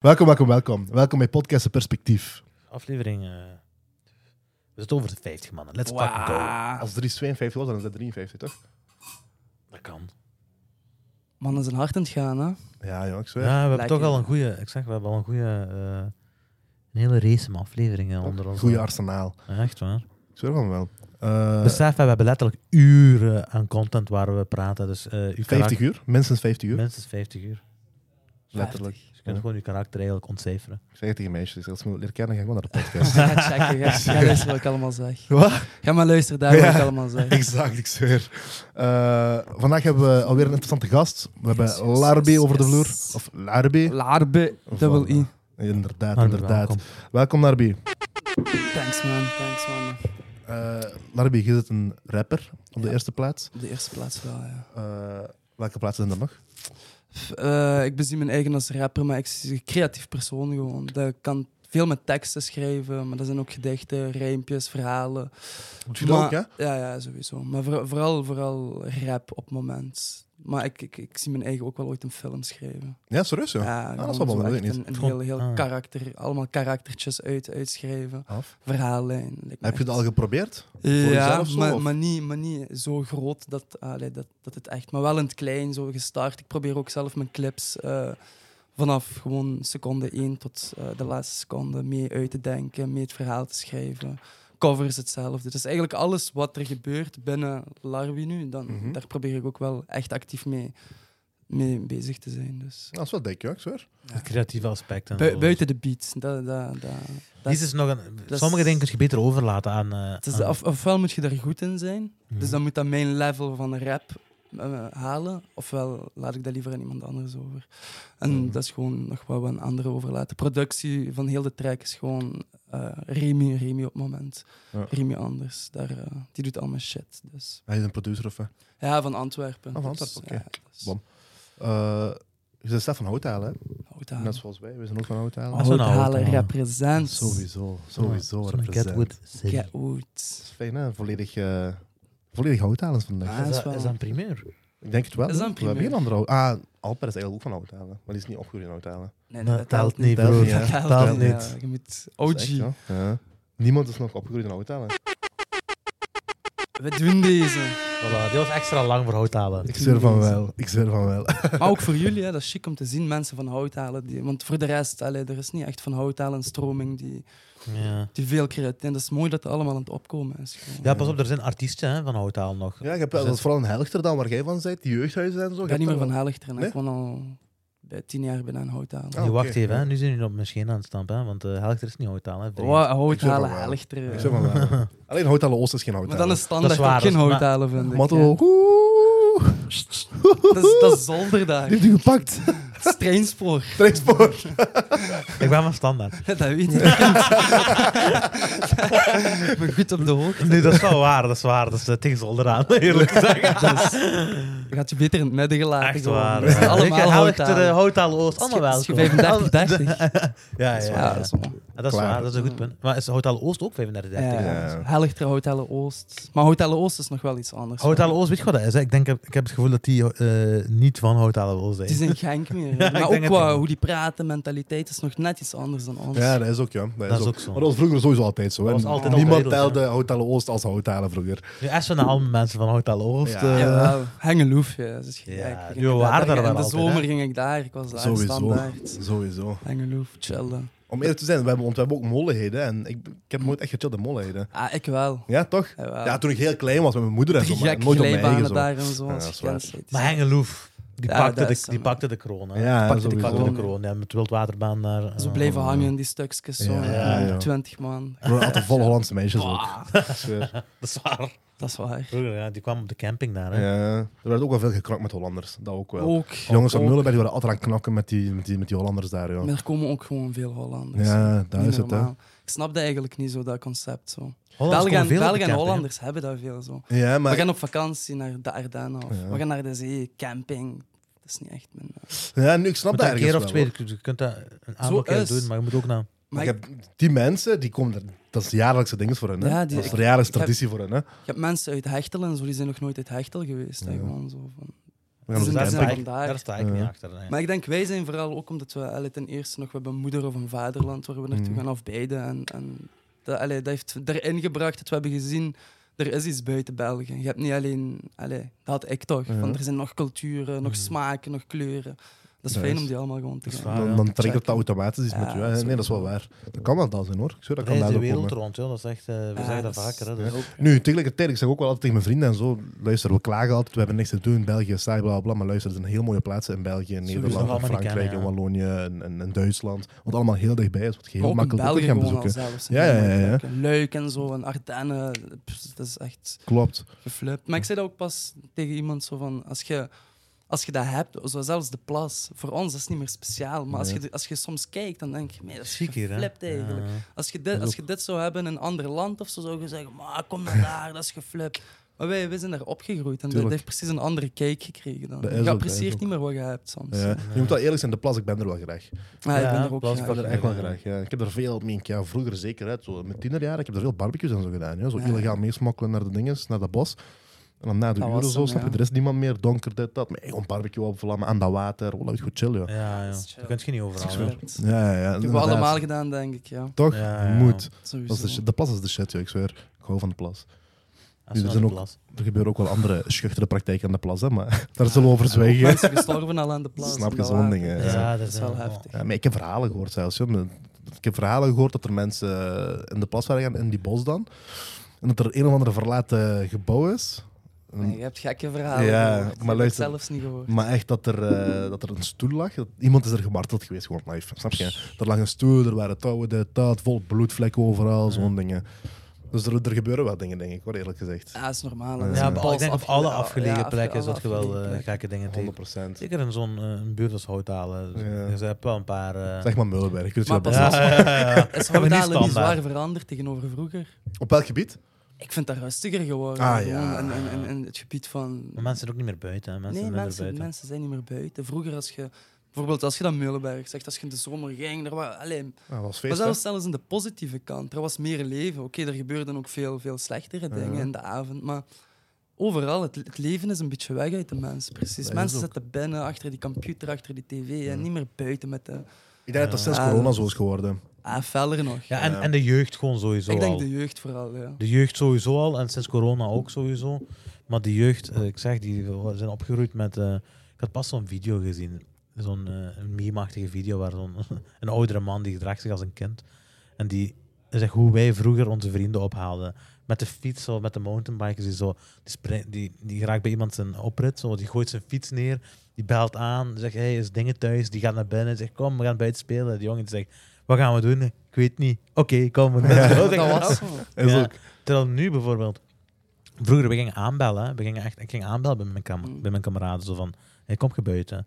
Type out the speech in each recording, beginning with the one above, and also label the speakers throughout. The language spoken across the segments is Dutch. Speaker 1: Welkom, welkom, welkom. Welkom bij Podcast Het Perspectief.
Speaker 2: aflevering. eh we zitten over de 50 mannen. Let's fucking go.
Speaker 3: Wow.
Speaker 1: Als 352 was, dan is dat 53, toch?
Speaker 2: Dat kan.
Speaker 3: Mannen zijn hard aan het gaan, hè?
Speaker 1: Ja, joh, ik
Speaker 2: Ja,
Speaker 1: zweer.
Speaker 2: we hebben
Speaker 3: Lekker.
Speaker 2: toch al een goede. Ik zeg, we hebben al een goede. eh, een hele race van afleveringen onder ons.
Speaker 1: Goeie arsenaal.
Speaker 2: Ja, echt waar.
Speaker 1: Ik zweer van wel. Eh,
Speaker 2: Besef, we hebben letterlijk uren aan content waar we praten. Dus eh uw
Speaker 1: 50 uur? Minstens 50 uur.
Speaker 2: Minstens 50 uur.
Speaker 1: Letterlijk.
Speaker 2: Dus je
Speaker 1: Ja.
Speaker 2: kunt gewoon je karakter eigenlijk ontcijferen.
Speaker 1: Ik zeg het tegen meisjes, als ze me leren kennen, ga ik gewoon naar de
Speaker 3: Dus
Speaker 1: podcast.
Speaker 3: Ga checken, ga, ga luisteren wat ik allemaal zeg.
Speaker 1: Wat?
Speaker 3: Ga maar luisteren daar wat
Speaker 1: Ja.
Speaker 3: ik allemaal zeg.
Speaker 1: Exact, ik zweer. Eh, vandaag hebben we alweer een interessante gast. We hebben
Speaker 3: Yes, yes,
Speaker 1: Larbi
Speaker 3: yes,
Speaker 1: over de
Speaker 3: yes.
Speaker 1: vloer. Of Larbi.
Speaker 3: Larbe, dubbel I.
Speaker 1: Inderdaad,
Speaker 2: Maar
Speaker 1: inderdaad.
Speaker 2: welkom.
Speaker 1: Welkom, Larbi.
Speaker 3: Thanks man, thanks man.
Speaker 1: Eh Larbi, je bent een rapper op de
Speaker 3: Ja.
Speaker 1: eerste plaats.
Speaker 3: Op de eerste plaats wel, ja.
Speaker 1: Eh, welke plaatsen zijn er nog?
Speaker 3: F- eh, ik bezie mijn eigen als rapper, maar ik ben een creatief persoon gewoon. Dat kan veel met teksten schrijven, maar dat zijn ook gedichten, rijmpjes, verhalen.
Speaker 1: Doe je dat
Speaker 3: Maar-
Speaker 1: ook, ja?
Speaker 3: Ja, ja, sowieso. Maar voor- vooral, vooral rap op het moment. Maar ik, ik, ik zie mijn eigen ook wel ooit een film schrijven.
Speaker 1: Ja, serieus, joh.
Speaker 3: Ja,
Speaker 1: dat is
Speaker 3: gewoon
Speaker 1: wel
Speaker 3: zo
Speaker 1: wel
Speaker 3: echt
Speaker 1: leuk,
Speaker 3: Een, een
Speaker 2: Gewoon-
Speaker 3: heel, heel
Speaker 2: ah.
Speaker 3: karakter, allemaal karaktertjes uit, uitschrijven,
Speaker 1: Af.
Speaker 3: verhaallijn. lijkt me
Speaker 1: Heb je het
Speaker 3: echt-
Speaker 1: al geprobeerd?
Speaker 3: Ja,
Speaker 1: jezelf zo,
Speaker 3: maar,
Speaker 1: of?
Speaker 3: maar, niet, maar niet zo groot dat, allee, dat, dat het echt, maar wel in het klein zo gestart. Ik probeer ook zelf mijn clips eh, vanaf gewoon seconde 1 tot eh, de laatste seconde mee uit te denken, mee het verhaal te schrijven. Covers hetzelfde. Dus eigenlijk alles wat er gebeurt binnen Larwi nu, dan,
Speaker 1: Mhm.
Speaker 3: daar probeer ik ook wel echt actief mee, mee bezig te zijn. Dus.
Speaker 1: Dat is wel dik, joh, ik zweer.
Speaker 2: Het creatieve aspect. en
Speaker 3: Bui-
Speaker 2: zo.
Speaker 3: buiten de beat. Dat, dat, dat,
Speaker 2: Dit
Speaker 3: dat is,
Speaker 2: is nog een,
Speaker 3: is-
Speaker 2: sommige dingen kun je beter overlaten aan. eh,
Speaker 3: het is
Speaker 1: Ah.
Speaker 2: aan-
Speaker 3: of, ofwel moet je daar goed in zijn,
Speaker 2: Mhm.
Speaker 3: dus dan moet dat mijn level van rap eh, halen, ofwel laat ik dat liever aan iemand anders over. En
Speaker 1: Mhm.
Speaker 3: dat is gewoon nog wat we aan anderen overlaten. Productie van heel de track is gewoon eh, Remy, Remy op het moment.
Speaker 1: Ja.
Speaker 3: Remy anders, daar, eh, die doet al mijn shit. Dus.
Speaker 1: Hij is een producer of... eh,
Speaker 3: Ja, van Antwerpen.
Speaker 1: Ah, van
Speaker 3: Dus,
Speaker 1: Antwerpen,
Speaker 3: ja,
Speaker 1: oké.
Speaker 3: dus
Speaker 1: Bom. eh, je bent zelf van Houthalen, hè?
Speaker 3: houd aan.
Speaker 1: Net zoals wij, we zijn ook van Houthalen.
Speaker 2: Als we nou
Speaker 3: Hout halen,
Speaker 2: houten halen.
Speaker 3: represent.
Speaker 1: Ah. Sowieso,
Speaker 2: Ja,
Speaker 1: sowieso.
Speaker 2: Hmm. zo'n
Speaker 1: represent.
Speaker 2: Catwood City.
Speaker 3: Get out.
Speaker 1: Dat is fijn, hè? Volledig, eh volledig Houthalens vandaag.
Speaker 3: Ah,
Speaker 2: Is
Speaker 3: is
Speaker 2: dat,
Speaker 3: wel-
Speaker 2: is dat een primeur?
Speaker 1: Ik denk het wel.
Speaker 3: Is dat
Speaker 1: hoor.
Speaker 3: een
Speaker 1: we hebben
Speaker 3: primeur?
Speaker 1: geen andere Hout- Ah, Alper is eigenlijk ook van Houthalen, maar die is niet opgegroeid in Houthalen.
Speaker 3: Nee,
Speaker 2: Dat Nou, telt niet,
Speaker 1: Dat
Speaker 2: broer.
Speaker 1: niet, hè.
Speaker 3: Dat
Speaker 2: Telt
Speaker 3: telt niet.
Speaker 2: niet.
Speaker 3: Ja, je moet
Speaker 1: Dat is echt,
Speaker 3: OG.
Speaker 1: joh. Ja. Niemand is nog opgegroeid in Houthalen.
Speaker 3: We doen deze.
Speaker 2: Voilà, die was extra lang voor houthalen.
Speaker 1: Ik zweer van wel, ik zweer van wel.
Speaker 3: Maar ook voor jullie, hè, dat is chic om te zien, mensen van hout halen. Die, want voor de rest, allee, er is niet echt van hout halen een stroming die,
Speaker 2: Ja.
Speaker 3: die veel creatief... En dat is mooi dat het allemaal aan het opkomen is. gewoon.
Speaker 2: ja, pas op, er zijn artiesten hè, van houthalen nog.
Speaker 1: Ja, ik heb, dat is vooral in Helchterdam, waar jij van bent, die jeugdhuizen en zo.
Speaker 3: ik
Speaker 1: Je
Speaker 3: ben
Speaker 1: hebt
Speaker 3: niet meer
Speaker 1: daar
Speaker 3: van heilig trainen. Ik
Speaker 1: Nee?
Speaker 3: woon al bij tien jaar bijna aan hout halen.
Speaker 1: Oh,
Speaker 2: Die wacht
Speaker 1: oké.
Speaker 2: even, hè. nu zijn jullie op mijn scheen aan het stampen, hè, want eh Helchter is niet houthalen. hè, vreemd.
Speaker 3: Wa- hout
Speaker 1: Ik zeg
Speaker 3: halen,
Speaker 1: wel.
Speaker 3: heilig
Speaker 1: Ik
Speaker 3: trainen.
Speaker 1: zeg van wel. Alleen Houthalen Oost is geen
Speaker 3: Maar
Speaker 1: Houthalen.
Speaker 3: dan is standaard
Speaker 2: waar,
Speaker 3: ook geen
Speaker 2: dat is-
Speaker 3: hout halen, vind ik. hè.
Speaker 1: Mattel. Oeh.
Speaker 3: Dat is, dat is zolderdag.
Speaker 1: Die heeft u gepakt.
Speaker 3: Het is treinspoor.
Speaker 1: Treinspoor.
Speaker 2: Ik ben van standaard.
Speaker 3: Dat weet ik. Ik ben goed op de hoogte.
Speaker 2: Nee, dat is wel waar, dat is waar. Dat is eh, tegen zolder aan, eerlijk gezegd.
Speaker 3: Dus, je gaat je beter in het midden gelaten.
Speaker 2: Echt
Speaker 3: gewoon.
Speaker 2: waar.
Speaker 3: We zijn
Speaker 2: ja.
Speaker 3: allemaal
Speaker 2: Weet je,
Speaker 3: hout
Speaker 2: Helchter, eh,
Speaker 3: halen.
Speaker 2: houthalen Oost, allemaal wel.
Speaker 3: Het is 35, 30.
Speaker 2: Ja, ja,
Speaker 3: Ja,
Speaker 2: ja.
Speaker 3: dat is waar.
Speaker 2: Ja, dat is
Speaker 1: Klaar.
Speaker 2: waar, dat is een goed punt. Maar is houthalen Oost ook 35, 30?
Speaker 3: Ja,
Speaker 1: Ja.
Speaker 3: ja. Helchter, Houtelle Oost. Maar Houtelle Oost is nog wel iets anders.
Speaker 2: Houthalen Oost, weet je wat dat is? Hè? Ik, denk, ik heb het gevoel dat die eh, niet van Houthalen Oost zijn.
Speaker 3: Het is een Genk meer.
Speaker 2: Ja, ik
Speaker 3: maar ook
Speaker 2: denk het
Speaker 3: qua
Speaker 2: wel.
Speaker 3: hoe die praten, mentaliteit is nog net iets anders dan ons.
Speaker 1: Ja, dat is ook, ja. Dat,
Speaker 2: Dat is ook zo.
Speaker 1: Maar dat was vroeger sowieso altijd zo. hè.
Speaker 2: Dat was altijd al
Speaker 1: Niemand
Speaker 2: regels,
Speaker 1: telde Houthalen Oost als Houthalen vroeger.
Speaker 2: Nu essen naar allemaal mensen van Houthalen Oost.
Speaker 1: Ja.
Speaker 2: eh,
Speaker 3: Jawel, Hengeloef. Ja, dat is gek.
Speaker 2: Ja,
Speaker 3: Ik ging
Speaker 2: die
Speaker 3: daar-
Speaker 2: waren er
Speaker 3: daar-
Speaker 2: wel
Speaker 3: In de
Speaker 2: altijd,
Speaker 3: zomer
Speaker 2: hè?
Speaker 3: ging ik daar, ik was daar
Speaker 1: Sowieso.
Speaker 3: standaard.
Speaker 1: Sowieso.
Speaker 3: Hengeloef, chillen.
Speaker 1: Om eerlijk te zijn, we hebben, want we hebben ook molenheden. En ik, ik heb nooit echt gechilld in molenheden.
Speaker 3: Ah, ik wel.
Speaker 1: Ja, toch?
Speaker 3: Jawel.
Speaker 1: Ja, toen ik heel klein was met mijn moeder en zo.
Speaker 3: Drie
Speaker 1: Maar
Speaker 3: gekke
Speaker 1: nooit op mijn eigen
Speaker 3: glijbanen
Speaker 1: zo.
Speaker 3: daar en zo.
Speaker 1: Ja,
Speaker 3: als
Speaker 1: dat
Speaker 3: je
Speaker 1: is waar.
Speaker 3: kind zit.
Speaker 2: Maar Hengeloef, die,
Speaker 3: Ja,
Speaker 2: pakte,
Speaker 3: dat
Speaker 2: de,
Speaker 3: is hem,
Speaker 2: die
Speaker 3: ja.
Speaker 2: pakte de kroon. Hè.
Speaker 1: Ja,
Speaker 2: pakte, die
Speaker 1: sowieso.
Speaker 2: pakte de kroon. Ja, met wildwaterbaan naar... eh,
Speaker 3: Zo blijven hangen in die stukjes. Zo,
Speaker 1: Ja,
Speaker 3: ja,
Speaker 1: ja.
Speaker 3: 20 man.
Speaker 1: We hadden altijd vol Hollandse meisjes ook.
Speaker 3: Bah,
Speaker 1: Ik zweer.
Speaker 2: Dat is waar.
Speaker 3: dat is waar.
Speaker 2: Vroeger, ja, die kwam op de camping daar. Hè.
Speaker 1: Ja. Er werd ook wel veel geknokt met Hollanders. Dat ook wel.
Speaker 3: Ook.
Speaker 1: Die Jongens van
Speaker 3: ook.
Speaker 1: Mullenberg die waren altijd aan het knokken met die, met die, met die Hollanders daar, joh.
Speaker 3: Maar er komen ook gewoon veel Hollanders.
Speaker 1: Ja, daar
Speaker 3: Niet
Speaker 1: is het, hè.
Speaker 3: normaal. Ik snap dat eigenlijk niet zo, dat concept. Zo.
Speaker 2: Hollanders komen
Speaker 3: Belgen,
Speaker 2: veel op de
Speaker 3: Belgen en
Speaker 2: camping, hè.
Speaker 3: Hollanders hebben dat veel zo.
Speaker 1: Ja, maar...
Speaker 3: We gaan op vakantie naar de Ardennen of
Speaker 1: Ja.
Speaker 3: we gaan naar de zee, camping. Dat is niet echt mijn... eh.
Speaker 1: Ja, nu, ik snap
Speaker 2: Je moet
Speaker 1: dat
Speaker 2: dat
Speaker 1: ergens
Speaker 2: een keer of
Speaker 1: wel,
Speaker 2: twee,
Speaker 1: hoor.
Speaker 2: je kunt dat een aantal keer
Speaker 3: is.
Speaker 2: doen, maar je moet ook naar...
Speaker 1: Maar
Speaker 3: Maar
Speaker 1: ik
Speaker 3: ik,
Speaker 1: heb, die mensen, die komen... er- Dat is de jaarlijkse ding voor hen, hè.
Speaker 3: Ja, die-
Speaker 1: dat is de
Speaker 3: ik-
Speaker 1: jaarlijkse
Speaker 3: ik heb-
Speaker 1: traditie voor hen, hè.
Speaker 3: ik heb mensen uit Hechtel en zo, die zijn nog nooit uit Hechtel geweest. hè,
Speaker 1: Ja.
Speaker 3: gewoon zo van,
Speaker 1: We
Speaker 3: Het
Speaker 1: gaan
Speaker 3: is
Speaker 1: op
Speaker 3: een
Speaker 2: daar,
Speaker 1: de
Speaker 2: sta
Speaker 3: zin
Speaker 2: ik,
Speaker 1: camping.
Speaker 3: vandaag.
Speaker 2: daar sta ik niet
Speaker 1: Ja.
Speaker 2: achter. nee.
Speaker 3: Maar ik denk, wij zijn vooral ook omdat we allee, ten eerste nog we hebben een moeder of een vaderland waar we naartoe
Speaker 1: Mhm.
Speaker 3: gaan afbeiden. En, en dat, allee, dat heeft erin gebracht dat we hebben gezien, er is iets buiten België. Je hebt niet alleen, allee, dat had ik toch,
Speaker 1: Ja. Mm.
Speaker 3: van er zijn nog culturen, nog
Speaker 2: Mhm.
Speaker 3: smaken, nog kleuren. Dat is
Speaker 1: Nice.
Speaker 3: fijn om die allemaal gewoon te
Speaker 2: Dat is
Speaker 3: gaan.
Speaker 2: waar,
Speaker 1: Dan,
Speaker 2: ja.
Speaker 1: dan trekt
Speaker 3: Checken.
Speaker 1: het automatisch iets
Speaker 3: Ja,
Speaker 1: met je. hè. Nee, dat is wel waar. Dat kan wel dat zijn hoor. Ik zweer, dat kan
Speaker 2: Reis
Speaker 1: daar
Speaker 2: de
Speaker 1: ook komen.
Speaker 2: wereld rond, joh. dat is echt, eh, we
Speaker 3: Ja,
Speaker 2: zeggen dat
Speaker 3: dat is-
Speaker 2: vaker. Hè, dus.
Speaker 1: Nu, tegelijkertijd, ik zeg ook wel altijd tegen mijn vrienden en zo, luister, we klagen altijd, we hebben niks te doen in België, saai, bla, bla, bla, maar luister, er zijn heel mooie plaatsen in België, in
Speaker 2: Sowieso.
Speaker 1: Nederland, en
Speaker 2: Allemaal niet
Speaker 1: Frankrijk, en
Speaker 2: kennen, ja.
Speaker 1: Wallonië, en, en, en Duitsland, wat allemaal heel dichtbij is, wat je heel
Speaker 3: ook in
Speaker 1: makkelijk ook
Speaker 3: België
Speaker 1: kunt gaan
Speaker 3: gewoon al
Speaker 1: bezoeken.
Speaker 3: zelfs.
Speaker 1: Ja, ja, ja, ja.
Speaker 3: Leuk en zo, en Ardennen. pff, dat is echt
Speaker 1: Klopt.
Speaker 3: geflipt. Maar ik zei dat ook pas tegen iemand zo van, als je, als je dat hebt, zo zelfs de plas, voor ons dat is niet meer speciaal, maar als
Speaker 1: Nee.
Speaker 3: je, de- als je soms kijkt, dan denk je, nee, dat is
Speaker 2: Chic hier, hè?
Speaker 3: geflipt eigenlijk.
Speaker 2: Ja.
Speaker 3: Als, je dit,
Speaker 2: is
Speaker 3: als je dit zou hebben in een ander land of zo, zou je zeggen, maar kom maar daar, dat is geflipt. Maar wij, wij zijn daar opgegroeid en dat
Speaker 1: Tuurlijk.
Speaker 3: heeft precies een andere kijk gekregen dan.
Speaker 1: Dat is
Speaker 3: Je
Speaker 1: ook, dat is
Speaker 3: apprecieert
Speaker 1: ook.
Speaker 3: niet meer wat je hebt soms.
Speaker 1: Eh, Je moet wel eerlijk zijn, de plas, ik ben er wel graag. Ik
Speaker 3: Maar ik
Speaker 2: Ja,
Speaker 3: ben er ook
Speaker 2: plas-
Speaker 3: graag.
Speaker 1: ben er echt wel
Speaker 2: Ja.
Speaker 1: graag, ja. Ik heb er veel, meen ik, ja, vroeger zeker, hè, zo, met tienerjaren, ik heb er veel barbecues en zo gedaan, ja. zo
Speaker 3: Ja.
Speaker 1: illegaal meesmokkelen naar de dinges, naar dat bos. En dan na de
Speaker 3: Dat
Speaker 1: uur
Speaker 3: was
Speaker 1: of zo,
Speaker 3: hem,
Speaker 1: snap je,
Speaker 3: ja.
Speaker 1: er is niemand meer, donker, dit, dat, maar hey, gewoon barbecue opvlammen, aan dat water, wel goed chill, ja.
Speaker 2: Ja, ja.
Speaker 3: dat is
Speaker 2: Dat kun je niet
Speaker 3: Dat is
Speaker 2: overal. hè.
Speaker 3: geflipt.
Speaker 1: Ja, ja, ja.
Speaker 3: Dat hebben
Speaker 1: inderdaad.
Speaker 3: we allemaal gedaan, denk ik. Ja,
Speaker 1: Toch?
Speaker 2: Ja, ja, ja.
Speaker 1: Moet. Dat is de,
Speaker 3: sowieso.
Speaker 1: shit. de plas is de shit, joh. ik zweer. Ik hou van de plas.
Speaker 2: Als je
Speaker 1: er
Speaker 2: naar
Speaker 1: zijn
Speaker 2: de
Speaker 1: ook-
Speaker 2: plas-
Speaker 1: Er gebeuren ook wel andere schuchtere praktijken aan de plas, hè, maar daar zullen we over zwijgen.
Speaker 3: Mensen gestorven al aan de plaats.
Speaker 1: Snap je,
Speaker 3: dat
Speaker 1: zo'n
Speaker 3: waar.
Speaker 1: ding, hè.
Speaker 3: Dat is-
Speaker 2: Ja,
Speaker 3: dat is wel heftig.
Speaker 1: Ja, maar ik heb verhalen gehoord zelfs. joh. Ik heb verhalen gehoord dat er mensen eh, in de plas waren gaan, in die bos dan. En dat er een of andere verlaten eh, gebouw is.
Speaker 3: Nee, je hebt gekke verhalen.
Speaker 1: Ja,
Speaker 3: gehoord.
Speaker 1: maar
Speaker 3: Ik heb het
Speaker 1: luister.
Speaker 3: zelfs niet gehoord.
Speaker 1: Maar echt dat er, eh, dat er een stoel lag. Dat, iemand is er gemarteld geweest, gewoon live. Snap je? Er lag een stoel, er waren touwen, dit, dat, vol bloedvlekken overal, zo'n dingen. Dus er, er gebeuren wel dingen, denk ik, hoor, eerlijk gezegd. 100%.
Speaker 3: Ja, is normaal.
Speaker 1: Ja,
Speaker 3: Dat is
Speaker 2: Ja,
Speaker 3: een
Speaker 2: maar
Speaker 3: pals
Speaker 2: ik denk op
Speaker 3: afge-
Speaker 2: alle
Speaker 3: ja,
Speaker 2: afgelegen
Speaker 3: ja,
Speaker 2: plekken is
Speaker 3: alle
Speaker 2: dat je wel
Speaker 3: afgelegen
Speaker 2: eh,
Speaker 3: plekken.
Speaker 2: gekke dingen tegen. Zeker in zo'n eh, een buurt als Houtalen.
Speaker 1: Ja.
Speaker 2: Dus je hebt wel een paar... eh,
Speaker 1: Zeg maar Mullenberg. ik weet
Speaker 3: Maar
Speaker 1: wel
Speaker 3: pas
Speaker 1: best.
Speaker 2: ja.
Speaker 3: op. Is
Speaker 2: Maar niet
Speaker 3: Hordalen niet
Speaker 2: standaard.
Speaker 3: zwaar veranderd tegenover vroeger?
Speaker 1: Op welk gebied?
Speaker 3: Ik vind dat rustiger geworden.
Speaker 1: Ah,
Speaker 3: gewoon
Speaker 1: ja.
Speaker 3: in, in, in, in het gebied van...
Speaker 2: Maar mensen zijn ook niet meer buiten. Hè. Mensen
Speaker 3: nee,
Speaker 2: zijn minder
Speaker 3: mensen,
Speaker 2: buiten.
Speaker 3: mensen zijn niet meer buiten. Vroeger als je... Bijvoorbeeld als je dan Meulenberg zegt, als je in de zomer ging, er waren... Allee,
Speaker 1: Ah, dat was
Speaker 3: Maar
Speaker 1: feest, hè?
Speaker 3: zelfs, zelfs in de positieve kant. Er was meer leven. Oké, er gebeurden ook veel, veel slechtere dingen
Speaker 1: Ja.
Speaker 3: in de avond. Maar overal, het, het leven is een beetje weg uit de mensen. Precies.
Speaker 1: Dat is
Speaker 3: mensen
Speaker 1: ook.
Speaker 3: zitten binnen, achter die computer, achter die tv. En
Speaker 1: Ja.
Speaker 3: niet meer buiten met de...
Speaker 1: Ik denk dat dat
Speaker 2: Ja.
Speaker 1: sinds
Speaker 3: Ja,
Speaker 1: corona
Speaker 3: dat
Speaker 1: zo is geworden.
Speaker 3: Ah, feller nog.
Speaker 2: Ja, en,
Speaker 1: Ja.
Speaker 2: en de jeugd gewoon sowieso
Speaker 3: Ik
Speaker 2: al.
Speaker 3: denk de jeugd vooral, ja.
Speaker 2: De jeugd sowieso al en sinds corona ook sowieso. Maar die jeugd, eh, ik zeg, die zijn opgegroeid met. eh, ik had pas zo'n video gezien. Zo'n eh, een meme-achtige video waar zo'n een oudere man die gedraagt zich als een kind. En die zegt hoe wij vroeger onze vrienden ophaalden. Met de fiets of met de mountainbikers. Die, zo, die, spri- die, die raakt bij iemand zijn oprit. Zo, die gooit zijn fiets neer. Die belt aan. Zegt hey, is dingen thuis? Die gaat naar binnen. Zegt kom, we gaan buiten spelen. Die jongen die zegt wat gaan we doen? Ik weet niet. Oké, kom. We doen het."
Speaker 3: Maar
Speaker 2: Ik
Speaker 3: dat
Speaker 2: denk,
Speaker 3: was zo.
Speaker 1: Is
Speaker 2: Ja.
Speaker 1: ook.
Speaker 2: Terwijl nu bijvoorbeeld, vroeger we gingen aanbellen, hè. we gingen echt, ik ging aanbellen bij mijn, kam-
Speaker 3: Mm.
Speaker 2: bij mijn kameraden, zo van, hey, kom je buiten.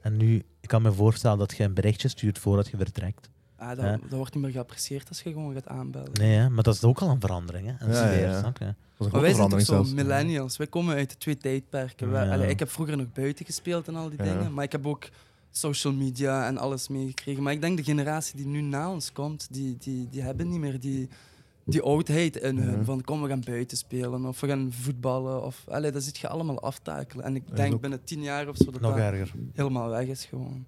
Speaker 2: En nu, ik kan me voorstellen dat je een berichtje stuurt voordat je vertrekt.
Speaker 3: Ah,
Speaker 2: Ja.
Speaker 3: dat, dat wordt niet meer geapprecieerd als je gewoon gaat aanbellen.
Speaker 2: Nee, hè, maar dat is ook al een verandering, hè? Een
Speaker 1: Ja,
Speaker 2: sfeer,
Speaker 1: ja.
Speaker 2: snap je?
Speaker 1: Dat is
Speaker 3: Maar
Speaker 1: ook een
Speaker 3: wij zijn toch
Speaker 1: verandering
Speaker 3: zo
Speaker 1: zelfs.
Speaker 3: millennials. Wij komen uit de twee tijdperken. Wij-
Speaker 2: Ja.
Speaker 3: allee, ik heb vroeger nog buiten gespeeld en al die
Speaker 1: Ja.
Speaker 3: dingen. Maar ik heb ook social media en alles meegekregen. Maar ik denk de generatie die nu na ons komt, die, die, die hebben niet meer die, die oudheid in hun.
Speaker 1: Ja.
Speaker 3: Van kom, we gaan buiten spelen of we gaan voetballen. Of, allee, dat zit je allemaal aftakelen. En ik
Speaker 1: is
Speaker 3: denk
Speaker 1: ook-
Speaker 3: binnen tien jaar of zo dat
Speaker 2: Nog
Speaker 3: dat
Speaker 2: erger.
Speaker 3: helemaal weg is gewoon.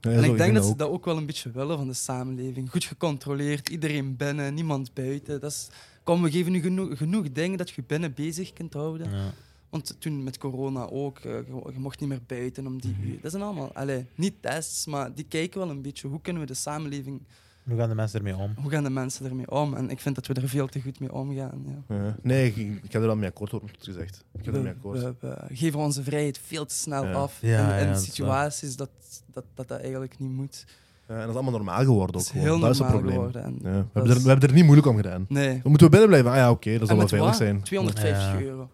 Speaker 1: Ja,
Speaker 3: en
Speaker 1: zo,
Speaker 3: ik denk dat ze
Speaker 1: ook.
Speaker 3: dat ook wel een beetje willen van de samenleving. Goed gecontroleerd, iedereen binnen, niemand buiten. Dat is, kom, we geven nu genoeg, genoeg dingen dat je binnen bezig kunt houden.
Speaker 2: Ja.
Speaker 3: Want toen met corona ook, eh, je, je mocht niet meer buiten om die
Speaker 1: Mhm.
Speaker 3: uur. Dat zijn allemaal, allee, niet tests, maar die kijken wel een beetje hoe kunnen we de samenleving,
Speaker 2: Nu gaan de mensen ermee om.
Speaker 3: hoe gaan de mensen ermee om? En ik vind dat we er veel te goed mee omgaan. Ja.
Speaker 1: Ja. Nee, ik, ik heb er wel mee akkoord, wordt gezegd. Ik heb er mee
Speaker 3: We,
Speaker 1: akkoord.
Speaker 3: we- we geven onze vrijheid veel te snel
Speaker 1: Ja.
Speaker 3: af
Speaker 2: Ja,
Speaker 3: in, in
Speaker 2: ja, dat is
Speaker 3: situaties dat dat, dat dat eigenlijk niet moet.
Speaker 1: Ja, en dat is allemaal normaal geworden
Speaker 3: Dat
Speaker 1: ook.
Speaker 3: is
Speaker 1: gewoon.
Speaker 3: heel
Speaker 1: dat is het
Speaker 3: normaal
Speaker 1: probleem.
Speaker 3: geworden. En
Speaker 1: Ja. We,
Speaker 3: dat
Speaker 1: hebben er,
Speaker 3: is-
Speaker 1: we hebben er niet moeilijk om gedaan.
Speaker 3: Nee.
Speaker 1: Dan moeten we binnen blijven. Ah ja, oké, dat
Speaker 3: En
Speaker 1: zal wel
Speaker 3: met
Speaker 1: veilig
Speaker 3: wat?
Speaker 1: zijn.
Speaker 3: 250
Speaker 2: Ja.
Speaker 3: euro.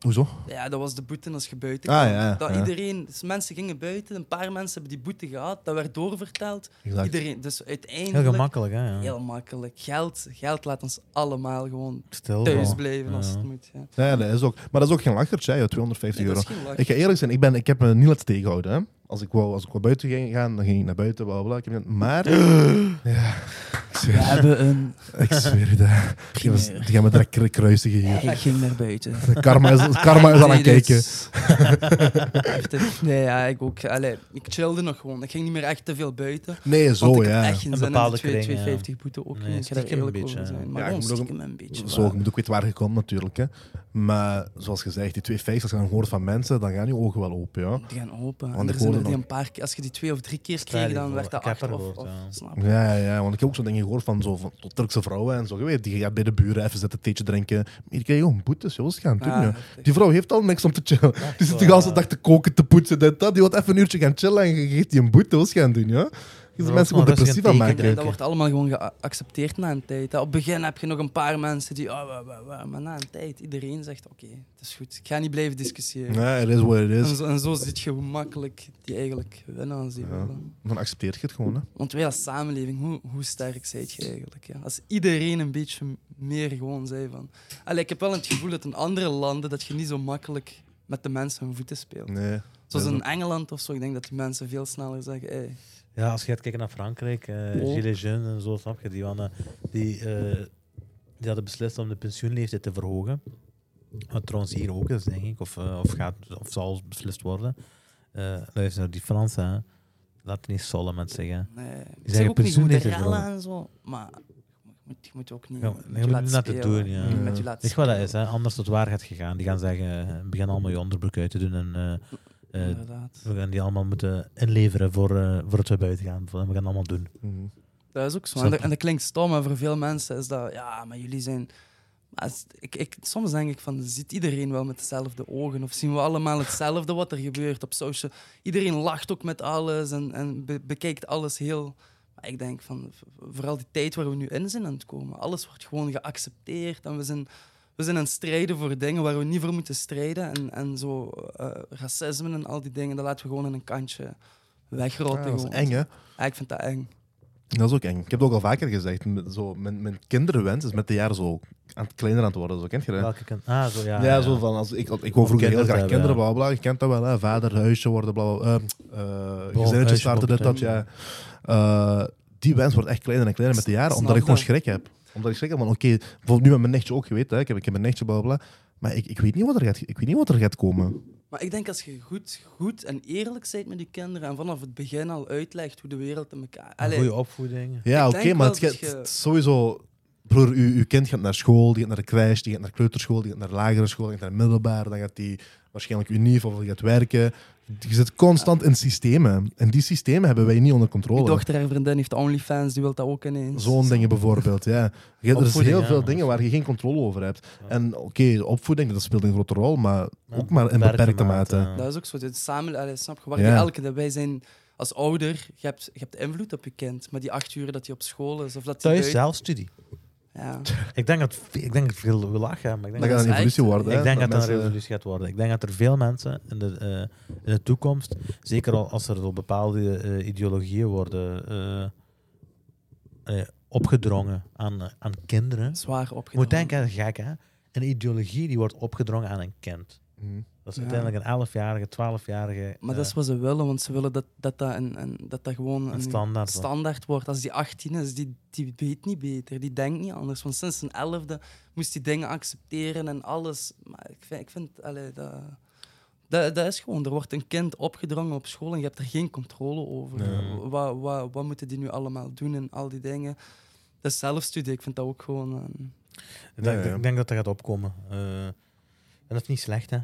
Speaker 1: Hoezo?
Speaker 3: Ja, dat was de boete als je buiten
Speaker 1: Ah,
Speaker 3: kwam.
Speaker 1: ja,
Speaker 3: dat
Speaker 1: ja.
Speaker 3: iedereen, dus mensen gingen buiten, een paar mensen hebben die boete gehad, dat werd doorverteld.
Speaker 1: Exact.
Speaker 3: Iedereen, dus
Speaker 2: Heel
Speaker 3: uiteindelijk
Speaker 2: gemakkelijk, hè? Ja.
Speaker 3: Heel makkelijk. Geld, geld laat ons allemaal gewoon
Speaker 2: Stil.
Speaker 1: Oh,
Speaker 3: thuis
Speaker 2: zo.
Speaker 3: blijven als
Speaker 2: Ja.
Speaker 3: het moet. Ja.
Speaker 1: Ja, dat is ook. Maar dat is ook geen lachertje, hè, joh, 250
Speaker 3: Nee, dat
Speaker 1: euro.
Speaker 3: is geen lach.
Speaker 1: Ik ga eerlijk zijn, ik, ben, ik heb me niet laten tegenhouden. Hè. Als ik wou, als ik wou buiten ging gaan, dan ging ik naar buiten, bla bla. bla. Ik heb niet- maar. ja. zweer-
Speaker 4: We hebben een...
Speaker 1: Ik zweer je dat. Die, was, die gaan me direct kru- kruisigen hier.
Speaker 4: Ik ging naar buiten.
Speaker 1: Karma is, karma is aan het
Speaker 3: Nee,
Speaker 1: kijken.
Speaker 3: dus- Heftig. nee, ja, ik ook. Allee, ik chillde nog gewoon. Ik ging niet meer echt te veel buiten.
Speaker 1: Nee,
Speaker 3: want
Speaker 1: zo
Speaker 3: ik had
Speaker 1: ja.
Speaker 3: echt geen
Speaker 2: Een
Speaker 3: zin in
Speaker 2: bepaalde
Speaker 3: die twee-
Speaker 2: kring, ja.
Speaker 3: 250 boete ook
Speaker 2: Nee,
Speaker 3: niet. Ik ga daar
Speaker 2: stiekem een
Speaker 3: eerlijk over
Speaker 2: beetje,
Speaker 3: zijn.
Speaker 2: ja.
Speaker 3: Maar
Speaker 1: Ja,
Speaker 3: gewoon
Speaker 1: je moet ook-
Speaker 3: stiekem een beetje.
Speaker 1: Zo,
Speaker 3: maar-
Speaker 1: ik moet ook weten waar je komt natuurlijk. Hè. Maar zoals gezegd, die 250, als je dan hoort van mensen, dan gaan je ogen wel open. Ja,
Speaker 3: Die gaan open.
Speaker 1: Want
Speaker 3: en
Speaker 1: ik
Speaker 3: er zijn
Speaker 1: hoorde
Speaker 3: er die
Speaker 1: nog-
Speaker 3: een paar keer- als je die twee of drie keer
Speaker 2: Stel je
Speaker 3: kreeg, dan
Speaker 2: voor,
Speaker 3: werd dat
Speaker 2: ik heb
Speaker 3: acht
Speaker 2: er
Speaker 3: of,
Speaker 2: gehoord,
Speaker 3: of
Speaker 2: ja.
Speaker 3: snap je?
Speaker 1: ja, ja, ja, want ik heb ook zo'n dingen gehoord van, zo, van tot Turkse vrouwen en zo. Je weet, die gaat bij de buren even zitten, theetje drinken. Maar Hier krijg je gewoon boetes, joh, wat gaan doen?
Speaker 3: Ja,
Speaker 1: joh?
Speaker 3: heftig.
Speaker 1: Die vrouw heeft al niks om te chillen.
Speaker 2: Echt
Speaker 1: Die zit de
Speaker 2: waar.
Speaker 1: hele dag te koken, te poetsen, dit, dat. Die wil even een uurtje gaan chillen en je geeft die een boete, wat gaan doen? Ja? Je
Speaker 2: Maar
Speaker 1: ziet
Speaker 2: ook
Speaker 1: mensen
Speaker 2: gewoon
Speaker 1: gewoon
Speaker 2: rustig
Speaker 1: depressief
Speaker 2: een
Speaker 1: aan maken.
Speaker 2: teken,
Speaker 3: dat wordt allemaal gewoon geaccepteerd na een tijd. hè. Op het begin heb je nog een paar mensen die... Oh, wa, wa, wa. Maar na een tijd, iedereen zegt... Oké, het is goed. Ik ga niet blijven discussiëren.
Speaker 1: Ja, it is what it
Speaker 3: En,
Speaker 1: is.
Speaker 3: zo, en zo zit je hoe makkelijk die eigenlijk winnen als die
Speaker 1: Ja.
Speaker 3: willen.
Speaker 1: Dan accepteer je het gewoon. Hè.
Speaker 3: Want wij als samenleving, hoe, hoe sterk zijt je eigenlijk? Ja? Als iedereen een beetje meer gewoon zei van... Allee, ik heb wel het gevoel dat in andere landen dat je niet zo makkelijk met de mensen hun voeten speelt.
Speaker 1: Nee.
Speaker 3: Zoals
Speaker 1: Ja,
Speaker 3: in Engeland of zo, ik denk dat die mensen veel sneller zeggen. Hey,
Speaker 2: Ja, als je gaat kijken naar Frankrijk, eh
Speaker 3: Oh.
Speaker 2: Gilets jaunes en zo, snap je, die, waren, eh, die, eh, die hadden beslist om de pensioenleeftijd te verhogen. Wat trouwens hier ook is, denk ik, of, eh, of, gaat, of zal beslist worden. Eh luister, naar die Fransen, hè. laat niet sollen met zeggen.
Speaker 3: nee. Ik
Speaker 2: zeggen
Speaker 3: zeg ook niet
Speaker 2: pensioen
Speaker 3: goed de
Speaker 2: heeft het
Speaker 3: rellen
Speaker 2: wel.
Speaker 3: en zo, maar je moet, je moet ook niet
Speaker 2: Ja,
Speaker 3: met
Speaker 2: je
Speaker 3: je
Speaker 2: moet niet
Speaker 3: laten
Speaker 2: laten
Speaker 3: spelen. Mm.
Speaker 2: doen, ja.
Speaker 3: Niet
Speaker 1: Ja.
Speaker 3: met je laten
Speaker 2: Weet je wat dat
Speaker 3: spelen.
Speaker 2: is, hè? anders tot waar gaat gegaan. Die gaan zeggen, eh, begin allemaal je onderbroek uit te doen en eh, eh,
Speaker 3: Inderdaad.
Speaker 2: we gaan die allemaal moeten inleveren voor, eh, voordat we buiten gaan. En we gaan het allemaal doen.
Speaker 1: Mhm.
Speaker 3: Dat is ook zo.
Speaker 2: Snap
Speaker 3: En dat,
Speaker 2: je?
Speaker 3: en dat klinkt stom, maar voor veel mensen is dat... Ja, maar jullie zijn... Maar als- ik, ik, soms denk ik van, ziet iedereen wel met dezelfde ogen? Of zien we allemaal hetzelfde wat er gebeurt op social? Iedereen lacht ook met alles en, en be- bekijkt alles heel... Maar ik denk van, v- vooral die tijd waar we nu in zijn aan het komen. Alles wordt gewoon geaccepteerd en we zijn... We zijn aan het strijden voor dingen waar we niet voor moeten strijden. En, en zo eh, racisme en al die dingen, dat laten we gewoon in een kantje
Speaker 1: Ja,
Speaker 3: wegrotten.
Speaker 1: dat is
Speaker 3: gewoon.
Speaker 1: eng, hè?
Speaker 3: Ja, ik vind dat eng.
Speaker 1: Dat is ook eng. Ik heb het ook al vaker gezegd. m- Zo, mijn, mijn kinderwens is met de jaren zo aan het kleiner aan het worden. Zo, kent je dat?
Speaker 2: Welke kant? Ah, zo ja.
Speaker 1: Ja, zo van als ik, ik wou
Speaker 2: Of
Speaker 1: vroeger heel
Speaker 2: kinderen
Speaker 1: graag
Speaker 2: hebben,
Speaker 1: kinderen,
Speaker 2: ja.
Speaker 1: bla bla. Je kent dat wel, hè? vader, huisje worden, bla bla. eh, eh,
Speaker 2: Bon,
Speaker 1: gezinnetje
Speaker 2: huisje
Speaker 1: starten, dit, dat.
Speaker 2: worden,
Speaker 1: Ja. Eh, die wens wordt echt kleiner en kleiner met de jaren,
Speaker 3: Snap
Speaker 1: omdat ik gewoon
Speaker 3: dat.
Speaker 1: schrik heb. Omdat ik schrik heb van, oké, bijvoorbeeld nu met mijn nichtje ook geweten, hè? Ik, heb, ik heb mijn nichtje, bla bla. bla. Maar ik, ik, weet niet wat er gaat, ik weet niet wat er gaat komen.
Speaker 3: Maar ik denk als je goed, goed en eerlijk bent met je kinderen en vanaf het begin al uitlegt hoe de wereld in elkaar. Allee,
Speaker 2: Goede opvoeding.
Speaker 1: Ja,
Speaker 3: Ik
Speaker 1: oké,
Speaker 3: denk
Speaker 1: maar
Speaker 3: wel
Speaker 1: het, gaat-
Speaker 3: dat je-
Speaker 1: het is sowieso... Broer, uw, uw kind gaat naar school, die gaat naar de crash, die gaat naar kleuterschool, die gaat naar lagere school, die gaat naar middelbaar, dan gaat die waarschijnlijk unief of die gaat werken. Je zit constant in systemen. En die systemen hebben wij niet onder controle.
Speaker 3: mijn dochter, haar vriendin heeft OnlyFans, die wil dat ook ineens.
Speaker 1: Zo'n dingen bijvoorbeeld, ja. Je, er zijn
Speaker 2: Opvoeding,
Speaker 1: heel
Speaker 2: ja.
Speaker 1: veel dingen waar je geen controle over hebt.
Speaker 2: Ja.
Speaker 1: En oké, opvoeding, dat speelt een grote rol, maar
Speaker 2: Ja,
Speaker 1: ook maar in beperkte mate.
Speaker 3: Dat is ook zo. Dit samen, allee, snap je, waar
Speaker 1: Ja.
Speaker 3: je elke dag bij zijn als ouder, je hebt, je hebt invloed op je kind. Maar die acht uur dat hij op school is, of dat hij
Speaker 2: Thuis zelfstudie.
Speaker 3: Ja.
Speaker 2: Ik denk dat, ik denk dat veel we lachen, maar ik
Speaker 1: Dat
Speaker 2: denk
Speaker 1: gaat een
Speaker 2: dat,
Speaker 3: is
Speaker 1: evolutie
Speaker 3: echt-
Speaker 1: worden. hè,
Speaker 2: ik denk dat
Speaker 1: met
Speaker 2: dat een
Speaker 1: mensen-
Speaker 2: revolutie gaat worden. Ik denk dat er veel mensen in de, eh, in de toekomst, zeker al als er zo bepaalde eh, ideologieën worden eh, eh, opgedrongen aan, eh, aan kinderen.
Speaker 3: Zwaar
Speaker 2: Je moet
Speaker 3: opgedaan.
Speaker 2: denken, dat is gek hè. Een ideologie die wordt opgedrongen aan een kind.
Speaker 1: Mhm.
Speaker 2: Dat is
Speaker 3: Ja.
Speaker 2: uiteindelijk een 11-jarige, 12-jarige
Speaker 3: Maar dat is
Speaker 2: eh,
Speaker 3: wat ze willen, want ze willen dat dat, dat, een, een, dat, dat gewoon
Speaker 2: een standaard. wordt.
Speaker 3: standaard wordt. Als die 18 is, die, die weet niet beter, die denkt niet anders. Want sinds zijn elfde moest die dingen accepteren en alles. Maar ik vind, ik vind allee, dat, dat, dat is gewoon, er wordt een kind opgedrongen op school en je hebt er geen controle over.
Speaker 2: Nee.
Speaker 3: Wa- wa- wa- wat moeten die nu allemaal doen en al die dingen? Dat is zelfstudie, ik vind dat ook gewoon... eh,
Speaker 2: Ik denk,
Speaker 1: Ja, ja.
Speaker 2: ik denk dat dat gaat opkomen. Eh, en dat is niet slecht, hè?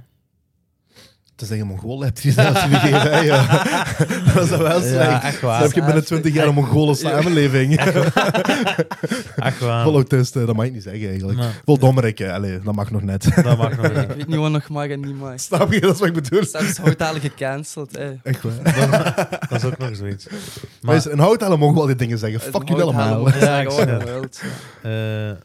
Speaker 1: Te zeggen, Mongolen hebt je zelf gegeven. hè, ja. dat is dan wel slecht.
Speaker 2: Ja, echt
Speaker 1: Dan
Speaker 2: waar.
Speaker 1: heb je binnen 20 jaar een Mongolen samenleving.
Speaker 2: Echt waar.
Speaker 1: Vol autisten, dat mag je niet zeggen eigenlijk.
Speaker 2: Maar
Speaker 1: Vol dommerikken, allee, dat mag nog net.
Speaker 2: dat mag nog
Speaker 3: ik
Speaker 2: niet.
Speaker 3: weet niet wat nog mag en niet mag.
Speaker 1: Snap je, dat is wat ik bedoel.
Speaker 3: Zelfs Houtalen gecanceld, eh.
Speaker 1: Echt waar.
Speaker 2: Dat is ook nog zoiets.
Speaker 1: Maar is
Speaker 2: Maar,
Speaker 1: een houthaler Mongool die dingen zeggen. Fuck jullie allemaal.
Speaker 2: Ja, ik
Speaker 3: Ja,
Speaker 2: zie
Speaker 3: ik
Speaker 2: het. eh,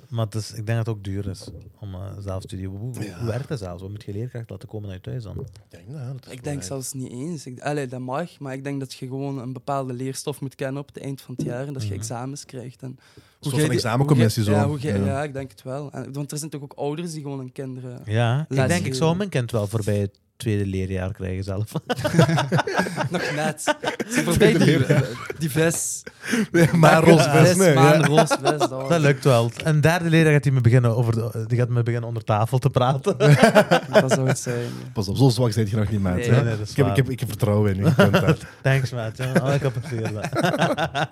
Speaker 2: maar het is, ik denk dat het ook duur is om eh zelfstudie. Hoe, hoe-
Speaker 1: Ja.
Speaker 2: hoe werkt dat zelfs? Wat moet je leerkracht laten komen uit thuis dan?
Speaker 1: Ik denk, nou, dat is
Speaker 3: Ik
Speaker 1: wel
Speaker 3: denk
Speaker 1: echt.
Speaker 3: zelfs niet eens. Ik, allee, dat mag, maar ik denk dat je gewoon een bepaalde leerstof moet kennen op het eind van het jaar en dat je
Speaker 2: Mhm.
Speaker 3: examens krijgt. En
Speaker 1: soort
Speaker 3: jij
Speaker 1: van
Speaker 3: die-
Speaker 1: examencommissie
Speaker 3: hoe jij-
Speaker 1: zo.
Speaker 3: Ja, hoe jij-
Speaker 1: Ja.
Speaker 3: ja. ik denk het wel. En, want er zijn toch ook ouders die gewoon hun kinderen...
Speaker 2: Ja, ik
Speaker 3: Laat
Speaker 2: denk, ik
Speaker 3: zien.
Speaker 2: zou mijn kind wel voorbij tweede leerjaar krijgen zelf.
Speaker 3: Nog net. Ze voorbij die, die vis.
Speaker 1: maar
Speaker 3: Roos
Speaker 1: roze vest, nee,
Speaker 3: Maar
Speaker 1: ja.
Speaker 3: een roze vest, dat
Speaker 1: Oh,
Speaker 3: was-
Speaker 2: Dat lukt wel. En derde leerjaar gaat hij me beginnen, over de- die gaat me beginnen onder tafel te praten.
Speaker 3: Dat zou het zijn. ja.
Speaker 1: Pas op, zo zwak zijn je nog niet, maat.
Speaker 3: Nee,
Speaker 1: hè.
Speaker 3: nee,
Speaker 2: dat is
Speaker 1: ik, heb, ik,
Speaker 2: waar.
Speaker 1: heb, ik heb vertrouwen in je. Je kunt dat.
Speaker 2: Thanks, maat. Ja, oh, ik heb het weer.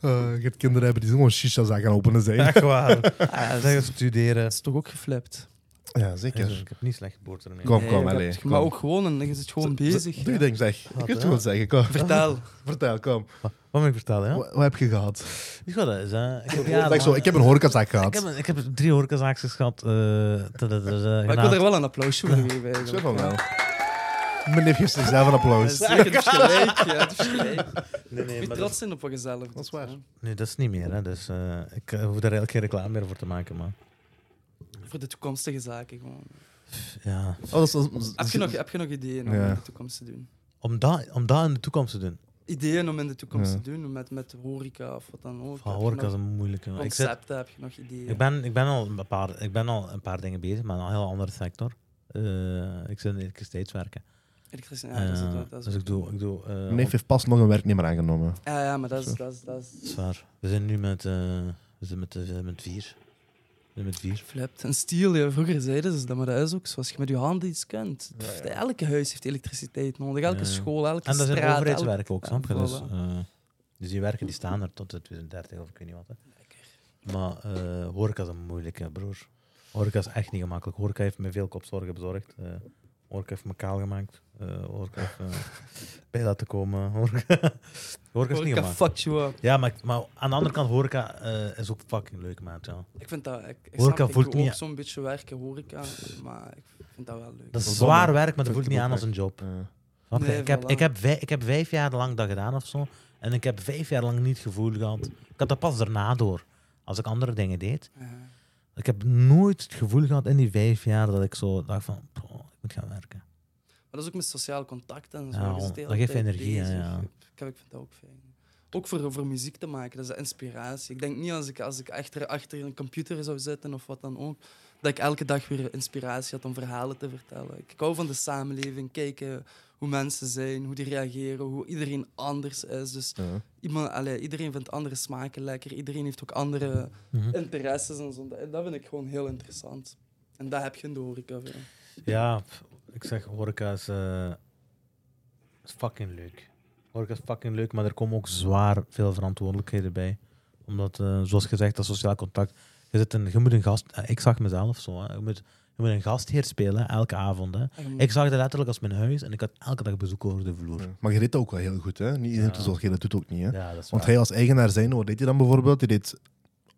Speaker 1: Eh, je hebt kinderen hebben die gewoon shisha gaan openen zijn.
Speaker 2: Echt waar.
Speaker 3: Ah, ja,
Speaker 2: Zeg
Speaker 3: dat is-
Speaker 2: eens studeren.
Speaker 3: dat is toch ook geflipt.
Speaker 1: Ja,
Speaker 2: Ik,
Speaker 1: zeker.
Speaker 2: heb niet slecht geboorte ermee.
Speaker 1: Kom,
Speaker 3: Nee,
Speaker 1: kom,
Speaker 3: dat heb
Speaker 1: allee,
Speaker 3: ik-
Speaker 1: kom.
Speaker 3: Maar ook gewoon, en dan is het gewoon bezig.
Speaker 1: Doe
Speaker 3: ja.
Speaker 1: je ding, zeg.
Speaker 2: Wat,
Speaker 1: Ik wil het
Speaker 2: hè?
Speaker 1: gewoon zeggen, kom.
Speaker 3: Vertel.
Speaker 1: Vertel, kom.
Speaker 2: Wat moet ik vertellen? Ja?
Speaker 1: Wat, wat heb je gehad?
Speaker 2: Weet je wat dat is? Hè? Ik heb,
Speaker 1: ik,
Speaker 2: man,
Speaker 1: zo, ik heb een horecazaak
Speaker 2: ik
Speaker 1: gehad.
Speaker 2: heb, een- ik heb drie horecazaakjes gehad. eh, dat- dat- dat- dat-
Speaker 3: Maar ik wil er wel een applaus voor geven.
Speaker 1: Ik zeg van
Speaker 3: eigenlijk,
Speaker 1: wel. nou.
Speaker 3: ja.
Speaker 1: Mijn neef geeft zichzelf een
Speaker 3: Ja,
Speaker 1: applaus.
Speaker 3: Zeker, het is gelijk. Ja, het is gelijk.
Speaker 2: Nee, nee,
Speaker 3: Je
Speaker 2: maar
Speaker 3: moet
Speaker 2: dat-
Speaker 3: trots zijn op wat jezelf. Dat
Speaker 1: is waar.
Speaker 2: Nee, dat is niet meer. Hè? Dus eh, ik eh, hoef daar eigenlijk geen reclame meer voor te maken. Maar
Speaker 3: Voor de toekomstige zaken gewoon.
Speaker 2: Dus ja,
Speaker 1: Oh, dat is, dat is-
Speaker 3: Heb je nog, heb je nog ideeën om
Speaker 1: Ja.
Speaker 3: in de toekomst te doen?
Speaker 2: om dat, om dat in de toekomst te doen.
Speaker 3: Ideeën om in de toekomst
Speaker 1: Ja.
Speaker 3: te doen, met, met horeca of wat dan ook.
Speaker 2: Van
Speaker 3: Heb je
Speaker 2: horeca is
Speaker 3: nog
Speaker 2: een moeilijke. Ik, zit-
Speaker 3: Concepten, heb je nog ideeën?
Speaker 2: ik, ben, ik, ben al een paar, ik ben al een paar dingen bezig, maar in een heel andere sector. Eh, ik zit in elektriciteitswerken.
Speaker 3: Elektriciteit, ja, dat is het wel,
Speaker 2: Eh,
Speaker 3: dat is
Speaker 2: dus
Speaker 3: het.
Speaker 2: ik doe... Ik doe eh,
Speaker 1: Mijn neef heeft pas nog een werknemer aangenomen.
Speaker 3: Ja, ja, maar dat is... Dat is, dat is
Speaker 2: Zwaar. We zijn nu met, eh, we zijn met, eh, we zijn met vier. We zijn met vier.
Speaker 3: flipt. En stiel, ja, vroeger zeiden ze dat, maar dat is ook zoals je met je handen iets kunt. Pff, Elke huis heeft elektriciteit nodig, elke
Speaker 2: Ja.
Speaker 3: school, elke
Speaker 2: En dat
Speaker 3: straat.
Speaker 2: zijn
Speaker 3: elke-
Speaker 2: overheidswerken ook, snap je?
Speaker 3: Ja,
Speaker 2: Dus,
Speaker 3: voilà.
Speaker 2: eh, dus die werken die staan er tot de 2030 of ik weet niet wat. Hè. Maar eh horeca is een moeilijke, broer. Horeca is echt niet gemakkelijk. Horeca heeft me veel kopzorgen bezorgd. Eh horeca heeft me kaal gemaakt. Eh horeca heeft eh, bij laten komen. Horeca, horeca is niet
Speaker 3: Horeca
Speaker 2: gemakkelijk.
Speaker 3: fuck you up.
Speaker 2: Ja, maar, ik- maar aan de andere kant, horeca eh, is ook fucking leuk, man. Ja.
Speaker 3: Ik vind dat... Ik, ik
Speaker 2: Horeca
Speaker 3: snap, ik
Speaker 2: voelt
Speaker 3: doe
Speaker 2: niet-
Speaker 3: ook zo'n beetje werken, horeca. Maar ik vind dat wel leuk.
Speaker 2: Dat is
Speaker 1: is zonde.
Speaker 2: zwaar werk, maar
Speaker 1: Vind
Speaker 2: dat voelt
Speaker 1: ik
Speaker 2: niet
Speaker 1: ook
Speaker 2: aan als
Speaker 1: leuk.
Speaker 2: een job.
Speaker 1: Ja.
Speaker 2: Snap je?
Speaker 3: Nee,
Speaker 2: ik, heb,
Speaker 3: voilà.
Speaker 2: ik, heb vij- ik heb vijf jaar lang dat gedaan of zo. En ik heb vijf jaar lang niet het gevoel gehad. Ik had dat pas daarna door. Als ik andere dingen deed.
Speaker 3: Ja.
Speaker 2: Ik heb nooit het gevoel gehad in die vijf jaar dat ik zo dacht van... "Poh, ik moet gaan werken.
Speaker 3: Maar dat is ook met sociaal contact en zo.
Speaker 2: Ja,
Speaker 3: Je zit de hele
Speaker 2: dat geeft
Speaker 3: tijd
Speaker 2: energie, hè,
Speaker 3: bezig.
Speaker 2: ja.
Speaker 3: Ik, ik vind dat ook fijn. Ook voor, voor muziek te maken, dat is de inspiratie. Ik denk niet als ik, als ik achter, achter een computer zou zitten of wat dan ook, dat ik elke dag weer inspiratie had om verhalen te vertellen. Ik hou van de samenleving, kijken hoe mensen zijn, hoe die reageren, hoe iedereen anders is. Dus
Speaker 1: Ja.
Speaker 3: iemand, allee, iedereen vindt andere smaken lekker, iedereen heeft ook andere
Speaker 2: Mhm.
Speaker 3: interesses en zo. Dat, dat vind ik gewoon heel interessant. En dat heb je in de horeca. veel.
Speaker 2: Ja, pff, ik zeg horeca is, eh, is fucking leuk. Horeca is fucking leuk, maar er komen ook zwaar veel verantwoordelijkheden bij. Omdat, eh, zoals gezegd, dat sociaal contact. Je, zit een, je moet een gast... eh, ik zag mezelf zo. Hè. Je, moet, je moet een gastheer spelen, elke avond. Hè.
Speaker 3: En je
Speaker 2: Ik zag dat letterlijk als mijn huis en ik had elke dag bezoek over de vloer.
Speaker 1: Maar je deed dat ook wel heel goed, hè? Niet iedereen doet zoals jij dat doet ook niet, hè?
Speaker 2: Ja, dat is
Speaker 1: Want
Speaker 2: waar.
Speaker 1: hij als eigenaar zijn, wat deed hij dan bijvoorbeeld? Hij deed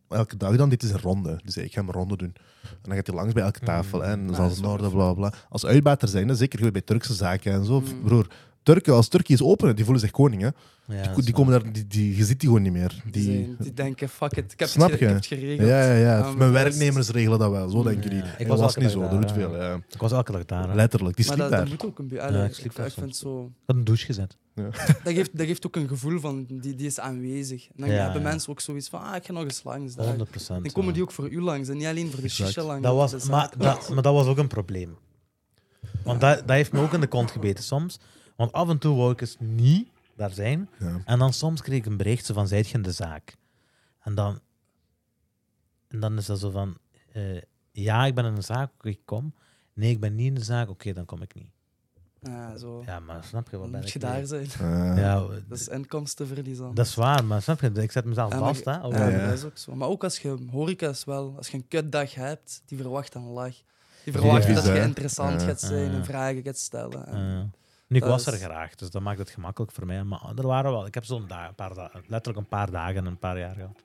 Speaker 1: elke dag dan, dit is een ronde. Dus ik ga hem een ronde doen. En dan gaat hij langs bij elke tafel hè, en
Speaker 3: Ja,
Speaker 1: zoals
Speaker 3: dat is
Speaker 1: noorden,
Speaker 3: wel
Speaker 1: bla bla. bla. Als uitbater zijn, hè, zeker goed bij Turkse zaken en zo.
Speaker 3: Mm.
Speaker 1: Broer, Turken, als Turkije is open, die voelen zich koning. Hè.
Speaker 2: Ja,
Speaker 1: Die,
Speaker 2: dat
Speaker 1: die
Speaker 2: is waar.
Speaker 1: komen daar, die, die, je ziet die gewoon niet meer. Die,
Speaker 3: zijn, die denken, fuck it, ik heb,
Speaker 1: Snap
Speaker 3: het, ge-
Speaker 1: je?
Speaker 3: ik heb het geregeld.
Speaker 1: ja, ja, ja.
Speaker 3: Um,
Speaker 1: Mijn
Speaker 3: dat is-
Speaker 1: werknemers regelen dat wel, zo denken
Speaker 2: Ja.
Speaker 1: die.
Speaker 2: Ik was
Speaker 1: Ik was,
Speaker 2: elke
Speaker 1: niet
Speaker 2: dag
Speaker 1: zo,
Speaker 2: daar,
Speaker 1: dat doet
Speaker 2: ja.
Speaker 1: veel. Ja.
Speaker 2: Ik was elke dag daar. hè.
Speaker 1: Letterlijk, die
Speaker 3: Maar
Speaker 1: sliep
Speaker 3: dat, dat
Speaker 1: daar.
Speaker 3: moet ook een
Speaker 2: Ja,
Speaker 3: beetje.
Speaker 2: ik
Speaker 3: ik,
Speaker 2: sliep
Speaker 3: ik,
Speaker 2: daar
Speaker 3: vind zo.
Speaker 2: Ik had een douche gezet.
Speaker 3: Dat geeft, dat geeft ook een gevoel van die, die is aanwezig. En dan
Speaker 2: Ja,
Speaker 3: hebben
Speaker 2: ja.
Speaker 3: mensen ook zoiets van: ah, ik ga nog eens langs. Daar.
Speaker 2: 100 procent.
Speaker 3: Dan komen die ook voor u langs en niet alleen voor de
Speaker 1: Exact.
Speaker 3: shisha langs.
Speaker 2: Dat
Speaker 3: of
Speaker 2: was,
Speaker 3: de
Speaker 2: maar,
Speaker 3: zaken
Speaker 2: dat,
Speaker 3: langs.
Speaker 2: maar dat was ook een probleem. Want dat, dat heeft me ook in de kont gebeten soms. Want af en toe wou ik eens niet daar zijn.
Speaker 1: Ja.
Speaker 2: En dan soms kreeg ik een berichtje van, zijt je in de zaak? En dan, en dan is dat zo van, eh, ja, ik ben in de zaak, oké, ik kom. Nee, ik ben niet in de zaak, oké, dan kom ik niet.
Speaker 3: Ja, zo.
Speaker 2: Ja, maar snap je, wat
Speaker 3: dan
Speaker 2: ben
Speaker 3: moet
Speaker 2: ik
Speaker 3: je
Speaker 2: mee?
Speaker 3: daar zijn.
Speaker 1: Eh,
Speaker 2: Ja,
Speaker 3: Dat is inkomstenverlies dan.
Speaker 2: dat is waar, maar snap je, ik zet mezelf
Speaker 3: Ja, maar
Speaker 2: vast, hè.
Speaker 3: ja,
Speaker 1: Ja.
Speaker 3: dat is ook zo. Maar ook als je horeca is wel, als je een kutdag hebt, die verwacht een lach.
Speaker 2: Ja,
Speaker 3: Die verwacht
Speaker 2: ja.
Speaker 3: dat
Speaker 1: Ja.
Speaker 3: je interessant
Speaker 1: Ja.
Speaker 3: gaat zijn
Speaker 2: Ja.
Speaker 3: en vragen gaat stellen. En-
Speaker 2: Ja. Eh, Nu, ik
Speaker 3: Dat
Speaker 2: was er
Speaker 3: is-
Speaker 2: graag, dus dat maakt het gemakkelijk voor mij. Maar er waren wel, ik heb zo'n dag, een paar da- letterlijk een paar dagen, en een paar jaar gehad.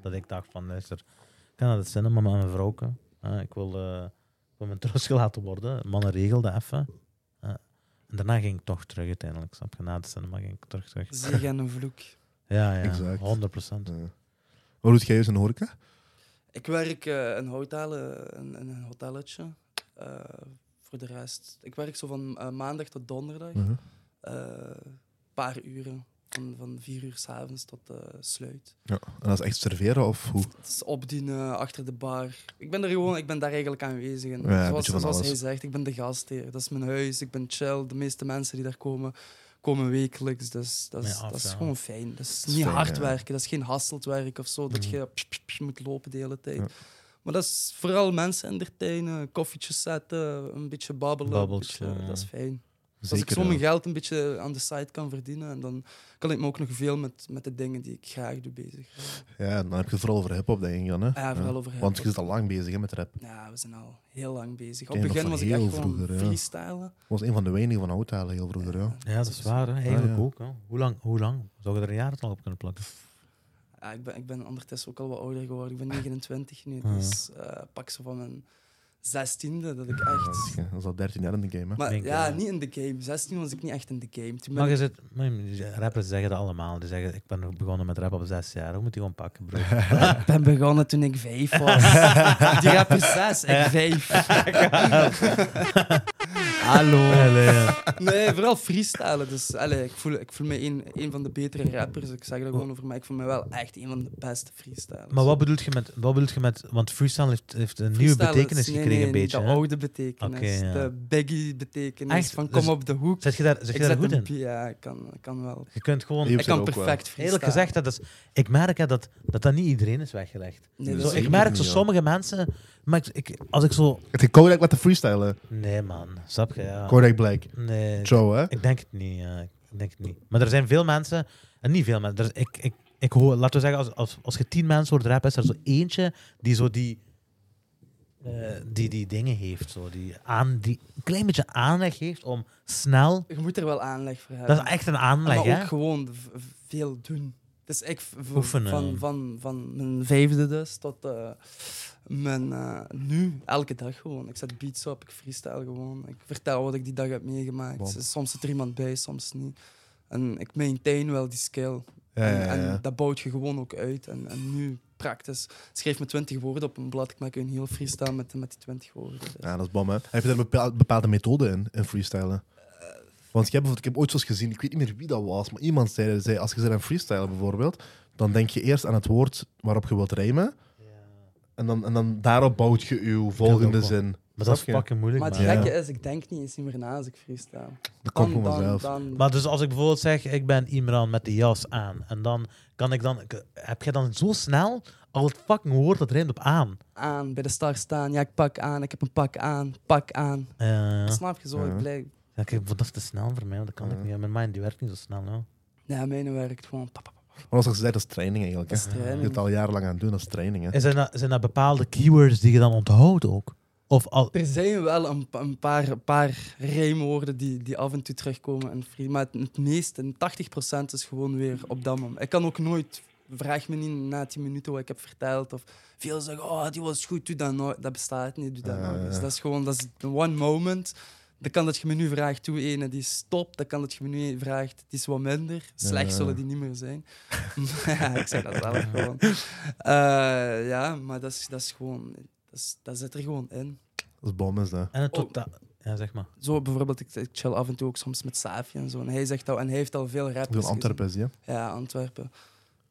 Speaker 2: Dat ik dacht van, luister, ik kan naar de cinema met mijn vrouw. hè. ik, wil, eh, ik wil mijn troost gelaten worden. Mannen, regel dat even. hè. en daarna ging ik toch terug uiteindelijk. Snap je? Na de cinema ging ik terug terug.
Speaker 3: Zegen en een vloek.
Speaker 2: Ja, ja,
Speaker 1: Exact.
Speaker 2: 100 procent.
Speaker 1: eh. Wat doet jij juist in de horeca?
Speaker 3: Ik werk eh een hotel, eh, in, in een hotelletje. Eh, voor de Hm.
Speaker 1: Uh-huh.
Speaker 3: rest. Ik werk zo van eh, maandag tot donderdag.
Speaker 1: Mhm.
Speaker 3: Een paar uren. van, van vier uur s'avonds tot eh, sluit.
Speaker 1: Ja. En dat is echt serveren of hoe?
Speaker 3: Het is opdienen, achter de bar. Ik ben er gewoon, ik ben daar eigenlijk aanwezig. En
Speaker 1: Ja, een
Speaker 3: zoals
Speaker 1: beetje van
Speaker 3: zoals hij
Speaker 1: alles.
Speaker 3: zegt, ik ben de gastheer. Dat is mijn huis, ik ben chill. De meeste mensen die daar komen, komen wekelijks. Dus dat is,
Speaker 2: Ja, af,
Speaker 3: dat is
Speaker 2: ja.
Speaker 3: gewoon fijn. Dat is
Speaker 1: is
Speaker 3: niet
Speaker 1: fijn,
Speaker 3: hard
Speaker 1: ja.
Speaker 3: werken, dat is geen hasselt werk of zo. Dat
Speaker 2: Mhm.
Speaker 3: je psh, psh, psh moet lopen de hele tijd.
Speaker 1: Ja.
Speaker 3: Maar dat is vooral mensen entertainen, koffietjes zetten, een beetje babbelen. een
Speaker 2: Babbeltje,
Speaker 3: beetje-
Speaker 2: ja.
Speaker 3: dat is fijn. Dus
Speaker 1: Zeker.
Speaker 3: als ik zo mijn
Speaker 1: ja.
Speaker 3: geld een beetje aan de site kan verdienen, en dan kan ik me ook nog veel met, met de dingen die ik graag doe bezig.
Speaker 1: Ja, dan heb je het vooral over hip-hop, denk ik dan. Hè?
Speaker 3: Ja, vooral over
Speaker 1: Want je
Speaker 3: hip-hop.
Speaker 1: zit al lang bezig hè, met rap.
Speaker 3: Ja, we zijn al heel lang bezig. Op
Speaker 1: Ken je nog
Speaker 3: het begin
Speaker 1: van
Speaker 3: was ik
Speaker 1: heel
Speaker 3: echt gewoon
Speaker 1: vroeger, ja.
Speaker 3: freestylen.
Speaker 1: Dat was een van de weinigen van Houthalen heel vroeger. Ja.
Speaker 2: Ja, dat is waar. Hè? Eigenlijk
Speaker 1: ja.
Speaker 2: ook. Hè? Hoe, lang, hoe lang? Zou je er een jaartal op kunnen plakken?
Speaker 3: Ja, ik, ben, ik ben ondertussen ook al wat ouder geworden. Ik ben 29 nu,
Speaker 2: Ah.
Speaker 3: dus eh, pak zo van mijn 16e dat ik
Speaker 1: Ja, dat is-
Speaker 3: echt...
Speaker 1: dat is al 13 jaar in de game. Hè?
Speaker 3: Maar
Speaker 2: Denk,
Speaker 3: ja,
Speaker 2: eh,
Speaker 3: niet in de game. 16 was ik niet echt in de game. Toen ben
Speaker 2: Maar
Speaker 3: ik-
Speaker 2: je zit, rappers zeggen dat allemaal. Die zeggen, ik ben begonnen met rap op zes jaar. Hoe moet die gewoon pakken, bro?
Speaker 3: Ik ben begonnen toen ik vijf was. Die rapper zes, ik vijf. Hallo.
Speaker 2: Allee, ja.
Speaker 3: Nee, vooral freestylen. Dus allee, ik, voel, ik voel me een, een van de betere rappers. Ik zeg dat gewoon over mij. Ik voel me wel echt een van de beste freestylers.
Speaker 2: Maar wat bedoel je met, wat bedoel je met want freestyle heeft, heeft een nieuwe
Speaker 3: Freestyle is-
Speaker 2: betekenis
Speaker 3: nee,
Speaker 2: gekregen,
Speaker 3: nee,
Speaker 2: een beetje.
Speaker 3: De
Speaker 2: hè?
Speaker 3: oude betekenis.
Speaker 2: Oké, ja.
Speaker 3: De baggy-betekenis.
Speaker 2: Echt?
Speaker 3: Van kom
Speaker 2: Dus
Speaker 3: op de hoek.
Speaker 2: Zet je daar, zet
Speaker 3: Ik
Speaker 2: je daar
Speaker 3: zet
Speaker 2: goed
Speaker 3: een
Speaker 2: in?
Speaker 3: pi- Ja, ik kan, ik kan wel.
Speaker 2: Je kunt gewoon,
Speaker 1: Eeuw.
Speaker 3: Ik kan
Speaker 1: ook wel.
Speaker 3: perfect freestylen.
Speaker 2: eerlijk gezegd, dat is, ik merk hè, dat, dat dat niet iedereen is weggelegd.
Speaker 3: Nee, dus dat
Speaker 2: Zo,
Speaker 3: is
Speaker 2: ik
Speaker 1: zeker
Speaker 2: merk
Speaker 1: niet,
Speaker 2: zo
Speaker 1: ja.
Speaker 2: sommige mensen, maar ik, ik- als ik zo,
Speaker 1: Het is Kodak met de freestylen.
Speaker 2: nee man, snap je? Ja.
Speaker 1: Kodak Black.
Speaker 2: Nee,
Speaker 1: Joe, hè?
Speaker 2: ik denk het niet. ja. ik denk het niet. Maar er zijn veel mensen, en niet veel mensen, er, is- ik, ik, ik hoor, laten we zeggen, als, als, als je tien mensen hoort rappen, is er zo eentje die zo die, eh, die, die dingen heeft, zo, die, aan, die een klein beetje aanleg heeft om snel,
Speaker 3: Je moet er wel aanleg voor hebben.
Speaker 2: dat is echt een aanleg
Speaker 3: maar
Speaker 2: hè.
Speaker 3: ook gewoon v- v- veel doen. Dus ik v- v-
Speaker 2: Oefenen.
Speaker 3: Van, van, van mijn vijfde dus tot eh, mijn eh, nu, elke dag gewoon. Ik zet beats op, ik freestyle gewoon. Ik vertel wat ik die dag heb meegemaakt.
Speaker 1: Wow.
Speaker 3: Soms zit er iemand bij, soms niet. En ik maintain wel die skill.
Speaker 1: Ja,
Speaker 3: en,
Speaker 1: ja, ja.
Speaker 3: en dat bouwt je gewoon ook uit. En, en nu, praktisch, schrijf me 20 woorden op een blad. Ik maak een heel freestyle met, met die 20 woorden. Dus.
Speaker 1: Ja, dat is bom, hè? Heb je daar een bepaal- bepaalde methode in, in freestylen? Want ik heb, bijvoorbeeld, ik heb ooit zoiets gezien, ik weet niet meer wie dat was, maar iemand zei, zei als je zit aan freestylen bijvoorbeeld, dan denk je eerst aan het woord waarop je wilt rijmen, en dan, en dan daarop bouwt je je volgende
Speaker 2: ook wel.
Speaker 1: zin.
Speaker 2: Maar dat is
Speaker 1: Snap je?
Speaker 2: fucking moeilijk.
Speaker 3: Maar het
Speaker 2: man.
Speaker 1: Ja.
Speaker 3: gekke is, ik denk niet eens meer na als ik freestyle.
Speaker 1: Dat komt gewoon
Speaker 3: Dan- dan-
Speaker 1: vanzelf.
Speaker 3: dan-
Speaker 2: Maar dus als ik bijvoorbeeld zeg, ik ben Imran met de jas aan, en dan kan ik dan, k- heb jij dan zo snel al het fucking woord dat rijmt op aan.
Speaker 3: aan, bij de star staan. Ja, ik pak aan, ik heb een pak aan, pak aan.
Speaker 2: Eh,
Speaker 3: Snap je zo?
Speaker 1: Ja.
Speaker 3: Ik blij.
Speaker 2: Ja, ik heb- dat is te snel voor mij, want dat kan
Speaker 1: Ja.
Speaker 2: ik niet. Mijn mind die werkt niet zo snel. nou. hè.
Speaker 3: Ja, mijn werkt gewoon. pa, pa, pa.
Speaker 1: Maar zoals gezegd, dat is training eigenlijk. Hè?
Speaker 3: Dat is training.
Speaker 1: Je bent het al jarenlang aan het doen, dat is training. Hè?
Speaker 2: En zijn, dat, zijn dat bepaalde keywords die je dan onthoudt ook? Of al,
Speaker 3: Er zijn wel een, pa- een paar, een paar rijmwoorden die, die af en toe terugkomen in free. Maar het, het meeste, een 80% is gewoon weer op dat moment. Ik kan ook nooit, vraag me niet na 10 minuten wat ik heb verteld. Of veel zeggen, oh, die was goed, doe dat nooit. Dat bestaat niet, doe dat
Speaker 1: Ja,
Speaker 3: nooit. Dus
Speaker 1: ja.
Speaker 3: dat is gewoon, dat is one moment. Dan kan dat je me nu vraagt, doe ene die is top. Dan kan dat je me nu vraagt, die is wat minder. Slecht
Speaker 1: Ja.
Speaker 3: zullen die niet meer zijn. ja, ik zeg dat zelf gewoon. Eh, ja, maar dat is, dat is gewoon... Dat, is, dat zit er gewoon in.
Speaker 1: Dat is bom, is dat.
Speaker 2: en het
Speaker 3: Oh.
Speaker 2: totaal... Ja, zeg maar.
Speaker 3: Zo bijvoorbeeld, ik, ik chill af en toe ook soms met Safi en zo. En hij zegt dat, en hij heeft al veel rappers.
Speaker 1: Doe in Antwerpen, zie je.
Speaker 3: gezien. Ja, Antwerpen.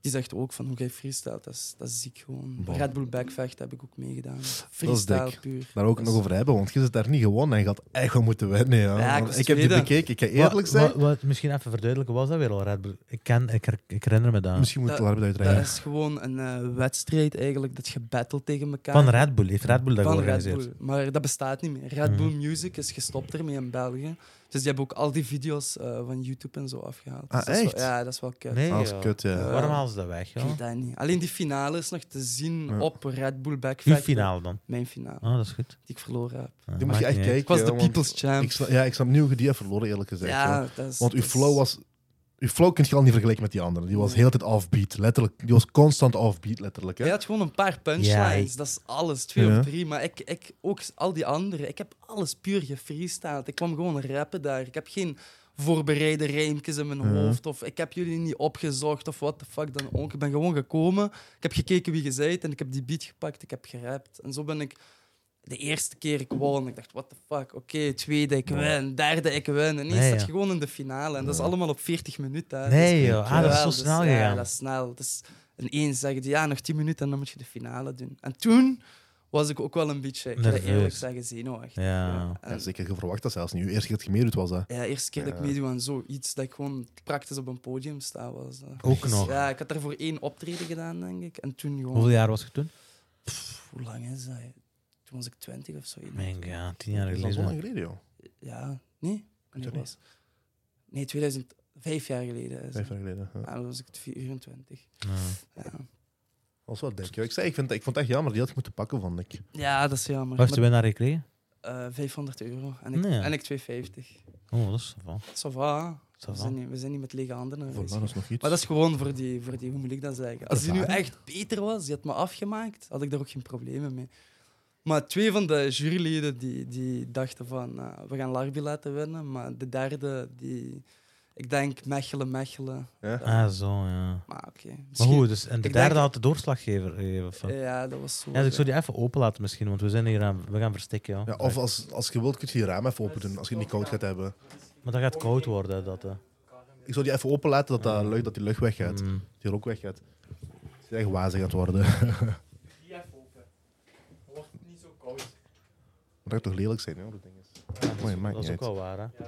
Speaker 3: Die zegt ook van hoe jij freestyle, dat is, dat is ziek gewoon.
Speaker 1: Bom.
Speaker 3: Red Bull Backvecht heb ik ook meegedaan. Freestyle
Speaker 1: dik.
Speaker 3: puur.
Speaker 1: Daar ook
Speaker 3: Dat
Speaker 1: nog
Speaker 3: is-
Speaker 1: over hebben, want je zit daar niet gewonnen en je had echt wel moeten winnen. Ja.
Speaker 3: Ja, ik
Speaker 1: Want
Speaker 3: was
Speaker 1: heb die
Speaker 3: tweede.
Speaker 1: bekeken, ik ga eerlijk zijn.
Speaker 2: Wat, wat- misschien even verduidelijken, was dat weer al Red Bull? Ik, ken, ik, her- ik herinner me dat.
Speaker 1: Misschien moet je het
Speaker 3: Dat-
Speaker 1: wel even
Speaker 3: Dat
Speaker 1: uitrijden.
Speaker 3: is gewoon een eh, wedstrijd eigenlijk, dat je battelt tegen elkaar.
Speaker 2: Van Red Bull, heeft Red Bull dat
Speaker 3: van Red
Speaker 2: georganiseerd?
Speaker 3: Bull. Maar dat bestaat niet meer. Red Bull Music is gestopt ermee in België. Dus die hebben ook al die video's eh, van YouTube en zo afgehaald.
Speaker 1: Ah,
Speaker 3: Dus dat is wel-
Speaker 1: echt?
Speaker 3: ja, dat is wel kut.
Speaker 2: Nee,
Speaker 1: Ah, Dat is
Speaker 2: joh.
Speaker 1: kut, ja.
Speaker 3: Ja.
Speaker 2: Waarom halen ze dat weg,
Speaker 3: Ik
Speaker 2: joh?
Speaker 3: weet dat niet. Alleen die finale is nog te zien
Speaker 1: Ja.
Speaker 3: op Red Bull
Speaker 2: Uw
Speaker 3: Backfact.
Speaker 2: finale dan.
Speaker 3: Mijn finale,
Speaker 2: Oh, dat is goed.
Speaker 3: die ik verloren heb.
Speaker 1: Die
Speaker 2: Ja,
Speaker 1: moet
Speaker 2: maakt
Speaker 1: je echt
Speaker 2: niet uit.
Speaker 1: kijken.
Speaker 3: Ik was
Speaker 1: hè,
Speaker 3: de
Speaker 1: want
Speaker 3: people's champ.
Speaker 1: Ik snap, ja, ik snap nu hoe je die hebt verloren, eerlijk gezegd. ja.
Speaker 3: ja, dat is,
Speaker 1: Want uw
Speaker 3: dat is-
Speaker 1: flow was. Uw flow kun je al niet vergelijken met die andere. Die was
Speaker 3: Nee.
Speaker 1: heel de tijd offbeat, letterlijk. Die was constant offbeat, letterlijk. Hè?
Speaker 3: Je had gewoon een paar punchlines,
Speaker 2: Ja.
Speaker 3: dat is alles, twee
Speaker 1: Ja.
Speaker 3: of drie. Maar ik, ik, ook al die anderen, ik heb alles puur gefreestyled. Ik kwam gewoon rappen daar. Ik heb geen voorbereide rijmpjes in mijn
Speaker 1: Ja.
Speaker 3: hoofd, of ik heb jullie niet opgezocht, of wat de fuck dan ook. Ik ben gewoon gekomen, ik heb gekeken wie je zijt, en ik heb die beat gepakt, ik heb gerapt. En zo ben ik de eerste keer ik won. Ik dacht, what the fuck? Oké, tweede ik win, derde ik win. En
Speaker 2: Nee,
Speaker 3: ineens zat
Speaker 2: ja.
Speaker 3: je gewoon in de finale. En dat is
Speaker 1: Ja.
Speaker 3: allemaal op 40 minuten. hè. Dus-
Speaker 2: Nee, joh. Ah, dat is
Speaker 3: Jawel,
Speaker 2: zo
Speaker 3: dus
Speaker 2: snel
Speaker 3: ja,
Speaker 2: gegaan.
Speaker 3: dat is snel. Dus ineens zeggen die, ja, nog 10 minuten en dan moet je de finale doen. En toen was ik ook wel een beetje, ik ga dat
Speaker 2: Nerveus.
Speaker 3: eerlijk zeggen, zenuwachtig.
Speaker 2: Ja.
Speaker 1: Ja,
Speaker 3: En-
Speaker 1: zeker, je verwacht dat zelfs niet. Je eerste keer dat je meedoet was dat.
Speaker 3: ja, de eerste keer dat ik
Speaker 1: Ja.
Speaker 3: meedoe aan zoiets, dat ik gewoon praktisch op een podium sta. Was, dat.
Speaker 2: Ook nog.
Speaker 3: Ja, ik had daarvoor één optreden gedaan, denk ik. En toen gewoon...
Speaker 2: Hoeveel jaar was je toen?
Speaker 3: Pff, hoe lang is dat? Toen was ik 20 of zo.
Speaker 2: Ik denk, ja, tien jaar
Speaker 1: Dat is al zo
Speaker 2: geleden.
Speaker 1: lang geleden, joh.
Speaker 3: Ja, nee?
Speaker 1: weet
Speaker 3: Nee,
Speaker 1: het
Speaker 3: was... nee 2005 jaar geleden
Speaker 1: Vijf
Speaker 3: is het. Ah.
Speaker 1: jaar geleden. Ja.
Speaker 3: Ja, dan was ik 24.
Speaker 2: Ja.
Speaker 3: Ja,
Speaker 1: Dat is wel dik, joh. Ik, zei, ik, vind, ik vond het echt jammer, die had ik moeten pakken, vond ik.
Speaker 3: ja dat is
Speaker 2: Wat
Speaker 3: jammer.
Speaker 2: heeft de
Speaker 3: Maar,
Speaker 2: winnaar gekregen?
Speaker 3: eh, 500 euro. En ik,
Speaker 2: Nee.
Speaker 3: en ik 250.
Speaker 2: Oh, dat is wel.
Speaker 3: Ça
Speaker 2: Ça
Speaker 3: va. We
Speaker 2: va.
Speaker 3: zijn, niet, we zijn niet met lege handen. naar
Speaker 1: Voor
Speaker 3: huis
Speaker 1: mij is nog iets.
Speaker 3: Maar dat is gewoon voor die, voor die hoe moet ik dat zeggen? Als die nu echt beter was, die had me afgemaakt, had ik daar ook geen problemen mee. Maar twee van de juryleden die, die dachten van, eh, we gaan Larbi laten winnen. Maar de derde, die, ik denk Mechelen, Mechelen.
Speaker 1: Ja?
Speaker 3: Eh,
Speaker 2: Ah, zo, ja.
Speaker 3: maar oké.
Speaker 2: Maar
Speaker 3: Misschien-
Speaker 2: goed, dus, en de
Speaker 3: Ik
Speaker 2: derde
Speaker 3: denk-
Speaker 2: had de doorslaggever gegeven. of wat?
Speaker 3: Ja, dat was zo.
Speaker 2: Ja, dus ik zou die even open laten misschien, want we zijn hier aan, we gaan verstikken. Ja.
Speaker 1: Ja, of als, als je wilt, kun je je raam even open doen, als je het niet koud gaat hebben.
Speaker 2: Maar dat gaat koud worden, hè, dat. hè.
Speaker 1: Ik zou die even open laten, dat, dat, lucht, dat die lucht weggaat.
Speaker 2: Mm.
Speaker 1: Die rook weggaat. Het is echt wazig aan het worden.
Speaker 3: Die even open. Dan wordt het niet zo koud.
Speaker 1: Dat gaat toch lelijk zijn, joh, dat ding is. Mooi, maakt
Speaker 2: Dat
Speaker 1: niet
Speaker 2: is ook
Speaker 1: uit.
Speaker 2: wel waar, hè?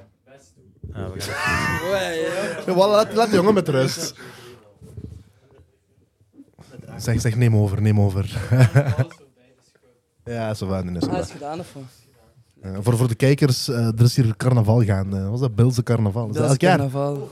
Speaker 2: Ja, we gaan-
Speaker 1: Ja, voilà, laat, laat de jongen met rust. Zeg, zeg, neem over, neem over. ja, zo van, nee, zo van.
Speaker 3: Hij Ah, is gedaan of wat?
Speaker 1: Eh, voor, voor de kijkers, eh, er is hier carnaval gaande. Wat was dat? Beelse carnaval. Is dat
Speaker 3: Dat is
Speaker 1: elk jaar?
Speaker 3: carnaval.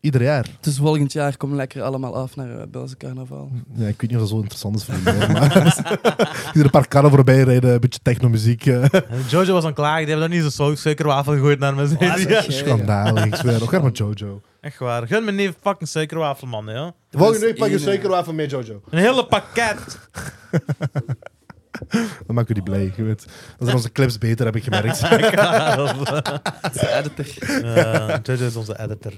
Speaker 1: Ieder jaar.
Speaker 3: Dus volgend jaar komen we lekker allemaal af naar eh, Belgische carnaval.
Speaker 1: Ja, ik weet niet of dat zo interessant is voor jullie. hoor, Maar hier een paar karren voorbij rijden, een beetje technomuziek. eh.
Speaker 2: Eh, Jojo was aan klaar, die hebben dan niet zo'n suikerwafel gegooid naar mijn
Speaker 3: Oh, dat is
Speaker 2: zin. Ja.
Speaker 3: echt-
Speaker 1: Schandalig, ik zweer. Ook maar met Jojo.
Speaker 2: Echt waar. Gun me niet fucking suikerwafel, man, ja.
Speaker 1: Volgende week pak je
Speaker 3: één, eh,
Speaker 1: suikerwafel mee, Jojo.
Speaker 2: Een hele pakket.
Speaker 1: Dan maken jullie blij, je weet. Dat zijn onze clips beter, heb ik gemerkt.
Speaker 2: Karel.
Speaker 3: De editor.
Speaker 2: Eh, Jojo is onze editor.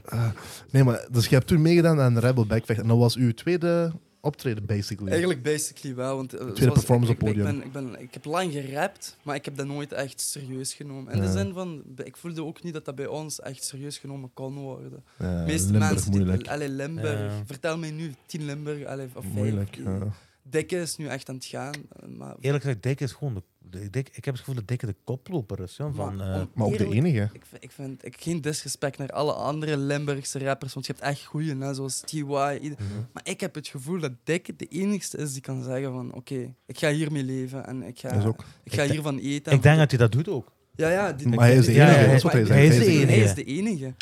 Speaker 1: Nee, maar dus je hebt toen meegedaan aan de Rebel Backvecht. En dat was uw tweede optreden, basically.
Speaker 3: Eigenlijk basically wel. Want, eh, zoals-
Speaker 1: performance
Speaker 3: ik,
Speaker 1: op
Speaker 3: ik-
Speaker 1: podium.
Speaker 3: Ik, ben, ik, ben, ik heb lang gerapt, maar ik heb dat nooit echt serieus genomen. In
Speaker 1: Ja.
Speaker 3: de zin van, ik voelde ook niet dat dat bij ons echt serieus genomen kon worden.
Speaker 1: Ja,
Speaker 3: De meeste
Speaker 1: Eh, Limburg,
Speaker 3: mensen,
Speaker 1: moeilijk.
Speaker 3: Die, allee, Limburg.
Speaker 2: Ja.
Speaker 3: Vertel mij nu 10 Limburg, allee, of vijf.
Speaker 1: moeilijk, ja.
Speaker 3: Dikke is nu echt aan het gaan. eh, Maar,
Speaker 2: Eerlijk gezegd, Dick is gewoon de, de- Dick, ik heb het gevoel dat Dick de koploper is, ja, van...
Speaker 3: maar
Speaker 2: eh,
Speaker 3: om
Speaker 1: Maar ook de
Speaker 3: eerlijk-
Speaker 1: enige.
Speaker 3: Ik, vind- ik vind ik, geen disrespect naar alle andere Limburgse rappers, want je hebt echt goeie, hè, zoals T.Y. ieder- Maar ik heb het gevoel dat Dick de enigste is die kan zeggen van oké, ik ga hiermee leven en ik
Speaker 1: Dat is
Speaker 3: ga,
Speaker 1: ook.
Speaker 3: ik ga
Speaker 2: Ik de-
Speaker 3: hiervan eten.
Speaker 2: ik denk dat hij dat doet ook.
Speaker 3: Ja, ja. Die,
Speaker 1: Maar hij is de
Speaker 2: Ja,
Speaker 1: enige,
Speaker 2: ja,
Speaker 1: dat is wat hij
Speaker 2: hij
Speaker 1: zegt.
Speaker 2: is de enige.
Speaker 3: Hij is de enige.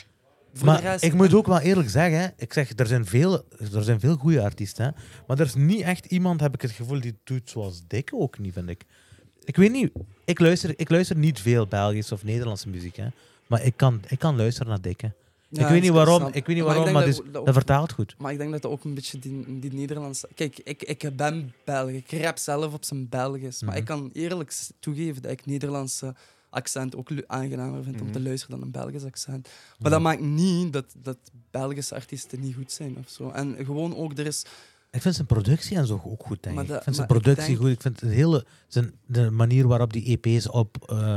Speaker 3: Voor de
Speaker 2: Maar
Speaker 3: rest- eh,
Speaker 2: ik moet ook wel eerlijk zeggen, hè, ik zeg, er zijn veel, er zijn veel goede artiesten, hè, maar er is niet echt iemand, heb ik het gevoel, die het doet zoals Dick ook niet, vind ik. Ik weet niet, ik luister, ik luister niet veel Belgische of Nederlandse muziek, hè, maar ik kan, ik kan luisteren naar Dick. hè.
Speaker 3: Ja,
Speaker 2: ik weet niet
Speaker 3: snap-
Speaker 2: waarom,
Speaker 3: snap.
Speaker 2: ik weet niet
Speaker 3: Maar ik
Speaker 2: waarom, maar,
Speaker 3: denk
Speaker 2: dus,
Speaker 3: dat
Speaker 2: dat,
Speaker 3: ook-
Speaker 2: vertaalt goed.
Speaker 3: Maar ik denk dat dat ook een beetje die, die Nederlandse... Kijk, ik, ik ben Belg. Ik rap zelf op zijn Belgisch. Maar
Speaker 2: Mhm.
Speaker 3: ik kan eerlijk s- toegeven dat ik Nederlandse accent ook lu- aangenamer vind om te
Speaker 1: Mhm.
Speaker 3: luisteren dan een Belgisch accent.
Speaker 2: Mhm.
Speaker 3: Maar dat maakt niet dat, dat Belgische artiesten niet goed zijn of zo. En gewoon ook, er is...
Speaker 2: Ik vind zijn productie en zo ook goed, denk
Speaker 3: Maar
Speaker 2: ik.
Speaker 3: dat-
Speaker 2: Ik vind zijn
Speaker 3: maar ik
Speaker 2: productie
Speaker 3: denk-
Speaker 2: goed, ik vind het hele, zijn, de manier waarop die EP's op... eh,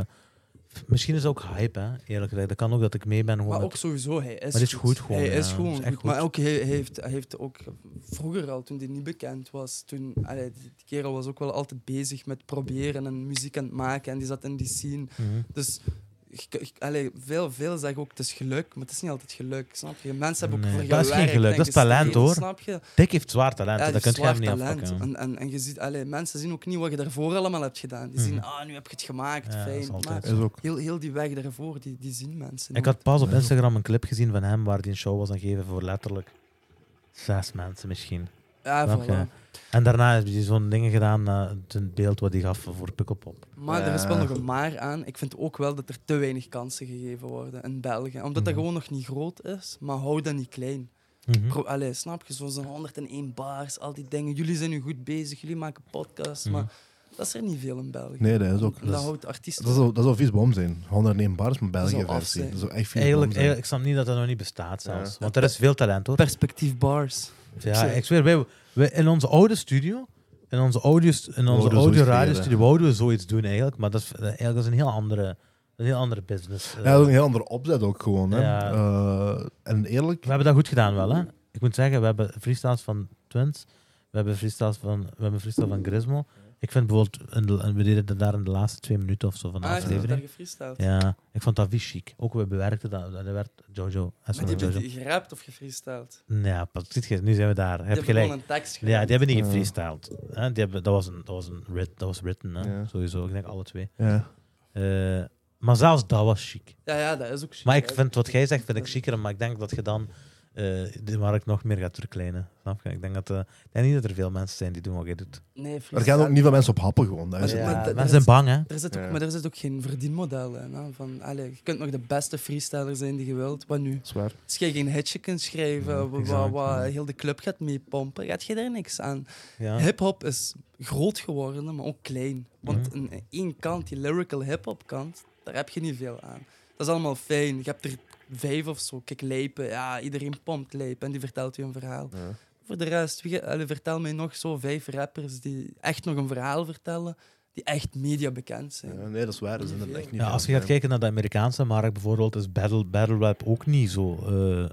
Speaker 2: misschien is het ook hype, hè, eerlijk gezegd. Dat kan ook dat ik mee ben. Gewoon
Speaker 3: Maar
Speaker 2: met-
Speaker 3: ook sowieso, hij is
Speaker 2: Maar dit is goed gewoon,
Speaker 3: Hij
Speaker 2: ja,
Speaker 3: is
Speaker 2: dat
Speaker 3: gewoon
Speaker 2: is echt
Speaker 3: goed.
Speaker 2: goed.
Speaker 3: Maar ook, hij, hij heeft, hij heeft ook vroeger al, toen hij niet bekend was, toen... allee, die die kerel was ook wel altijd bezig met proberen en muziek aan het maken. En die zat in die scene.
Speaker 2: Mhm.
Speaker 3: Dus je- je- allee, veel, veel zeggen ook, het is geluk, maar het is niet altijd geluk, snap je? Mensen hebben ook
Speaker 2: Nee,
Speaker 3: voor
Speaker 2: dat is geen
Speaker 3: gewerkt
Speaker 2: geluk,
Speaker 3: en
Speaker 2: dat is talent,
Speaker 3: gestreden,
Speaker 2: hoor.
Speaker 3: Snap je?
Speaker 2: Dick heeft zwaar talent,
Speaker 3: Ja,
Speaker 2: dat
Speaker 3: dat
Speaker 2: kun
Speaker 3: is
Speaker 2: je hem
Speaker 3: zwaar
Speaker 2: niet
Speaker 3: talent.
Speaker 2: afpakken.
Speaker 3: En, en, en je ziet, allee, mensen zien ook niet wat je daarvoor allemaal hebt gedaan. Die zien,
Speaker 2: Mhm.
Speaker 3: ah, nu heb je het gemaakt,
Speaker 2: Ja, dat is
Speaker 3: fijn.
Speaker 2: altijd
Speaker 3: Maar
Speaker 1: Is ook.
Speaker 3: heel, heel die weg daarvoor, die, die zien mensen
Speaker 2: Ik
Speaker 3: nooit.
Speaker 2: had pas op Instagram een clip gezien van hem waar hij een show was aan het geven voor letterlijk zes mensen misschien.
Speaker 3: Ja,
Speaker 2: Snap je?
Speaker 3: voilà.
Speaker 2: En daarna heeft hij zo'n dingen gedaan, eh, een beeld wat hij gaf voor Pukkelpop.
Speaker 3: Maar er is
Speaker 1: Ja.
Speaker 3: wel nog een maar aan. Ik vind ook wel dat er te weinig kansen gegeven worden in België. Omdat
Speaker 2: Mhm.
Speaker 3: dat gewoon nog niet groot is, maar hou dat niet klein.
Speaker 2: Mhm.
Speaker 3: Pro, allee, snap je? Zoals een 101 bars, al die dingen. Jullie zijn nu goed bezig, jullie maken podcasts,
Speaker 2: Mhm.
Speaker 3: maar dat is er niet veel in België.
Speaker 1: Nee, dat is ook.
Speaker 3: En dat houdt artiesten.
Speaker 1: Dat zou, dat zou vies bom zijn. 101 bars met
Speaker 3: zou
Speaker 1: België
Speaker 3: af
Speaker 1: versie.
Speaker 3: zijn.
Speaker 1: Dat zou echt vies bom
Speaker 2: Eigenlijk,
Speaker 1: zijn.
Speaker 2: eigenlijk, ik snap niet dat dat nog niet bestaat zelfs.
Speaker 1: Ja.
Speaker 2: Want er is veel talent hoor. Ah,
Speaker 3: Perspectief bars.
Speaker 2: Ja, ik zweer, wij, wij- in onze oude studio In onze, audios, in onze
Speaker 1: Wouden
Speaker 2: audio
Speaker 1: zoiets
Speaker 2: radiostudio wouden we zoiets doen eigenlijk, maar dat is, eh, eigenlijk is een heel andere, een heel andere business. eh.
Speaker 1: Ja, dat is een heel andere opzet ook gewoon. Hè.
Speaker 2: Ja.
Speaker 1: Eh, en eerlijk,
Speaker 2: We hebben dat goed gedaan wel, hè? Ik moet zeggen, we hebben freestyles van Twins, we hebben freestyles van, we hebben freestyle van Grismo. Ik vind bijvoorbeeld, in de- en we deden dat daar in de laatste twee minuten of zo van de
Speaker 3: Ah, je hebt daar
Speaker 2: aflevering.
Speaker 3: gefreestyled.
Speaker 2: Ja, ik vond dat wie chic. Ook we bewerkten dat, dat werd Jojo. en
Speaker 3: Maar die
Speaker 2: Jojo.
Speaker 3: hebben die gerapt of gefreestyled?
Speaker 2: Ja, pas, ziet je, nu zijn we daar. Heb
Speaker 3: Die hebben
Speaker 2: gelijk.
Speaker 3: gewoon een tekst
Speaker 2: Ja, die
Speaker 3: gerapt.
Speaker 2: hebben niet
Speaker 1: Ja.
Speaker 2: gefreestyled. hè. Die hebben, dat was een, dat was een writ, dat was written, hè?
Speaker 1: Ja.
Speaker 2: sowieso. Ik denk alle twee.
Speaker 1: ja.
Speaker 2: Eh, maar zelfs dat was chic.
Speaker 3: Ja, ja, dat is ook chic.
Speaker 2: Maar ik
Speaker 3: hè.
Speaker 2: vind wat jij zegt, vind ik chiquer, maar ik denk dat je dan eh, de markt nog meer gaat verkleinen. Snap je? Ik denk, dat, eh, ik denk niet dat er veel mensen zijn die doen wat jij doet.
Speaker 3: Nee,
Speaker 1: er
Speaker 3: freestyle.
Speaker 1: gaan ook niet veel mensen op happen gewoon. Dat is
Speaker 3: Ja.
Speaker 1: het.
Speaker 3: maar dat- dat
Speaker 2: mensen
Speaker 3: is-
Speaker 2: zijn bang, hè?
Speaker 3: Er zit ook,
Speaker 1: Ja.
Speaker 3: Maar er zit ook geen verdienmodel in. Hè? Van, allee, je kunt nog de beste freestyler zijn die je wilt. Wat nu?
Speaker 1: Dat is waar.
Speaker 3: Als je geen hitje kunt schrijven,
Speaker 2: Ja,
Speaker 3: wa- wa-
Speaker 2: exact,
Speaker 3: waar
Speaker 2: ja.
Speaker 3: heel de club gaat mee pompen, gaat je daar niks aan.
Speaker 2: Ja.
Speaker 3: Hip-hop is groot geworden, maar ook klein. Want
Speaker 2: Mhm.
Speaker 3: aan één kant, die lyrical hip-hop kant, daar heb je niet veel aan. Dat is allemaal fijn. Je hebt er vijf of zo. Kijk, lijpen. Ja, iedereen pompt lijpen en die vertelt je een verhaal.
Speaker 1: Ja.
Speaker 3: Voor de rest, wie, ge- allee, vertel mij nog zo vijf rappers die echt nog een verhaal vertellen, die echt media bekend zijn.
Speaker 1: Ja, nee, dat is waar. Dat is inderdaad echt niet
Speaker 2: Ja,
Speaker 1: veel.
Speaker 2: als je gaat
Speaker 1: Nee.
Speaker 2: kijken naar de Amerikaanse markt bijvoorbeeld, is battle, battle rap ook niet zo eh,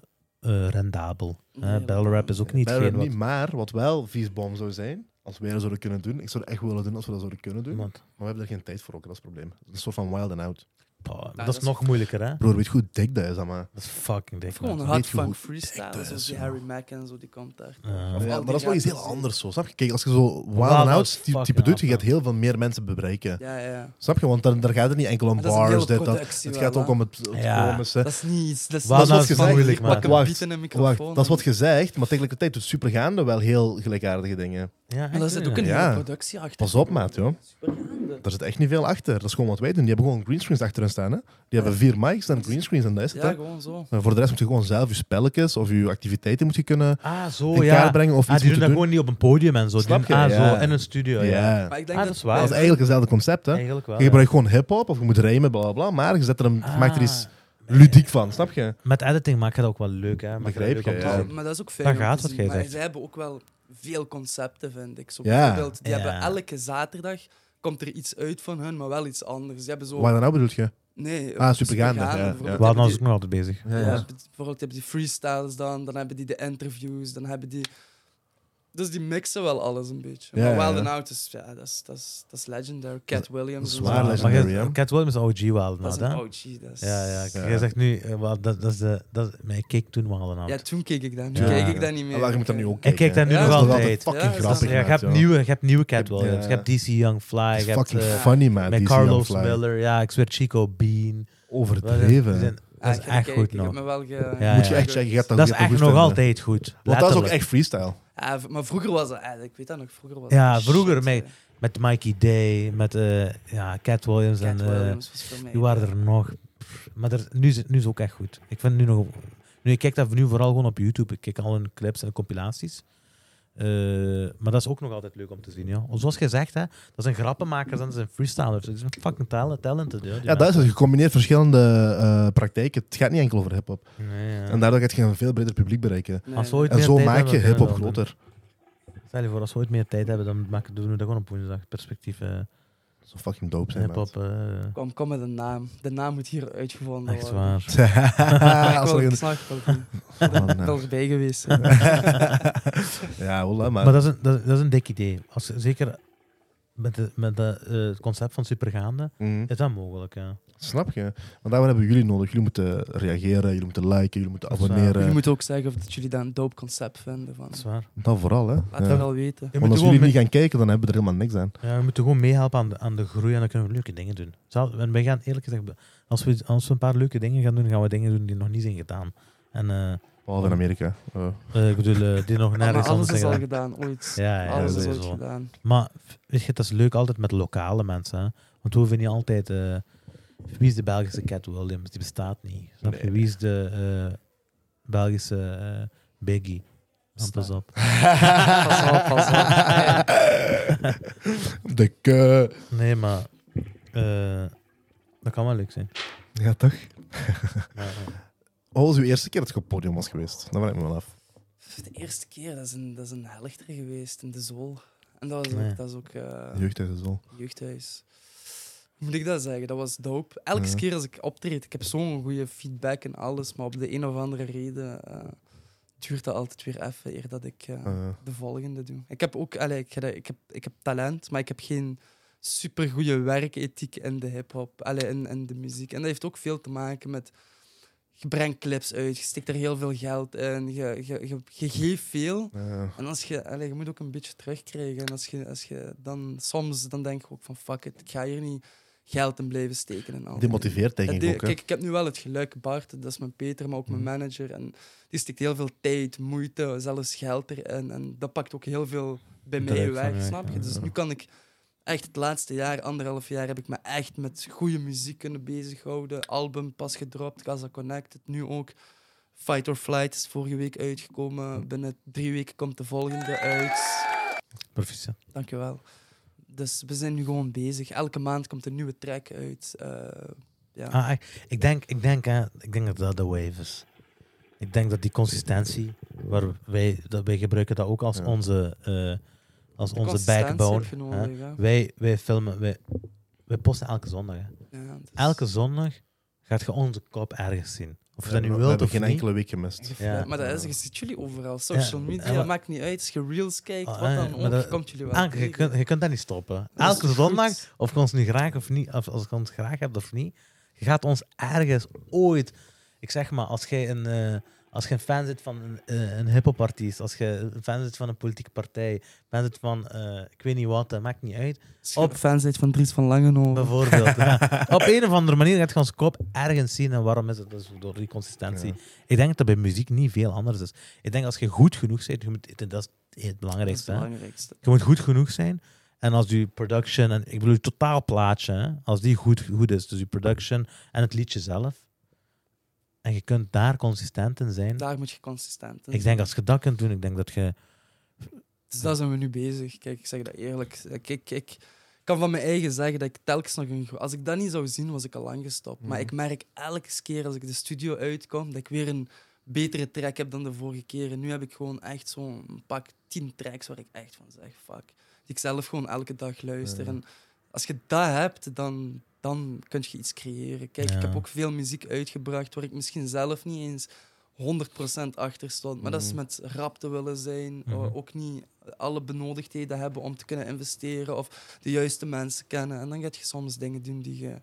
Speaker 2: eh, rendabel.
Speaker 3: Nee,
Speaker 2: hè? Battle rap is ook niet
Speaker 1: Bijna
Speaker 2: geen
Speaker 1: niet, maar wat wel viesbom zou zijn, als wij dat zouden kunnen doen, ik zou het echt willen doen als we dat zouden kunnen doen, maar
Speaker 2: Want,
Speaker 1: we hebben er geen tijd voor ook, dat is het probleem. Dat is een soort van wild and out.
Speaker 2: Pah, dat,
Speaker 3: dat
Speaker 2: is
Speaker 3: is-
Speaker 2: nog moeilijker, hè?
Speaker 1: Broer, weet je hoe dik dat is, hè, maar.
Speaker 2: Dat is fucking dik.
Speaker 3: Of gewoon
Speaker 2: man.
Speaker 3: een
Speaker 1: Weet je
Speaker 3: hard
Speaker 1: hoe
Speaker 3: funk
Speaker 1: dik
Speaker 3: freestyle,
Speaker 1: dat
Speaker 3: zoals
Speaker 1: is,
Speaker 3: die
Speaker 1: joh?
Speaker 3: Harry Mack en zo, die komt daar.
Speaker 2: Ja.
Speaker 1: Ja,
Speaker 3: al
Speaker 1: maar
Speaker 3: die
Speaker 1: dat is wel iets heel
Speaker 3: rappers.
Speaker 1: anders zo, snap je? Kijk, als je zo wild
Speaker 2: Wild
Speaker 1: and
Speaker 2: out,
Speaker 1: out ty- type
Speaker 2: fucking
Speaker 1: doet, je
Speaker 2: out,
Speaker 1: gaat heel veel meer mensen bereiken.
Speaker 3: Ja, ja, ja.
Speaker 1: Snap je? Want daar, daar gaat het niet enkel om
Speaker 3: Maar dat is een
Speaker 1: bars,
Speaker 3: hele
Speaker 1: dit, dat.
Speaker 3: productie
Speaker 1: Het
Speaker 3: wel,
Speaker 1: gaat ook
Speaker 3: hè.
Speaker 1: om het, het
Speaker 2: Ja.
Speaker 1: komische.
Speaker 3: Dat is niet iets. Dat is,
Speaker 2: Waar
Speaker 3: dat is
Speaker 1: nou
Speaker 3: wat
Speaker 1: ze
Speaker 3: gezegd,
Speaker 1: moeilijk
Speaker 3: ik pak
Speaker 2: maken.
Speaker 3: een
Speaker 1: Wacht,
Speaker 3: beat en een microfoon.
Speaker 1: Wacht, dat is wat
Speaker 3: en-
Speaker 1: gezegd, maar tegelijkertijd doet supergaande wel heel gelijkaardige dingen.
Speaker 2: Ja,
Speaker 3: Maar daar
Speaker 2: echt,
Speaker 3: zit
Speaker 2: ja.
Speaker 3: ook een
Speaker 1: Ja.
Speaker 3: hele productie achter.
Speaker 1: Pas op, maat, joh.
Speaker 3: Supergaande.
Speaker 1: Daar zit echt niet veel achter. Dat is gewoon wat wij doen. Die hebben gewoon greenscreens achter hen staan. Hè? Die hebben vier mics en greenscreens en dat is het.
Speaker 3: Ja,
Speaker 1: hè.
Speaker 3: gewoon zo.
Speaker 1: Maar voor de rest moet je gewoon zelf je spelletjes of je activiteiten moet je kunnen
Speaker 2: Ah, zo,
Speaker 1: in
Speaker 2: ja.
Speaker 1: kaart brengen of
Speaker 2: Ah,
Speaker 1: iets
Speaker 2: die
Speaker 1: moeten
Speaker 2: doen dat
Speaker 1: doen.
Speaker 2: gewoon niet op een podium en zo. Die
Speaker 1: Snap
Speaker 2: doen-
Speaker 1: je?
Speaker 2: Ah,
Speaker 1: Ja.
Speaker 2: zo, in een studio. Ja.
Speaker 1: ja.
Speaker 3: Maar ik denk
Speaker 2: Ah, dat
Speaker 3: dat
Speaker 2: is waar.
Speaker 1: Dat is
Speaker 2: Ja.
Speaker 1: eigenlijk hetzelfde concept. Hè?
Speaker 2: Eigenlijk wel.
Speaker 1: Je
Speaker 2: ja.
Speaker 1: gebruikt gewoon hip-hop of je moet rijmen, bla bla bla. Maar je, zet er een, je maakt er
Speaker 2: Ah.
Speaker 1: iets ludiek van, snap je?
Speaker 2: Met editing maak je dat ook wel leuk, hè? Maak dat
Speaker 1: Begrijp
Speaker 2: leuk
Speaker 1: je,
Speaker 2: om te
Speaker 1: ja.
Speaker 2: zien.
Speaker 3: Maar dat is ook fijn.
Speaker 2: Daar
Speaker 3: om
Speaker 2: gaat
Speaker 3: te
Speaker 2: wat
Speaker 3: zien.
Speaker 2: jij
Speaker 3: Maar
Speaker 2: zegt.
Speaker 3: ze hebben ook wel veel concepten, vind ik. Zo
Speaker 1: Ja.
Speaker 3: bijvoorbeeld, die
Speaker 2: Ja.
Speaker 3: hebben elke zaterdag komt er iets uit van hun, maar wel iets anders. Ze hebben zo.
Speaker 1: Waar dan nou bedoel je?
Speaker 3: Nee,
Speaker 1: Ah,
Speaker 3: eh,
Speaker 1: Supergaande, ja,
Speaker 3: bijvoorbeeld.
Speaker 1: ja.
Speaker 2: We hadden ons ook
Speaker 3: Die-
Speaker 2: nog altijd bezig.
Speaker 1: Ja,
Speaker 3: ja, Bijvoorbeeld, je hebt die freestyles dan, dan hebben die de interviews, dan hebben die. Dus die mixen wel alles een beetje.
Speaker 1: Ja,
Speaker 3: maar
Speaker 1: ja,
Speaker 3: Wild
Speaker 1: ja.
Speaker 3: and Out is, ja, dat is, dat is, dat is legendary. Cat Williams.
Speaker 1: dat
Speaker 3: en
Speaker 1: is
Speaker 3: zo.
Speaker 1: waar,
Speaker 2: maar
Speaker 1: legendary,
Speaker 2: jij-
Speaker 1: hè?
Speaker 2: Cat Williams is OG Wild
Speaker 3: Dat
Speaker 2: Out,
Speaker 3: is
Speaker 2: hè?
Speaker 3: een OG. Dat is...
Speaker 2: Ja, ja.
Speaker 1: Ja.
Speaker 2: Jij zegt nu, eh, wel, dat, dat is de... Dat, is- maar ik keek toen Wild Out.
Speaker 3: Ja, toen keek ik dat. Nu
Speaker 2: Ja.
Speaker 3: keek ik dat niet meer.
Speaker 1: Ah, maar je moet dat nu ook
Speaker 2: Ik
Speaker 1: kijken.
Speaker 2: kijk daar nu
Speaker 1: Ja,
Speaker 3: nog
Speaker 1: dat is
Speaker 2: altijd.
Speaker 1: fucking
Speaker 3: Ja,
Speaker 1: grappig.
Speaker 2: ja, je, hebt
Speaker 1: maat, joh.
Speaker 2: nieuwe, je hebt nieuwe Cat
Speaker 1: Ja.
Speaker 2: Williams. Je hebt DC Young Fly.
Speaker 1: Dat is
Speaker 2: Je hebt
Speaker 1: fucking
Speaker 2: eh,
Speaker 1: funny, man.
Speaker 2: met
Speaker 1: DC
Speaker 2: Carlos
Speaker 1: Young Fly.
Speaker 2: Miller. Ja, ik zweer Chico Bean. Die
Speaker 1: Overdreven.
Speaker 2: zijn-
Speaker 3: Ah,
Speaker 2: Dat is echt goed
Speaker 3: nog.
Speaker 2: nog.
Speaker 3: me wel ge...
Speaker 2: Ja,
Speaker 1: Moet je echt zeggen, je hebt dat
Speaker 2: Dat is
Speaker 1: je hebt
Speaker 2: echt
Speaker 1: dat
Speaker 2: nog
Speaker 1: goed vinden.
Speaker 2: altijd goed.
Speaker 1: Want dat is ook
Speaker 2: Letterlijk.
Speaker 1: echt freestyle.
Speaker 3: Ja, v- maar vroeger was dat... eh, Ik weet dat nog, vroeger was
Speaker 2: Ja,
Speaker 3: dat
Speaker 2: vroeger
Speaker 3: shit,
Speaker 2: mee-
Speaker 3: hè.
Speaker 2: Met Mikey Day, met eh, ja, Cat Williams
Speaker 3: Cat
Speaker 2: en... eh,
Speaker 3: Williams was voor mij...
Speaker 2: Die waren er nog. Pff, Maar er, nu, is, nu is ook echt goed. Ik vind nu nog. Nu, ik kijk dat nu vooral gewoon op YouTube. Ik kijk al hun clips en compilaties. Eh, maar dat is ook nog altijd leuk om te zien. Ja. Zoals gezegd, hè, dat zijn grappenmakers en dat zijn freestylers. Dat zijn fucking talent, talented. Ja, die
Speaker 1: Ja, dat is
Speaker 2: mensen.
Speaker 1: het. Je combineert verschillende eh, praktijken. Het gaat niet enkel over hip-hop.
Speaker 2: Nee, ja.
Speaker 1: En daardoor gaat je een veel breder publiek bereiken.
Speaker 3: Nee.
Speaker 2: Als we ooit
Speaker 1: En
Speaker 2: meer
Speaker 1: zo
Speaker 2: tijd
Speaker 1: maak je
Speaker 2: hebben, kunnen
Speaker 1: hip-hop
Speaker 2: we dat doen.
Speaker 1: groter.
Speaker 2: Stel je voor, als we ooit meer tijd hebben, dan maken, doen we dat gewoon op woensdag. Perspectief eh
Speaker 1: Dat zou fucking dope zijn, man.
Speaker 2: hip-hop. eh,
Speaker 3: Kom, kom met een naam. De naam moet hier uitgevonden
Speaker 2: echt
Speaker 3: worden.
Speaker 2: waar.
Speaker 3: Ik
Speaker 1: Ah, Als
Speaker 3: wil-
Speaker 1: er
Speaker 3: Ik
Speaker 1: een-
Speaker 3: snap het wel.
Speaker 1: Oh,
Speaker 3: Ik
Speaker 1: nee.
Speaker 3: ben erbij geweest.
Speaker 1: ja, voilà,
Speaker 2: Maar
Speaker 1: maar...
Speaker 2: dat is een, dat is, dat is een dik idee. Als, zeker met, de, met de, eh, het concept van supergaande
Speaker 1: Mhm.
Speaker 2: is dat mogelijk. Ja.
Speaker 1: Snap je? Want daarvoor hebben we jullie nodig. Jullie moeten reageren, jullie moeten liken, jullie moeten
Speaker 2: Dat is waar.
Speaker 1: abonneren.
Speaker 3: Jullie moeten ook zeggen of dat jullie dat een dope concept vinden. Van.
Speaker 2: Eh, Dat is waar.
Speaker 1: Dat vooral, hè.
Speaker 3: Laat
Speaker 1: Ja.
Speaker 3: het wel weten.
Speaker 2: Je
Speaker 1: Want als
Speaker 2: moet gewoon
Speaker 1: jullie
Speaker 2: mee-
Speaker 1: niet gaan kijken, dan hebben we er helemaal niks aan.
Speaker 2: ja, we moeten gewoon meehelpen aan de, aan de groei en dan kunnen we leuke dingen doen. Zelf, en wij gaan eerlijk gezegd, als we, als we een paar leuke dingen gaan doen, gaan we dingen doen die nog niet zijn gedaan. En eh,
Speaker 1: Behalve in Amerika. Eh,
Speaker 2: eh, ik bedoel, eh, die nog
Speaker 3: Maar
Speaker 2: nergens anders
Speaker 3: alles
Speaker 2: zijn
Speaker 3: is al
Speaker 2: gedaan.
Speaker 3: gedaan, ooit.
Speaker 2: Ja, ja,
Speaker 3: alles is ooit
Speaker 2: sowieso.
Speaker 3: gedaan.
Speaker 2: Maar weet je, dat is leuk altijd met lokale mensen. Hè? Want we hoeven niet altijd. eh, wie is de Belgische Cat Williams? Die bestaat niet. Snap je?
Speaker 1: Nee.
Speaker 2: Wie is de eh, Belgische eh, Biggie? Ah, Pas
Speaker 3: Bestaat.
Speaker 2: op.
Speaker 3: Pas op, pas op.
Speaker 1: De ke...
Speaker 2: Nee, maar. eh, dat kan wel leuk zijn.
Speaker 1: Ja, toch?
Speaker 2: Ja, ja.
Speaker 1: Wat was uw eerste keer Oh, dat je op het podium was geweest? Dat vraag ik me wel af.
Speaker 3: De eerste keer, dat is een, dat is een helchter geweest in de zool. En dat, was ook,
Speaker 2: Nee.
Speaker 3: dat is ook eh,
Speaker 1: Jeugdhuis is wel.
Speaker 3: jeugdhuis. Hoe moet ik dat zeggen? Dat was dope. Elke
Speaker 1: Ja.
Speaker 3: keer als ik optreed, ik heb zo'n goede feedback en alles, maar op de een of andere reden eh, duurt dat altijd weer even eer dat ik eh,
Speaker 1: Eh,
Speaker 3: de volgende doe. Ik heb ook, allee, ik, ik, heb, ik heb talent, maar ik heb geen supergoeie werkethiek in de hip-hop allee, en, en de muziek. En dat heeft ook veel te maken met. Je brengt clips uit, je stikt er heel veel geld in, je, je, je, je geeft veel.
Speaker 1: eh,
Speaker 3: En als je, allee, je moet ook een beetje terugkrijgen. En als je, als je dan soms dan denk ik ook van fuck it, ik ga hier niet geld in blijven steken en al.
Speaker 1: demotiveert denk ik
Speaker 3: Dat Oh, de-
Speaker 1: ook. hè.
Speaker 3: kijk, ik heb nu wel het geluk, Bart, dat is mijn Peter, maar ook mijn
Speaker 1: Mhm.
Speaker 3: manager. En die steekt heel veel tijd, moeite, zelfs geld erin. En dat pakt ook heel veel bij mij
Speaker 2: Druk van
Speaker 3: weg,
Speaker 2: weg,
Speaker 3: snap je?
Speaker 2: ja.
Speaker 3: Dus nu kan ik echt het laatste jaar, anderhalf jaar, heb ik me echt met goede muziek kunnen bezighouden. Album pas gedropt, Casa Connected, nu ook. Fight or Flight is vorige week
Speaker 1: Mhm.
Speaker 3: uitgekomen. Binnen drie weken komt de volgende uit.
Speaker 2: Proficiat.
Speaker 3: Dankjewel. Dus we zijn nu gewoon bezig. Elke maand komt een nieuwe track uit. eh, ja.
Speaker 2: Ah, ik, ik denk, ik denk, hè, ik denk dat dat de wave is. Ik denk dat die consistentie, waar wij, dat wij gebruiken dat ook als
Speaker 1: Ja.
Speaker 2: onze, eh, als
Speaker 3: De
Speaker 2: onze
Speaker 3: consistentie
Speaker 2: backbone.
Speaker 3: heb
Speaker 2: hè.
Speaker 3: je nodig, hè.
Speaker 2: Wij, wij filmen, wij, wij posten elke zondag. hè.
Speaker 3: Ja, dus-
Speaker 2: Elke zondag gaat je onze kop ergens zien. Of je dat nu
Speaker 1: we
Speaker 2: wilt
Speaker 1: hebben
Speaker 2: of
Speaker 1: geen
Speaker 2: niet.
Speaker 1: enkele week gemist.
Speaker 2: Ja.
Speaker 3: Maar dat is, je ziet jullie overal. Social
Speaker 2: Ja,
Speaker 3: media,
Speaker 2: en wat-
Speaker 3: maakt niet uit. Als je reels kijkt,
Speaker 2: Ah,
Speaker 3: wat dan
Speaker 2: ja,
Speaker 3: ook,
Speaker 2: maar dat-
Speaker 3: komt jullie wel
Speaker 2: Elke, Ah, je,
Speaker 3: tegen.
Speaker 2: kunt, je kunt dat niet stoppen.
Speaker 3: Dat is
Speaker 2: Elke
Speaker 3: goed.
Speaker 2: zondag, of je ons nu graag of niet, of als je ons graag hebt of niet, je gaat ons ergens ooit. Ik zeg maar, als jij een, eh, als jij een fan zit van een, eh, een hip-hop artiest, als je een fan zit van een politieke partij, fan zit van eh, ik weet niet wat, dat maakt niet uit.
Speaker 3: Als je
Speaker 2: op-
Speaker 3: fan bent van Dries van Langenhoven.
Speaker 2: Bijvoorbeeld. ja. Op een of andere manier gaat je ons kop ergens zien. En waarom is het? Dat is door die consistentie. Ik denk dat dat bij muziek niet veel anders is. Ik denk als je goed genoeg bent, je moet, dat is het
Speaker 3: Dat is het
Speaker 2: belangrijkste. hè.
Speaker 3: belangrijkste.
Speaker 2: Je moet goed genoeg zijn. En als je production, en ik bedoel je totaal plaatje, hè, als die goed, goed is, dus je production en het liedje zelf. En je kunt daar consistent in zijn.
Speaker 3: Daar moet je consistent
Speaker 2: Ik
Speaker 3: in zijn.
Speaker 2: denk als je dat kunt doen, ik denk dat je.
Speaker 3: Dus daar zijn we nu bezig. Kijk, ik zeg dat eerlijk. Ik, ik, ik kan van mijn eigen zeggen dat ik telkens nog een... go- Als ik dat niet zou zien, was ik al lang gestopt. Maar
Speaker 1: Mhm.
Speaker 3: ik merk elke keer als ik de studio uitkom, dat ik weer een betere track heb dan de vorige keer. En nu heb ik gewoon echt zo'n pak tien tracks waar ik echt van zeg, fuck. Die ik zelf gewoon elke dag luister.
Speaker 1: Ja.
Speaker 3: En als je dat hebt, dan, dan kun je iets creëren. Kijk, ik
Speaker 2: Ja.
Speaker 3: heb ook veel muziek uitgebracht waar ik misschien zelf niet eens 100% achter stond. Maar dat is
Speaker 1: Mhm.
Speaker 3: met rap te willen zijn, eh,
Speaker 2: Mhm.
Speaker 3: ook niet alle benodigdheden hebben om te kunnen investeren of de juiste mensen kennen. En dan ga je soms dingen doen die je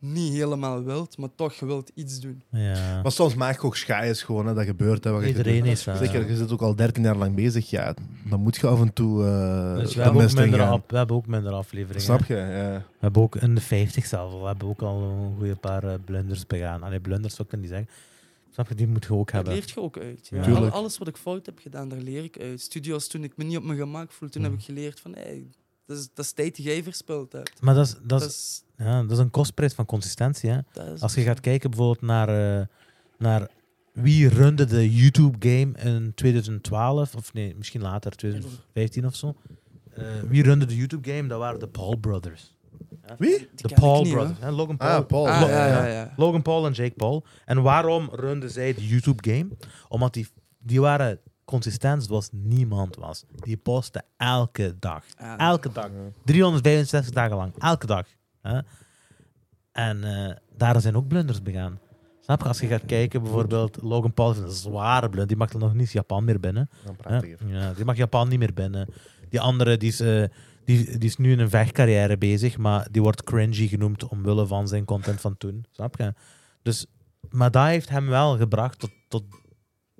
Speaker 3: niet helemaal wilt, maar toch je wilt iets doen.
Speaker 2: Ja.
Speaker 1: Maar soms maak je ook schaaiers gewoon, hè, dat gebeurt. Hè, wat je
Speaker 2: Iedereen
Speaker 1: doet.
Speaker 2: is eh, dus daar.
Speaker 1: Zeker, Eh, je zit ook al 13 jaar lang bezig. Ja, dan moet je af en toe eh
Speaker 2: Dus
Speaker 1: de
Speaker 2: we, hebben ook
Speaker 1: mist in
Speaker 2: minder
Speaker 1: gaan.
Speaker 2: af- we hebben ook minder afleveringen.
Speaker 1: Snap je? Ja.
Speaker 2: We hebben ook in de 50 zelf. al- We hebben ook al een goede paar eh, blunders begaan. Allee, blunders zou ik dat niet zeggen. Snap je, die moet je ook
Speaker 3: Dat
Speaker 2: hebben.
Speaker 3: leert je ook uit. Ja.
Speaker 2: Ja.
Speaker 1: Tuurlijk.
Speaker 3: Al- Alles wat ik fout heb gedaan, daar leer ik uit. Studio's, toen ik me niet op mijn gemak voelde, toen heb
Speaker 2: Mhm.
Speaker 3: ik geleerd van... Hey, dat is, dat is tijd die jij verspild hebt.
Speaker 2: Maar dat is, dat,
Speaker 3: Dat
Speaker 2: is,
Speaker 3: is,
Speaker 2: ja, dat is een kostprijs van consistentie. Hè?
Speaker 3: dat is-
Speaker 2: Als je gaat kijken bijvoorbeeld naar, eh, naar wie runde de YouTube-game in 2012, of nee, misschien later, 2015 of zo. Eh, wie runde de YouTube-game? Dat waren de Paul Brothers.
Speaker 1: Wie?
Speaker 3: Die
Speaker 2: De
Speaker 3: ken ik
Speaker 2: Paul
Speaker 3: niet, hoor.
Speaker 2: Brothers. Hè? Logan Paul.
Speaker 1: Ah, Paul.
Speaker 3: Ah,
Speaker 2: Lo-
Speaker 3: ja, ja, ja.
Speaker 2: Logan Paul en Jake Paul. En waarom runden zij de YouTube-game? Omdat die, die waren consistent zoals niemand was. Die posten elke dag.
Speaker 3: Ah.
Speaker 2: Elke dag. 365 dagen lang. Elke dag. Hè? En eh, daar zijn ook blunders begaan. Snap je? Als je gaat kijken, bijvoorbeeld Logan Paul heeft een zware blunder. Die mag er nog niet Japan meer binnen.
Speaker 1: Dan praat
Speaker 2: hè.
Speaker 1: ik even.
Speaker 2: Ja, die mag Japan niet meer binnen. Die andere, die is, eh, die, die is nu in een vechtcarrière bezig, maar die wordt cringy genoemd omwille van zijn content van toen. Snap je? Dus, maar dat heeft hem wel gebracht tot... tot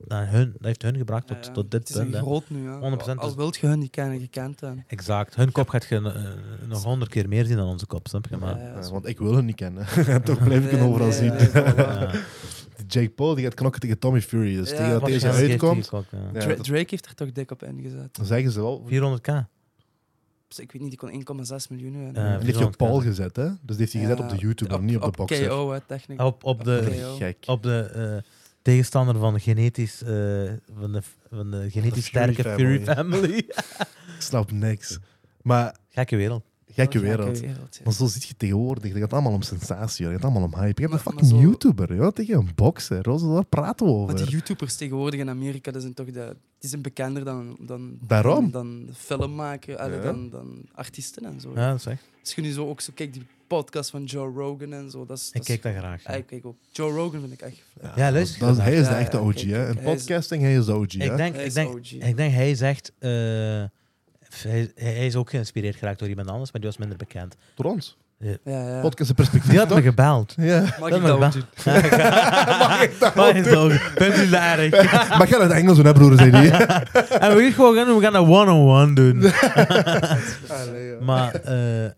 Speaker 2: naar hun, dat heeft hun gebracht tot,
Speaker 3: Ja, ja.
Speaker 2: tot dit
Speaker 3: Het is een
Speaker 2: punt. hè.
Speaker 3: groot nu, hè.
Speaker 2: 100%
Speaker 3: Al
Speaker 2: is-
Speaker 3: wilt je hun niet kennen, je kent hen.
Speaker 2: Exact. Hun kop gaat je eh, nog honderd keer meer zien dan onze kop, snap je? Maar,
Speaker 3: Ja, ja,
Speaker 1: Ja,
Speaker 3: zo.
Speaker 1: Eh, want ik wil hem niet kennen. Toch blijf ik hem
Speaker 3: Nee,
Speaker 1: overal
Speaker 3: nee,
Speaker 1: zien.
Speaker 3: nee, voilà.
Speaker 2: Ja.
Speaker 1: Die Jake Paul die gaat knokken tegen Tommy Fury. Dus
Speaker 3: Ja,
Speaker 1: tegen dat deze
Speaker 2: Waarschijnlijk heeft
Speaker 1: uitkomt,
Speaker 2: hij ook, ja.
Speaker 1: ja,
Speaker 3: Dra-
Speaker 1: dat-
Speaker 3: Drake heeft er toch dik op ingezet.
Speaker 1: dan zeggen ze wel...
Speaker 2: 400k.
Speaker 3: Dus ik weet niet, die kon 1,6 miljoen. hebben.
Speaker 2: Ja,
Speaker 1: Die heeft je op
Speaker 2: 400k.
Speaker 1: Paul gezet, hè? Dus die heeft hij gezet
Speaker 3: Eh, Ja,
Speaker 1: op de YouTube, maar niet op de Ah, boxer.
Speaker 3: KO, hè, technisch.
Speaker 2: Op, op de,
Speaker 3: KO.
Speaker 1: Gek.
Speaker 2: op de eh, tegenstander van de genetisch, eh, van de, van de genetisch
Speaker 1: Fury
Speaker 2: sterke Fury
Speaker 1: family.
Speaker 2: Family.
Speaker 1: Ik snap niks. Maar
Speaker 2: Gekke wereld.
Speaker 1: gek, Gekke
Speaker 3: Heel
Speaker 1: wereld.
Speaker 3: Oh, wereld, ja.
Speaker 1: Maar zo zit je tegenwoordig. Dat gaat allemaal om sensatie. Dat gaat allemaal om hype. Je hebt een
Speaker 3: Maar- maar
Speaker 1: fucking
Speaker 3: zo-
Speaker 1: YouTuber. joh, tegen een bokser. Roze, daar praten we
Speaker 3: Maar
Speaker 1: over.
Speaker 3: die YouTubers tegenwoordig in Amerika die zijn toch de, die zijn bekender dan, dan,
Speaker 1: Daarom.
Speaker 3: dan, dan filmmaker, allee,
Speaker 1: Ja.
Speaker 3: dan, dan artiesten en zo.
Speaker 2: Ja, dat is echt.
Speaker 3: Als je nu zo ook zo kijkt, die podcast van Joe Rogan en zo. Dat is,
Speaker 2: Ik
Speaker 3: dat is-
Speaker 2: kijk dat graag.
Speaker 3: Ah, ik kijk ook. Joe Rogan vind ik echt.
Speaker 1: Ja,
Speaker 2: Ja, luister
Speaker 1: dat is-
Speaker 2: je
Speaker 1: hij
Speaker 2: dat?
Speaker 1: is de
Speaker 3: Ja,
Speaker 1: echte
Speaker 3: ja,
Speaker 1: OG.
Speaker 3: kijk,
Speaker 1: hè.
Speaker 3: kijk,
Speaker 1: In
Speaker 3: hij is-
Speaker 1: podcasting, hij is de OG. hè.
Speaker 2: Ik denk,
Speaker 3: Hij
Speaker 2: ik
Speaker 3: is
Speaker 2: denk,
Speaker 3: OG.
Speaker 2: ik denk hij zegt. eh, hij, hij is ook geïnspireerd geraakt door iemand anders, maar die was minder bekend.
Speaker 1: Door ons.
Speaker 3: Ja, ja.
Speaker 1: Podcast in perspectief.
Speaker 2: Die had me
Speaker 1: toch?
Speaker 2: gebeld.
Speaker 1: Ja.
Speaker 3: Mag
Speaker 2: Dat
Speaker 3: ik dat
Speaker 2: mag
Speaker 3: ook
Speaker 2: wel.
Speaker 3: doen?
Speaker 1: Mag ik dat
Speaker 2: Maar
Speaker 1: wel
Speaker 2: is
Speaker 1: doen?
Speaker 2: ook- Bent u larig?
Speaker 1: Maar ga dat Engels doen, hè, broer? Zei die.
Speaker 2: En we gaan gewoon gaan, doen, we gaan dat one-on-one doen.
Speaker 1: Maar-
Speaker 2: Maar eh,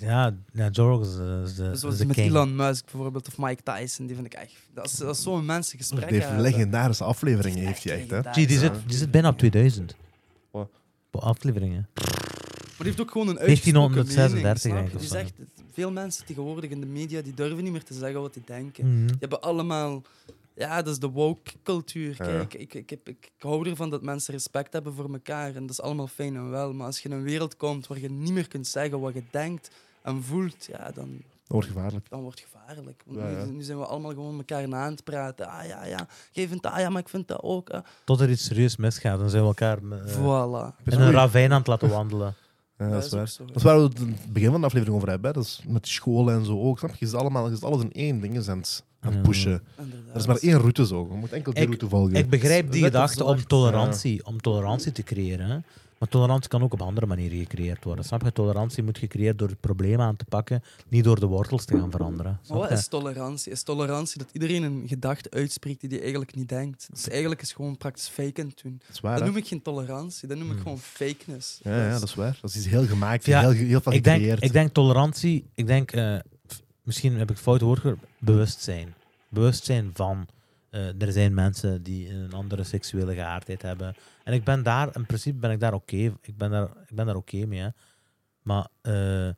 Speaker 2: ja, ja, Joe Rogan is, de- is de, is
Speaker 3: Zoals
Speaker 2: de
Speaker 3: dus met
Speaker 2: king.
Speaker 3: Elon Musk bijvoorbeeld of Mike Tyson, die vind ik echt. Dat is, dat is zo'n mensengesprek.
Speaker 1: Die heeft legendarische afleveringen, heeft hij echt. Hè.
Speaker 2: Zie, die,
Speaker 1: Ja.
Speaker 2: zit, die zit bijna op 2000.
Speaker 1: Wat?
Speaker 2: Op afleveringen.
Speaker 3: Maar die heeft ook gewoon een
Speaker 2: 1936
Speaker 3: uitgesproken mening,
Speaker 2: eigenlijk of
Speaker 3: snap je? Die zegt- veel mensen tegenwoordig in de media die durven niet meer te zeggen wat die denken.
Speaker 2: Mhm.
Speaker 3: Die hebben allemaal. Ja, dat is de woke cultuur.
Speaker 1: Ja.
Speaker 3: Kijk, ik, ik, heb, ik hou ervan dat mensen respect hebben voor elkaar. En dat is allemaal fijn en wel. Maar als je in een wereld komt waar je niet meer kunt zeggen wat je denkt en voelt, ja, dan,
Speaker 1: Dat wordt gevaarlijk.
Speaker 3: dan wordt het gevaarlijk. Want
Speaker 1: Ja,
Speaker 3: nu-
Speaker 1: ja.
Speaker 3: Nu, zijn we allemaal gewoon elkaar na aan het praten. Ah ja, ja, jij vindt dat, ah, ja, maar ik vind dat ook. ah.
Speaker 2: Tot er iets serieus misgaat, dan zijn we elkaar eh,
Speaker 3: voilà.
Speaker 2: in een ravijn aan het laten wandelen.
Speaker 1: Ja, dat is
Speaker 3: ook
Speaker 1: waar.
Speaker 3: zo,
Speaker 1: Dat is waar we het in het begin van de aflevering over hebben. hè. Dat is met scholen en zo ook. Snap je? Je zit, allemaal, je zit alles in één ding aan het, aan het
Speaker 2: Ja.
Speaker 1: pushen.
Speaker 3: Inderdaad.
Speaker 1: Er is maar één route zo. Je moet enkel die
Speaker 2: Ik-
Speaker 1: route volgen.
Speaker 2: Ik begrijp die
Speaker 3: Net als
Speaker 2: gedachte om
Speaker 3: zwart.
Speaker 2: tolerantie, om tolerantie te creëren. Hè? Maar tolerantie kan ook op andere manieren gecreëerd worden. Snap je? Tolerantie moet gecreëerd door het probleem aan te pakken, niet door de wortels te gaan veranderen.
Speaker 3: Maar
Speaker 2: Snap
Speaker 3: wat
Speaker 2: je?
Speaker 3: is tolerantie? Is tolerantie dat iedereen een gedachte uitspreekt die die eigenlijk niet denkt? Dus eigenlijk is gewoon praktisch fake aan het doen.
Speaker 1: Dat is waar,
Speaker 3: Dat
Speaker 1: hè?
Speaker 3: noem ik geen tolerantie, dat noem ik
Speaker 2: Hmm.
Speaker 3: gewoon fakeness.
Speaker 1: Ja, ja, dat is waar. Dat is iets heel gemaakt,
Speaker 2: Ja,
Speaker 1: heel, heel van
Speaker 2: ik, denk,
Speaker 1: gecreëerd.
Speaker 2: ik denk tolerantie, ik denk, eh, f- misschien heb ik fout woord gehoord, bewustzijn. Bewustzijn van, eh, er zijn mensen die een andere seksuele geaardheid hebben. En ik ben daar, in principe ben ik daar oké, ik ben daar, ik ben daar oké mee. Hè. Maar eh,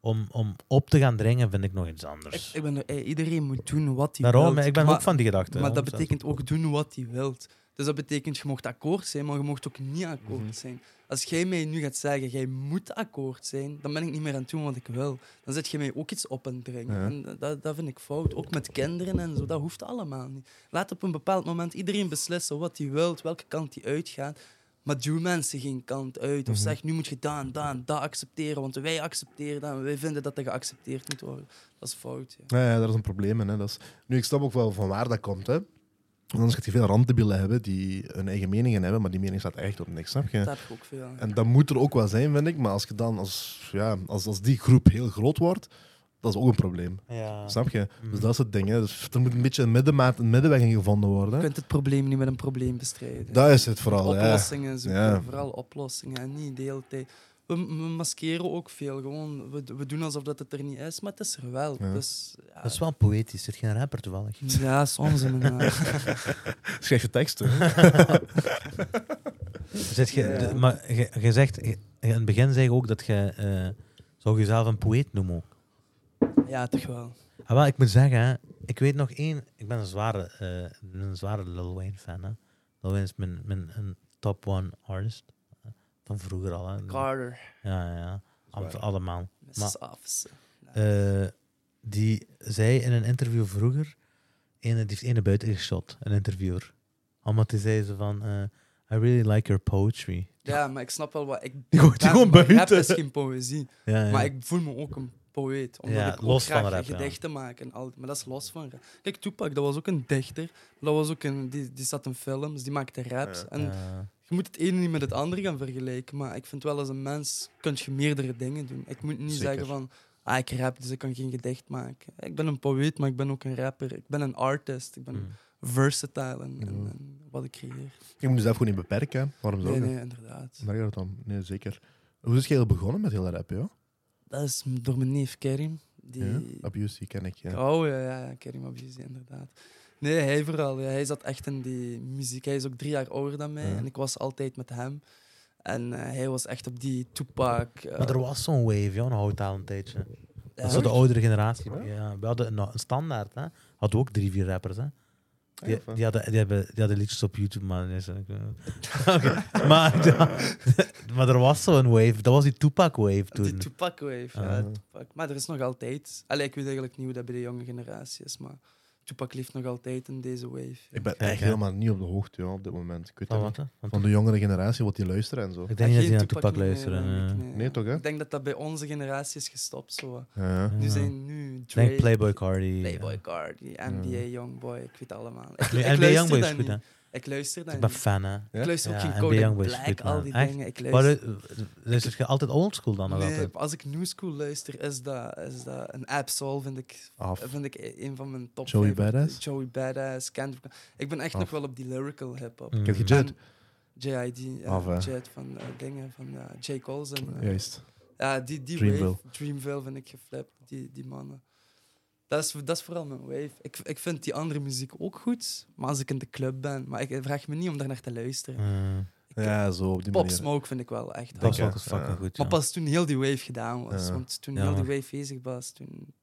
Speaker 2: om, om op te gaan dringen vind ik nog iets
Speaker 3: Ik,
Speaker 2: anders.
Speaker 3: ik ben er, ey, iedereen moet doen wat hij
Speaker 2: Daarom,
Speaker 3: wil.
Speaker 2: ik ben
Speaker 3: maar,
Speaker 2: ook van die gedachte.
Speaker 3: Maar dat
Speaker 2: 100%.
Speaker 3: betekent ook doen wat hij wil. Dus dat betekent, je mocht akkoord zijn, maar je mocht ook niet akkoord
Speaker 1: Mhm.
Speaker 3: zijn. Als jij mij nu gaat zeggen, jij moet akkoord zijn, dan ben ik niet meer aan het doen wat ik wil. Dan zet je mij ook iets op en dringen.
Speaker 1: Ja.
Speaker 3: En dat, dat vind ik fout. Ook met kinderen en zo, dat hoeft allemaal niet. Laat op een bepaald moment iedereen beslissen wat hij wil, welke kant hij uitgaat. Maar duw mensen geen kant uit. Of
Speaker 1: Mhm.
Speaker 3: zeg, nu moet je dat en dat en dat accepteren, want wij accepteren dat en wij vinden dat dat geaccepteerd moet worden. Dat is fout, ja.
Speaker 1: Ja, ja, daar is een probleem in. Hè. Dat is... Nu, ik snap ook wel van waar dat komt. Hè. Want Anders gaat je veel randdebielen hebben die hun eigen meningen hebben, maar die mening staat echt op niks, snap je?
Speaker 3: Dat heb ik ook veel aan.
Speaker 1: En dat moet er ook wel zijn, vind ik. Maar als, je dan, als, ja, als, als die groep heel groot wordt, dat is ook een probleem.
Speaker 2: Ja.
Speaker 1: Snap je?
Speaker 2: Mhm.
Speaker 1: Dus dat is het ding. Hè. Dus er moet een beetje een, middenmaat, een middenweg in gevonden worden.
Speaker 3: Je kunt het probleem niet met een probleem bestrijden.
Speaker 1: Dat is het vooral, ja.
Speaker 3: oplossingen zoeken,
Speaker 1: Ja.
Speaker 3: vooral oplossingen en niet de hele tijd. We, we maskeren ook veel, gewoon. We, we doen alsof dat het er niet is, maar het is er wel.
Speaker 1: Ja.
Speaker 3: Dus, ja.
Speaker 2: Dat is wel poëtisch, er geen rapper toevallig.
Speaker 3: Ja, soms inderdaad.
Speaker 1: Schrijf je teksten.
Speaker 2: Zit je,
Speaker 3: Ja.
Speaker 2: de- maar je, je zegt, je- in het begin zei je ook dat je, eh, zou jezelf een poëet noemen ook.
Speaker 3: Ja, toch wel.
Speaker 2: Ah, wel, ik moet zeggen, hè, ik weet nog één, ik ben een zware, eh, ik ben een zware Lil Wayne fan. Hè. Lil Wayne is mijn, mijn een top one artist, eh, van vroeger al. Hè.
Speaker 3: Carter,
Speaker 2: Ja, ja, ja. Am-
Speaker 1: Zwaar.
Speaker 2: allemaal.
Speaker 3: Mrs. Officer.
Speaker 2: Eh, die zei in een interview vroeger, ene, die heeft ene buiten geschot, een interviewer. Omdat die zei ze van, eh, I really like your poetry.
Speaker 3: Ja, maar ik snap wel wat ik.
Speaker 2: Die gooit die
Speaker 3: ben,
Speaker 2: gewoon
Speaker 3: maar Rap
Speaker 2: buiten.
Speaker 3: is geen poëzie,
Speaker 2: Ja, ja.
Speaker 3: maar ik voel me ook een poëet. Omdat
Speaker 2: Ja,
Speaker 3: ik ook
Speaker 2: los van
Speaker 3: graag
Speaker 2: rap, ja.
Speaker 3: gedichten maak en al. Maar dat is los van rap. Kijk, Tupac, dat was ook een dichter. Dat was ook een, die, die zat in films, die maakte raps.
Speaker 1: Ja.
Speaker 3: En
Speaker 2: Ja.
Speaker 3: Je moet het ene niet met het andere gaan vergelijken, maar ik vind wel als een mens kun je meerdere dingen doen. Ik moet niet
Speaker 1: Zeker.
Speaker 3: zeggen van, ah, ik rap, dus ik kan geen gedicht maken. Ik ben een poëet, maar ik ben ook een rapper. Ik ben een artist. Ik ben
Speaker 2: Mm.
Speaker 3: versatile in, in-
Speaker 1: Ja.
Speaker 3: in wat ik creëer.
Speaker 1: Je moet jezelf gewoon niet beperken. hè. Waarom zou
Speaker 3: Nee,
Speaker 1: je?
Speaker 3: nee, inderdaad.
Speaker 1: Daar gaat het om. Nee, zeker. Hoe is je heel begonnen met heel rap, joh?
Speaker 3: Dat is door mijn neef Kerim. Die...
Speaker 1: Ja? Abuse, die ken ik, ja. Ah,
Speaker 3: Oh ja, ja, ja, Kerim Abizi, inderdaad. Nee, hij vooral. Ja, hij zat echt in die muziek. Hij is ook drie jaar ouder dan mij
Speaker 1: Ja.
Speaker 3: en ik was altijd met hem. En eh, hij was echt op die Tupac. eh,
Speaker 2: Maar er was zo'n wave, joh, een houthaal een tijdje.
Speaker 3: ja.
Speaker 2: Dat is zo de oudere generatie.
Speaker 1: Ja?
Speaker 3: Ah,
Speaker 2: Ja, we hadden een, een standaard, hè. Hadden we ook drie, vier rappers, hè. Die,
Speaker 1: eh,
Speaker 2: die, hadden, die, hebben, die hadden liedjes op YouTube, maar... nee, ze- Oké, maar, maar er was zo'n wave. Dat was die Tupac-wave
Speaker 3: Die
Speaker 2: toen.
Speaker 3: Tupac wave, ja,
Speaker 1: Ah.
Speaker 3: Tupac. Maar er is nog altijd... Allee, ik weet eigenlijk niet hoe dat bij de jonge generatie is, maar Tupac leeft nog altijd in deze wave.
Speaker 1: Ik ben
Speaker 2: Kijk,
Speaker 1: echt
Speaker 2: hè.
Speaker 1: helemaal niet op de hoogte joh, op dit moment. Ik weet
Speaker 2: Van
Speaker 1: het
Speaker 2: Oh, wat,
Speaker 1: niet.
Speaker 2: hè? Van
Speaker 1: Van de jongere generatie wat die luisteren en zo.
Speaker 2: Ik denk niet dat die
Speaker 3: Ah, Geen
Speaker 2: naar Tupac
Speaker 3: meer,
Speaker 2: luisteren.
Speaker 3: denk ik,
Speaker 2: eh.
Speaker 1: Nee, toch, hè?
Speaker 3: Ik denk dat dat bij onze generatie is gestopt. Zo.
Speaker 1: Ja.
Speaker 3: Nu
Speaker 2: Ja.
Speaker 3: zijn nu
Speaker 2: Ik
Speaker 3: Drake,
Speaker 2: denk Playboy Cardi.
Speaker 3: Playboy Cardi, NBA Youngboy, ik weet allemaal. Ik, ik
Speaker 2: Nee, NBA
Speaker 3: luister
Speaker 2: Youngboy is
Speaker 3: dat
Speaker 2: goed, hè?
Speaker 3: niet. Ik luister dat
Speaker 2: Ik ben
Speaker 3: niet.
Speaker 2: fan, hè?
Speaker 1: Ja?
Speaker 3: Ik luister ook
Speaker 2: Ja,
Speaker 3: geen
Speaker 2: NBA
Speaker 3: Code
Speaker 2: Youngboy is
Speaker 3: Black,
Speaker 2: goed,
Speaker 3: al
Speaker 2: man.
Speaker 3: die
Speaker 2: Echt?
Speaker 3: dingen. Ik
Speaker 2: Maar
Speaker 3: luister...
Speaker 2: eh, luister je altijd oldschool dan nog
Speaker 3: Nee,
Speaker 2: altijd?
Speaker 3: als ik New School luister, is dat, is dat een Absol, vind ik,
Speaker 1: Af.
Speaker 3: vind ik e- een van mijn top
Speaker 1: Joey
Speaker 3: favorieten.
Speaker 1: Badass?
Speaker 3: Joey Badass, Kendrick. Ik ben echt
Speaker 1: Af.
Speaker 3: nog wel op die lyrical hip-hop.
Speaker 1: Ik heb
Speaker 2: Mm.
Speaker 1: gejet.
Speaker 3: En JID, ja,
Speaker 1: Af, hè.
Speaker 3: Jet van eh, dingen, van eh, J. Cole. zijn, eh,
Speaker 1: Juist.
Speaker 3: Ja, die, die
Speaker 1: Dreamville.
Speaker 3: wave, Dreamville vind ik geflipt, die, die mannen. Dat is, dat is vooral mijn wave. Ik, ik vind die andere muziek ook goed, maar als ik in de club ben, maar ik vraag me niet om daar naar te luisteren.
Speaker 2: Mm.
Speaker 3: Ik-
Speaker 1: Ja, zo op die
Speaker 3: Pop
Speaker 1: manier.
Speaker 3: Smoke vind ik wel echt.
Speaker 2: Dat was
Speaker 1: Denk,
Speaker 2: ook
Speaker 1: hè?
Speaker 2: eens fucking
Speaker 1: Ja.
Speaker 2: goed.
Speaker 3: Maar
Speaker 2: ja.
Speaker 3: pas toen heel die wave gedaan was,
Speaker 1: Ja.
Speaker 3: want toen
Speaker 2: Ja,
Speaker 3: heel die
Speaker 2: maar-
Speaker 3: wave bezig was, toen...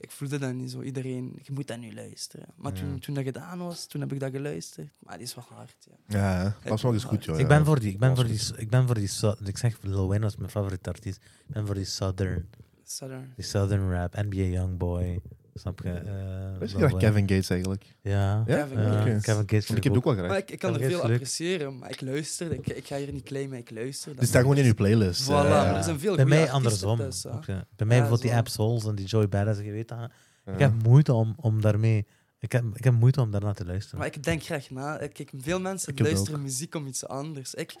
Speaker 3: Ik voelde dat niet zo. Iedereen, je moet dat nu luisteren. Maar
Speaker 2: Ja.
Speaker 3: toen, toen dat gedaan was, toen heb ik dat geluisterd. Maar die is wel hard, ja.
Speaker 1: Ja, hè. Pop Smoke is goed, joh.
Speaker 2: Ik ben
Speaker 1: ja. dus-
Speaker 2: voor die, ik ben
Speaker 1: was
Speaker 2: voor die, ik ben voor die, Sou- ik zeg Lil Wayne was mijn favoriete artiest. Ik ben voor die Southern,
Speaker 3: Southern.
Speaker 2: die Southern rap, NBA Youngboy, snap je?
Speaker 1: Weet
Speaker 2: eh,
Speaker 1: je
Speaker 2: Lil
Speaker 1: graag
Speaker 2: Wayne.
Speaker 1: Kevin Gates eigenlijk?
Speaker 2: Ja.
Speaker 1: Ja?
Speaker 3: Kevin
Speaker 2: eh,
Speaker 1: Gates.
Speaker 2: Kevin Gates.
Speaker 1: Want ik
Speaker 2: vind
Speaker 1: heb
Speaker 2: ik
Speaker 1: die ook wel
Speaker 2: ook.
Speaker 3: Maar
Speaker 1: graag.
Speaker 3: ik, ik kan
Speaker 2: Dat
Speaker 3: er
Speaker 2: is
Speaker 3: veel
Speaker 2: leuk.
Speaker 3: appreciëren, maar ik luister. Ik, ik ga hier niet claimen, ik luister.
Speaker 1: Die staan gewoon in uw playlist. eh.
Speaker 3: Voilà,
Speaker 1: ja.
Speaker 3: maar er zijn veel
Speaker 2: Bij
Speaker 3: goede
Speaker 2: mij
Speaker 3: artiesten
Speaker 2: andersom.
Speaker 3: thuis, hè.
Speaker 2: ook, ja. Bij mij
Speaker 3: Ja,
Speaker 2: bijvoorbeeld die
Speaker 3: zo.
Speaker 2: App Souls en die Joy Badass, je weet dat.
Speaker 1: Ja.
Speaker 2: Ik heb moeite om, om daarmee, ik heb, ik heb moeite om daarna te luisteren.
Speaker 3: Maar ik denk graag na. Eh, Kijk, veel mensen
Speaker 1: Ik heb dat
Speaker 3: luisteren muziek om iets anders. Ik,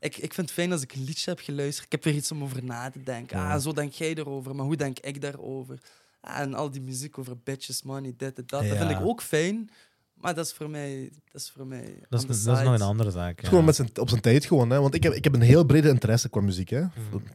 Speaker 3: ik, ik vind het fijn als ik een liedje heb geluisterd. Ik heb er iets om over na te denken.
Speaker 2: Ja.
Speaker 3: Ah, zo denk jij erover, maar hoe denk ik daarover? Ah, en al die muziek over bitches, money, dit en dat. Dat vind
Speaker 2: Ja.
Speaker 3: ik ook fijn. Maar dat is voor mij... Dat is, voor mij
Speaker 2: dat,
Speaker 3: on
Speaker 2: is,
Speaker 3: the
Speaker 2: dat is nog een
Speaker 3: side.
Speaker 2: andere zaak.
Speaker 1: Het
Speaker 2: Ja.
Speaker 1: is gewoon met zijn, op zijn tijd gewoon, hè. Want ik heb, ik heb een heel brede interesse qua muziek, hè.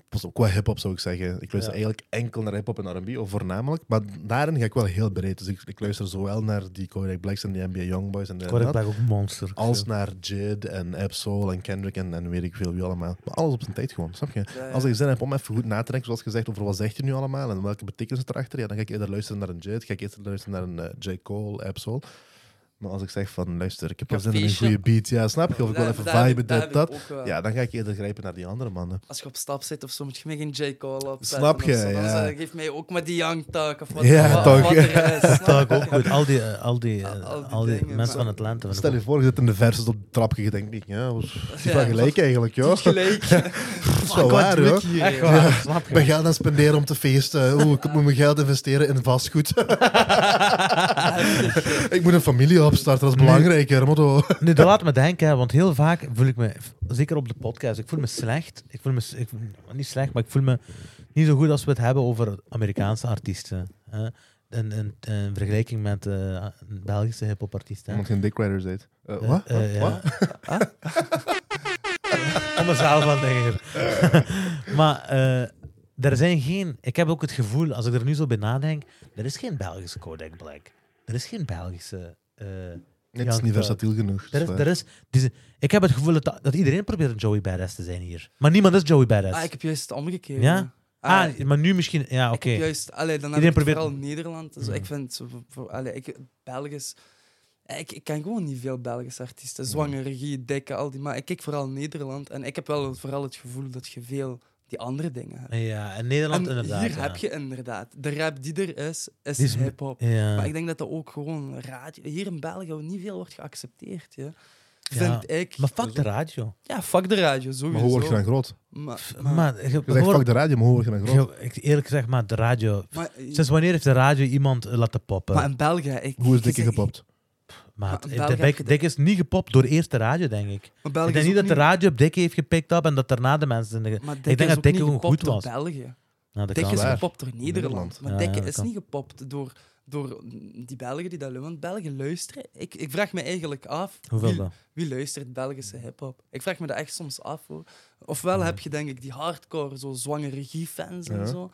Speaker 1: Pas op, qua hip-hop zou ik zeggen. Ik luister
Speaker 2: Ja.
Speaker 1: eigenlijk enkel naar hip-hop en R&B, of voornamelijk. Maar daarin ga ik wel heel breed. Dus ik, ik luister zowel naar die Kodak Blacks en de NBA Youngboys en de
Speaker 2: Kodak
Speaker 1: dat,
Speaker 2: Black ook monster.
Speaker 1: als naar Jid en Absol en Kendrick en, en weet ik veel wie allemaal. Maar alles op zijn tijd gewoon, snap je?
Speaker 3: Ja, ja.
Speaker 1: Als ik zin heb om even goed na te denken, zoals gezegd, over wat zegt hij nu allemaal en welke betekenis het erachter, ja, dan ga ik eerder luisteren naar een Jid, ga ik eerder luisteren naar een eh, J. Cole, Absol. Maar als ik zeg van, luister, ik heb wel
Speaker 3: Een
Speaker 1: zin in een
Speaker 3: feestje.
Speaker 1: goede beat, ja, snap je? Of ik wil
Speaker 3: Daar-
Speaker 1: even
Speaker 3: daar heb
Speaker 1: viben,
Speaker 3: ik- daar
Speaker 1: dit,
Speaker 3: heb
Speaker 1: dat.
Speaker 3: ik ook wel.
Speaker 1: Ja, dan ga ik eerder grijpen naar die andere mannen.
Speaker 3: Als je op stap zit of zo, moet je me geen J. Cole op.
Speaker 1: Snap je, ja.
Speaker 3: geef mij ook maar die Young Talk of wat,
Speaker 1: Ja,
Speaker 3: wat,
Speaker 1: toch.
Speaker 3: wat er is. Snap
Speaker 2: Tupac
Speaker 3: je?
Speaker 2: ook goed. Al die, eh, al die, eh,
Speaker 3: Al- al die
Speaker 2: al die
Speaker 3: dingen,
Speaker 2: mensen
Speaker 3: maar-
Speaker 2: van Atlanta.
Speaker 1: Stel je voor, je zit in de versus op het trapje, je denkt niet, ja, wat is
Speaker 3: Ja,
Speaker 1: wel gelijk eigenlijk, joh.
Speaker 3: Niet gelijk.
Speaker 1: Dat is wel waar,
Speaker 2: hoor.
Speaker 1: joh.
Speaker 2: Echt
Speaker 3: joh.
Speaker 2: waar, snap
Speaker 1: Ik ben
Speaker 2: je?
Speaker 1: geld aan het spenderen om te feesten. Oeh, ik moet mijn geld investeren in vastgoed. ik moet een familie opstarten, dat is belangrijk, Hermotto.
Speaker 2: Nu, dat laat me denken, hè, want heel vaak voel ik me, zeker op de podcast, ik voel me slecht. Ik voel me, s- ik, voel- niet slecht, maar ik voel me niet zo goed als we het hebben over Amerikaanse artiesten. Hè. In, in, in vergelijking met eh, Belgische hip-hop-artiesten. hè.
Speaker 1: Omdat je een dick rider bent. Eh,
Speaker 2: Eh,
Speaker 1: wat?
Speaker 2: eh, ja.
Speaker 1: Wat?
Speaker 2: Om mezelf aan denken. maar eh, er zijn geen... Ik heb ook het gevoel, als ik er nu zo bij nadenk, er is geen Belgische Kodak Black. Er is geen Belgische... eh,
Speaker 1: Nee, het is
Speaker 2: Ja,
Speaker 1: niet
Speaker 2: ik, eh,
Speaker 1: versatiel genoeg. dus,
Speaker 2: er is, er is, die zijn- ik heb het gevoel dat, dat iedereen probeert een Joey Badass te zijn hier. Maar niemand is Joey Badass.
Speaker 3: Ah, ik heb juist het omgekeerd.
Speaker 2: Ja?
Speaker 3: hè. Ah,
Speaker 2: Ah, maar nu misschien... Ja,
Speaker 3: Ik
Speaker 2: oké.
Speaker 3: heb juist, allee, dan
Speaker 2: Iedereen
Speaker 3: heb ik het
Speaker 2: probeert-
Speaker 3: vooral Nederland. Dus
Speaker 2: Mhm.
Speaker 3: Ik vind, zo voor- voor- allee, ik, Belgisch, ik, ik ken gewoon niet veel Belgische artiesten.
Speaker 2: Mhm.
Speaker 3: Zwangere, regie, dikke, al die. Maar ik kijk vooral Nederland en ik heb wel vooral het gevoel dat je veel die andere dingen hebt.
Speaker 2: Ja, in Nederland
Speaker 3: En
Speaker 2: inderdaad.
Speaker 3: hier
Speaker 2: ja.
Speaker 3: heb je inderdaad, de rap die er is, is,
Speaker 2: Die is-
Speaker 3: hip-hop.
Speaker 2: Ja.
Speaker 3: Maar ik denk dat dat ook gewoon radio. Hier in België niet veel wordt geaccepteerd. Ja.
Speaker 2: Ja.
Speaker 3: Vind ik.
Speaker 2: Maar fuck de radio.
Speaker 3: Ja, fuck de radio, sowieso.
Speaker 1: Maar hoe word je dan groot?
Speaker 3: Maar-
Speaker 2: F-
Speaker 3: maar-
Speaker 2: Maar, je-
Speaker 1: Je zegt
Speaker 2: hoor-
Speaker 1: fuck de radio, maar hoe word je dan groot?
Speaker 2: Yo, ik, eerlijk gezegd, maar de radio.
Speaker 3: maar-
Speaker 2: Sinds wanneer heeft de radio iemand eh, laten poppen?
Speaker 3: Maar in België... Ik,
Speaker 1: Hoe is
Speaker 3: ik-
Speaker 1: dikke gepopt?
Speaker 2: Maat,
Speaker 3: maar
Speaker 2: eh,
Speaker 3: in België
Speaker 2: de
Speaker 3: heb
Speaker 2: Dik-
Speaker 3: je de-
Speaker 2: Dik is niet gepopt door eerst de radio, denk ik.
Speaker 3: maar België
Speaker 2: ik
Speaker 3: is
Speaker 2: denk niet
Speaker 3: ook
Speaker 2: dat de radio op Dikke heeft gepikt op en dat daarna de mensen. in de-
Speaker 3: Maar Dikke
Speaker 2: denk dat
Speaker 3: is ook
Speaker 2: Dikke
Speaker 3: niet
Speaker 2: gewoon
Speaker 3: gepopt
Speaker 2: goed
Speaker 3: door
Speaker 2: was.
Speaker 3: België.
Speaker 2: Nou, dat
Speaker 3: Dikke
Speaker 2: kan
Speaker 3: is
Speaker 1: waar.
Speaker 3: gepopt door Nederland.
Speaker 1: Nederland.
Speaker 3: Maar
Speaker 2: Ja,
Speaker 3: Dikke
Speaker 2: ja, dat
Speaker 3: is
Speaker 2: kan.
Speaker 3: niet gepopt door, door die Belgen die dat doen. Want Belgen luisteren... Ik, ik vraag me eigenlijk af...
Speaker 2: Hoeveel
Speaker 3: wie,
Speaker 2: dan?
Speaker 3: wie luistert Belgische hip-hop? Ik vraag me dat echt soms af, hoor. Ofwel heb je, denk ik, die hardcore, zo zwangere regiefans
Speaker 1: Ja.
Speaker 3: en zo.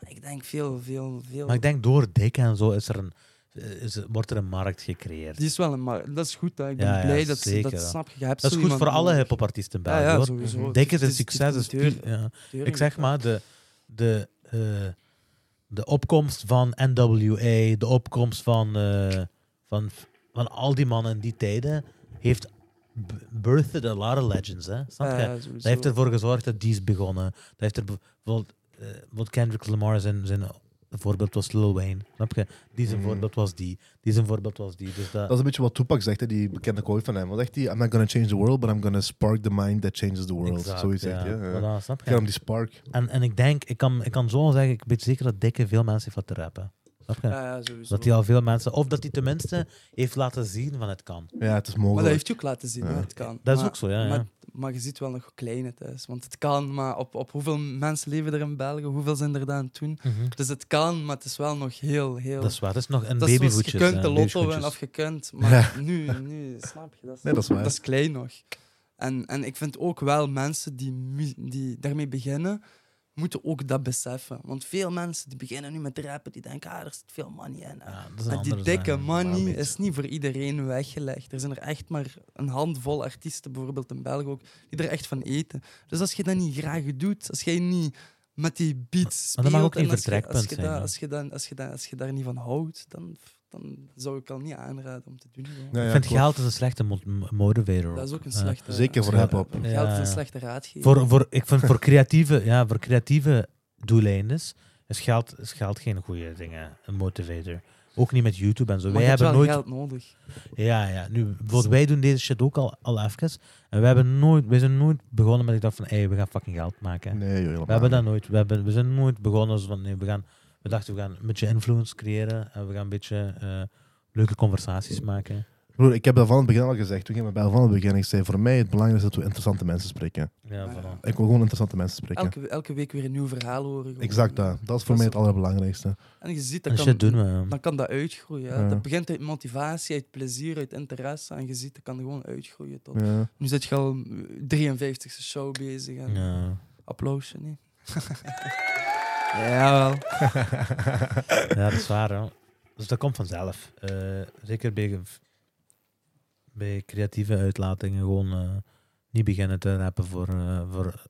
Speaker 3: Maar ik denk veel, veel, veel...
Speaker 2: Maar ik denk door Dikke en zo is er een, eh, is, wordt er een markt gecreëerd.
Speaker 3: Die is wel een... mar- Dat is goed, hè. Ik ben
Speaker 2: Ja, ja,
Speaker 3: blij dat ze-
Speaker 2: zeker,
Speaker 3: dat...
Speaker 2: ja.
Speaker 3: Snap je? je hebt
Speaker 2: dat is
Speaker 3: zo
Speaker 2: goed
Speaker 3: iemand
Speaker 2: voor alle
Speaker 3: nodig.
Speaker 2: hip-hop-artiesten
Speaker 3: Ja,
Speaker 2: bij.
Speaker 3: ja,
Speaker 2: hoor.
Speaker 3: sowieso.
Speaker 2: Dikke
Speaker 3: Het
Speaker 2: zijn
Speaker 3: is- het is
Speaker 2: succes is
Speaker 3: een deur-
Speaker 2: puur- ja.
Speaker 3: deur
Speaker 2: Ik zeg
Speaker 3: in-
Speaker 2: maar, de, de, eh, de opkomst van NWA, de opkomst van, eh, van van al die mannen in die tijden heeft b- birthed a lot of legends. Hè? Snap je? Dat
Speaker 3: Ja,
Speaker 2: heeft
Speaker 3: sowieso.
Speaker 2: ervoor gezorgd dat die is begonnen. Dat heeft er bijvoorbeeld, eh, bijvoorbeeld Kendrick Lamar zijn, zijn voorbeeld was Lil Wayne. Snap je? Die zijn
Speaker 3: Mm.
Speaker 1: Mhm.
Speaker 2: voorbeeld was die. Die zijn voorbeeld was die. Dus dat,
Speaker 1: Dat is een beetje wat Tupac zegt, hè, die bekende quote van hem. Wat zegt hij? I'm not gonna change the world, but I'm gonna spark the mind that changes the world.
Speaker 2: Exact,
Speaker 1: Zoiets zegt hij. hè. Ja.
Speaker 2: Voilà, snap
Speaker 1: Het
Speaker 2: je?
Speaker 1: gaat om die spark.
Speaker 2: En, en ik denk, ik kan, ik kan zo wel zeggen, ik weet zeker dat Dikke veel mensen heeft laten rappen. Snap je?
Speaker 3: Ja, ja, sowieso.
Speaker 2: dat hij al veel mensen, of dat hij tenminste heeft laten zien van het kan.
Speaker 1: Ja, het is
Speaker 3: Maar dat
Speaker 1: mogelijk.
Speaker 3: heeft je ook laten zien,
Speaker 1: Ja.
Speaker 3: hè, het kan.
Speaker 2: Dat is
Speaker 3: Maar-
Speaker 2: ook zo, ja. ja.
Speaker 3: Maar, maar je ziet wel nog hoe klein het is. Want het kan, maar op, op hoeveel mensen leven er in België? Hoeveel zijn er daar aan toen?
Speaker 2: Mhm.
Speaker 3: Dus het kan, maar het is wel nog heel, heel...
Speaker 2: Dat is waar, dat is nog een
Speaker 3: Dat is zoals
Speaker 2: babyvoetje. eh,
Speaker 3: je kunt de lotto winnen of je kunt, maar
Speaker 1: Ja.
Speaker 3: nu, nu, snap je, dat is,
Speaker 1: Nee, dat is waar.
Speaker 3: klein nog. En, en ik vind ook wel mensen die, mu- die daarmee beginnen, moeten ook dat beseffen. Want veel mensen die beginnen nu met rappen, die denken, ah, er zit veel money in. hè.
Speaker 2: Ja, dat is een
Speaker 3: Maar die
Speaker 2: andere
Speaker 3: dikke
Speaker 2: zaak, maar
Speaker 3: money
Speaker 2: weet je.
Speaker 3: is niet voor iedereen weggelegd. Er zijn er echt maar een handvol artiesten, bijvoorbeeld in België ook, die er echt van eten. Dus als je dat niet graag doet, als jij niet met die beats
Speaker 2: Maar
Speaker 3: speelt...
Speaker 2: dat mag ook
Speaker 3: en
Speaker 2: geen
Speaker 3: als je-
Speaker 2: vertrekpunt
Speaker 3: als je
Speaker 2: zijn,
Speaker 3: dat-
Speaker 2: hè?
Speaker 3: Als je dat- als je dat- als je daar niet van houdt, dan, dan zou ik al niet aanraden om te doen. gewoon.
Speaker 1: Ja, ja,
Speaker 2: Ik vind
Speaker 1: klopt.
Speaker 2: geld is een slechte mo- m- motivator.
Speaker 3: Dat is ook een
Speaker 2: Eh,
Speaker 3: slechte...
Speaker 1: zeker voor
Speaker 3: ja,
Speaker 1: hip-hop.
Speaker 3: Geld
Speaker 2: Ja,
Speaker 3: is
Speaker 2: ja.
Speaker 3: een slechte raadgever.
Speaker 2: voor, voor, ik vind voor creatieve, ja, voor creatieve doeleinden is geld, is geld geen goede dingen, een motivator. Ook niet met YouTube en zo.
Speaker 3: maar
Speaker 2: Wij
Speaker 3: je hebt
Speaker 2: hebben
Speaker 3: wel
Speaker 2: nooit
Speaker 3: geld nodig.
Speaker 2: Ja, ja. Nu, bijvoorbeeld, wij doen deze shit ook al, al even. En we hebben nooit, wij zijn nooit begonnen met ik dacht van, hé, we gaan fucking geld maken.
Speaker 1: Nee, joh, helemaal
Speaker 2: we hebben dat
Speaker 1: niet.
Speaker 2: nooit. We, hebben, we zijn nooit begonnen zo van, nee, we gaan, we dachten we gaan een beetje influence creëren en we gaan een beetje eh, leuke conversaties maken.
Speaker 1: Broer, ik heb dat van het begin al gezegd. Toen ging ik bij van het begin. Ik zei, voor mij het belangrijkste is dat we interessante mensen spreken.
Speaker 2: Ja,
Speaker 3: Ja.
Speaker 2: voilà.
Speaker 1: Ik wil gewoon interessante mensen spreken.
Speaker 3: Elke, elke week weer een nieuw verhaal horen. gewoon.
Speaker 1: Exact dat. Dat is voor mij
Speaker 3: Dat is
Speaker 1: het allerbelangrijkste.
Speaker 3: En je ziet,
Speaker 2: En
Speaker 3: dat
Speaker 2: shit
Speaker 3: kan,
Speaker 2: doen we.
Speaker 3: dan kan dat uitgroeien. hè.
Speaker 1: Ja.
Speaker 3: Dat begint uit motivatie, uit plezier, uit interesse. En je ziet, dat kan gewoon uitgroeien tot...
Speaker 1: Ja.
Speaker 3: Nu zit je al 53ste show bezig. En
Speaker 2: Ja.
Speaker 3: Applausje, nee? Jawel.
Speaker 2: ja, dat is waar. Hè. Dus dat komt vanzelf. Eh, zeker bij, bij creatieve uitlatingen gewoon eh, niet beginnen te rappen voor, eh, voor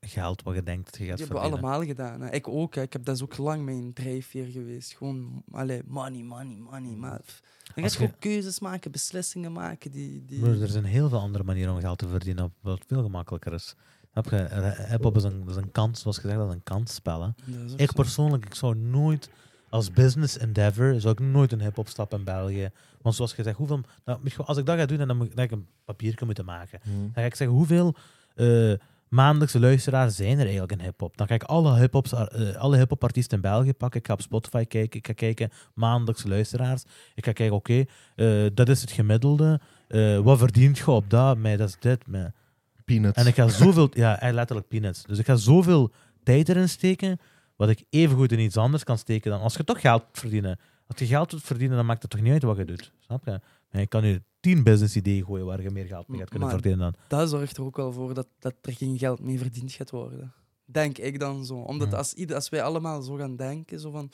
Speaker 2: geld wat je denkt dat je gaat
Speaker 3: Die hebben we
Speaker 2: verdienen.
Speaker 3: allemaal gedaan. Hè. Ik ook. Hè. Ik heb dat is ook lang mijn drijfveer geweest. Gewoon, allee, money, money, money. Maar pff, dan ga
Speaker 2: Als
Speaker 3: je
Speaker 2: je-
Speaker 3: ook keuzes maken, beslissingen maken. Die, die...
Speaker 2: Maar er zijn heel veel andere manieren om geld te verdienen, op- wat veel gemakkelijker is. Heb je, eh, hip-hop is een, is een kans, zoals gezegd, dat is een kansspel. hè.
Speaker 3: Dat is ook
Speaker 2: Ik
Speaker 3: zo.
Speaker 2: persoonlijk, ik zou nooit als business endeavor, zou ik nooit een hip-hop stap in België. Want zoals gezegd, hoeveel, nou, misschien wel, als ik dat ga doen, dan moet ik- dan ga ik een papiertje moeten maken.
Speaker 1: Hmm.
Speaker 2: Dan ga ik zeggen, hoeveel eh, maandelijkse luisteraars zijn er eigenlijk in hip-hop? Dan ga ik alle hip-hops, eh, alle hip-hop artiesten in België pakken. Ik ga op Spotify kijken. Ik ga kijken maandelijkse luisteraars. Ik ga kijken, oké, eh, dat is het gemiddelde. Eh, wat verdient je op dat? Mij, dat is dit. Mij.
Speaker 1: Peanuts.
Speaker 2: En ik ga zoveel, ja, eh, letterlijk peanuts. Dus ik ga zoveel tijd erin steken, wat ik evengoed in iets anders kan steken dan als je toch geld wilt verdienen. Als je geld wilt verdienen, dan maakt het toch niet uit wat je doet. Snap je? En je kan nu tien business ideeën gooien waar je meer geld mee gaat kunnen
Speaker 3: Maar-
Speaker 2: verdienen dan.
Speaker 3: dat zorgt er ook wel voor dat, dat er geen geld mee verdiend gaat worden. Denk ik dan zo. Omdat
Speaker 2: Ja.
Speaker 3: als, ieder, als wij allemaal zo gaan denken, zo van...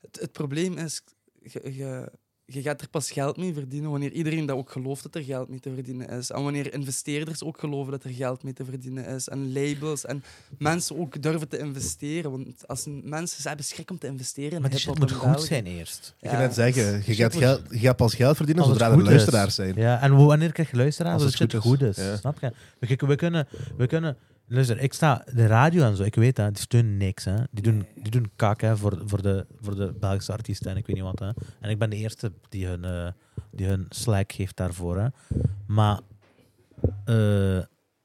Speaker 3: Het, het probleem is, je, je, je gaat er pas geld mee verdienen wanneer iedereen dat ook gelooft dat er geld mee te verdienen is. En wanneer investeerders ook geloven dat er geld mee te verdienen is. En labels en mensen ook durven te investeren. Want als een- mensen ze hebben schrik om te investeren in
Speaker 2: Maar die shit
Speaker 3: hip-hop
Speaker 2: moet
Speaker 3: in
Speaker 2: goed
Speaker 3: België.
Speaker 2: zijn eerst.
Speaker 1: Ik
Speaker 3: Ja. Dus
Speaker 1: ga net zeggen, je
Speaker 2: Shit
Speaker 1: gaat,
Speaker 2: was-
Speaker 1: geld, je gaat pas geld verdienen
Speaker 2: Als het
Speaker 1: zodra er
Speaker 2: goed is.
Speaker 1: luisteraars zijn.
Speaker 2: Ja, en hoe- wanneer krijg je luisteraars
Speaker 1: Als
Speaker 2: als
Speaker 1: het
Speaker 2: het shit
Speaker 1: goed
Speaker 2: goed
Speaker 1: is,
Speaker 2: is?
Speaker 1: ja.
Speaker 2: Snap je? We, kijken- we kunnen, we kunnen... Luister, ik sta... De radio en zo, ik weet dat, die steunen niks. Hè. Die, doen, die doen kak hè, voor, voor, de, voor de Belgische artiesten en ik weet niet wat. Hè. En ik ben de eerste die hun, eh, die hun slack geeft daarvoor. Hè. Maar... eh,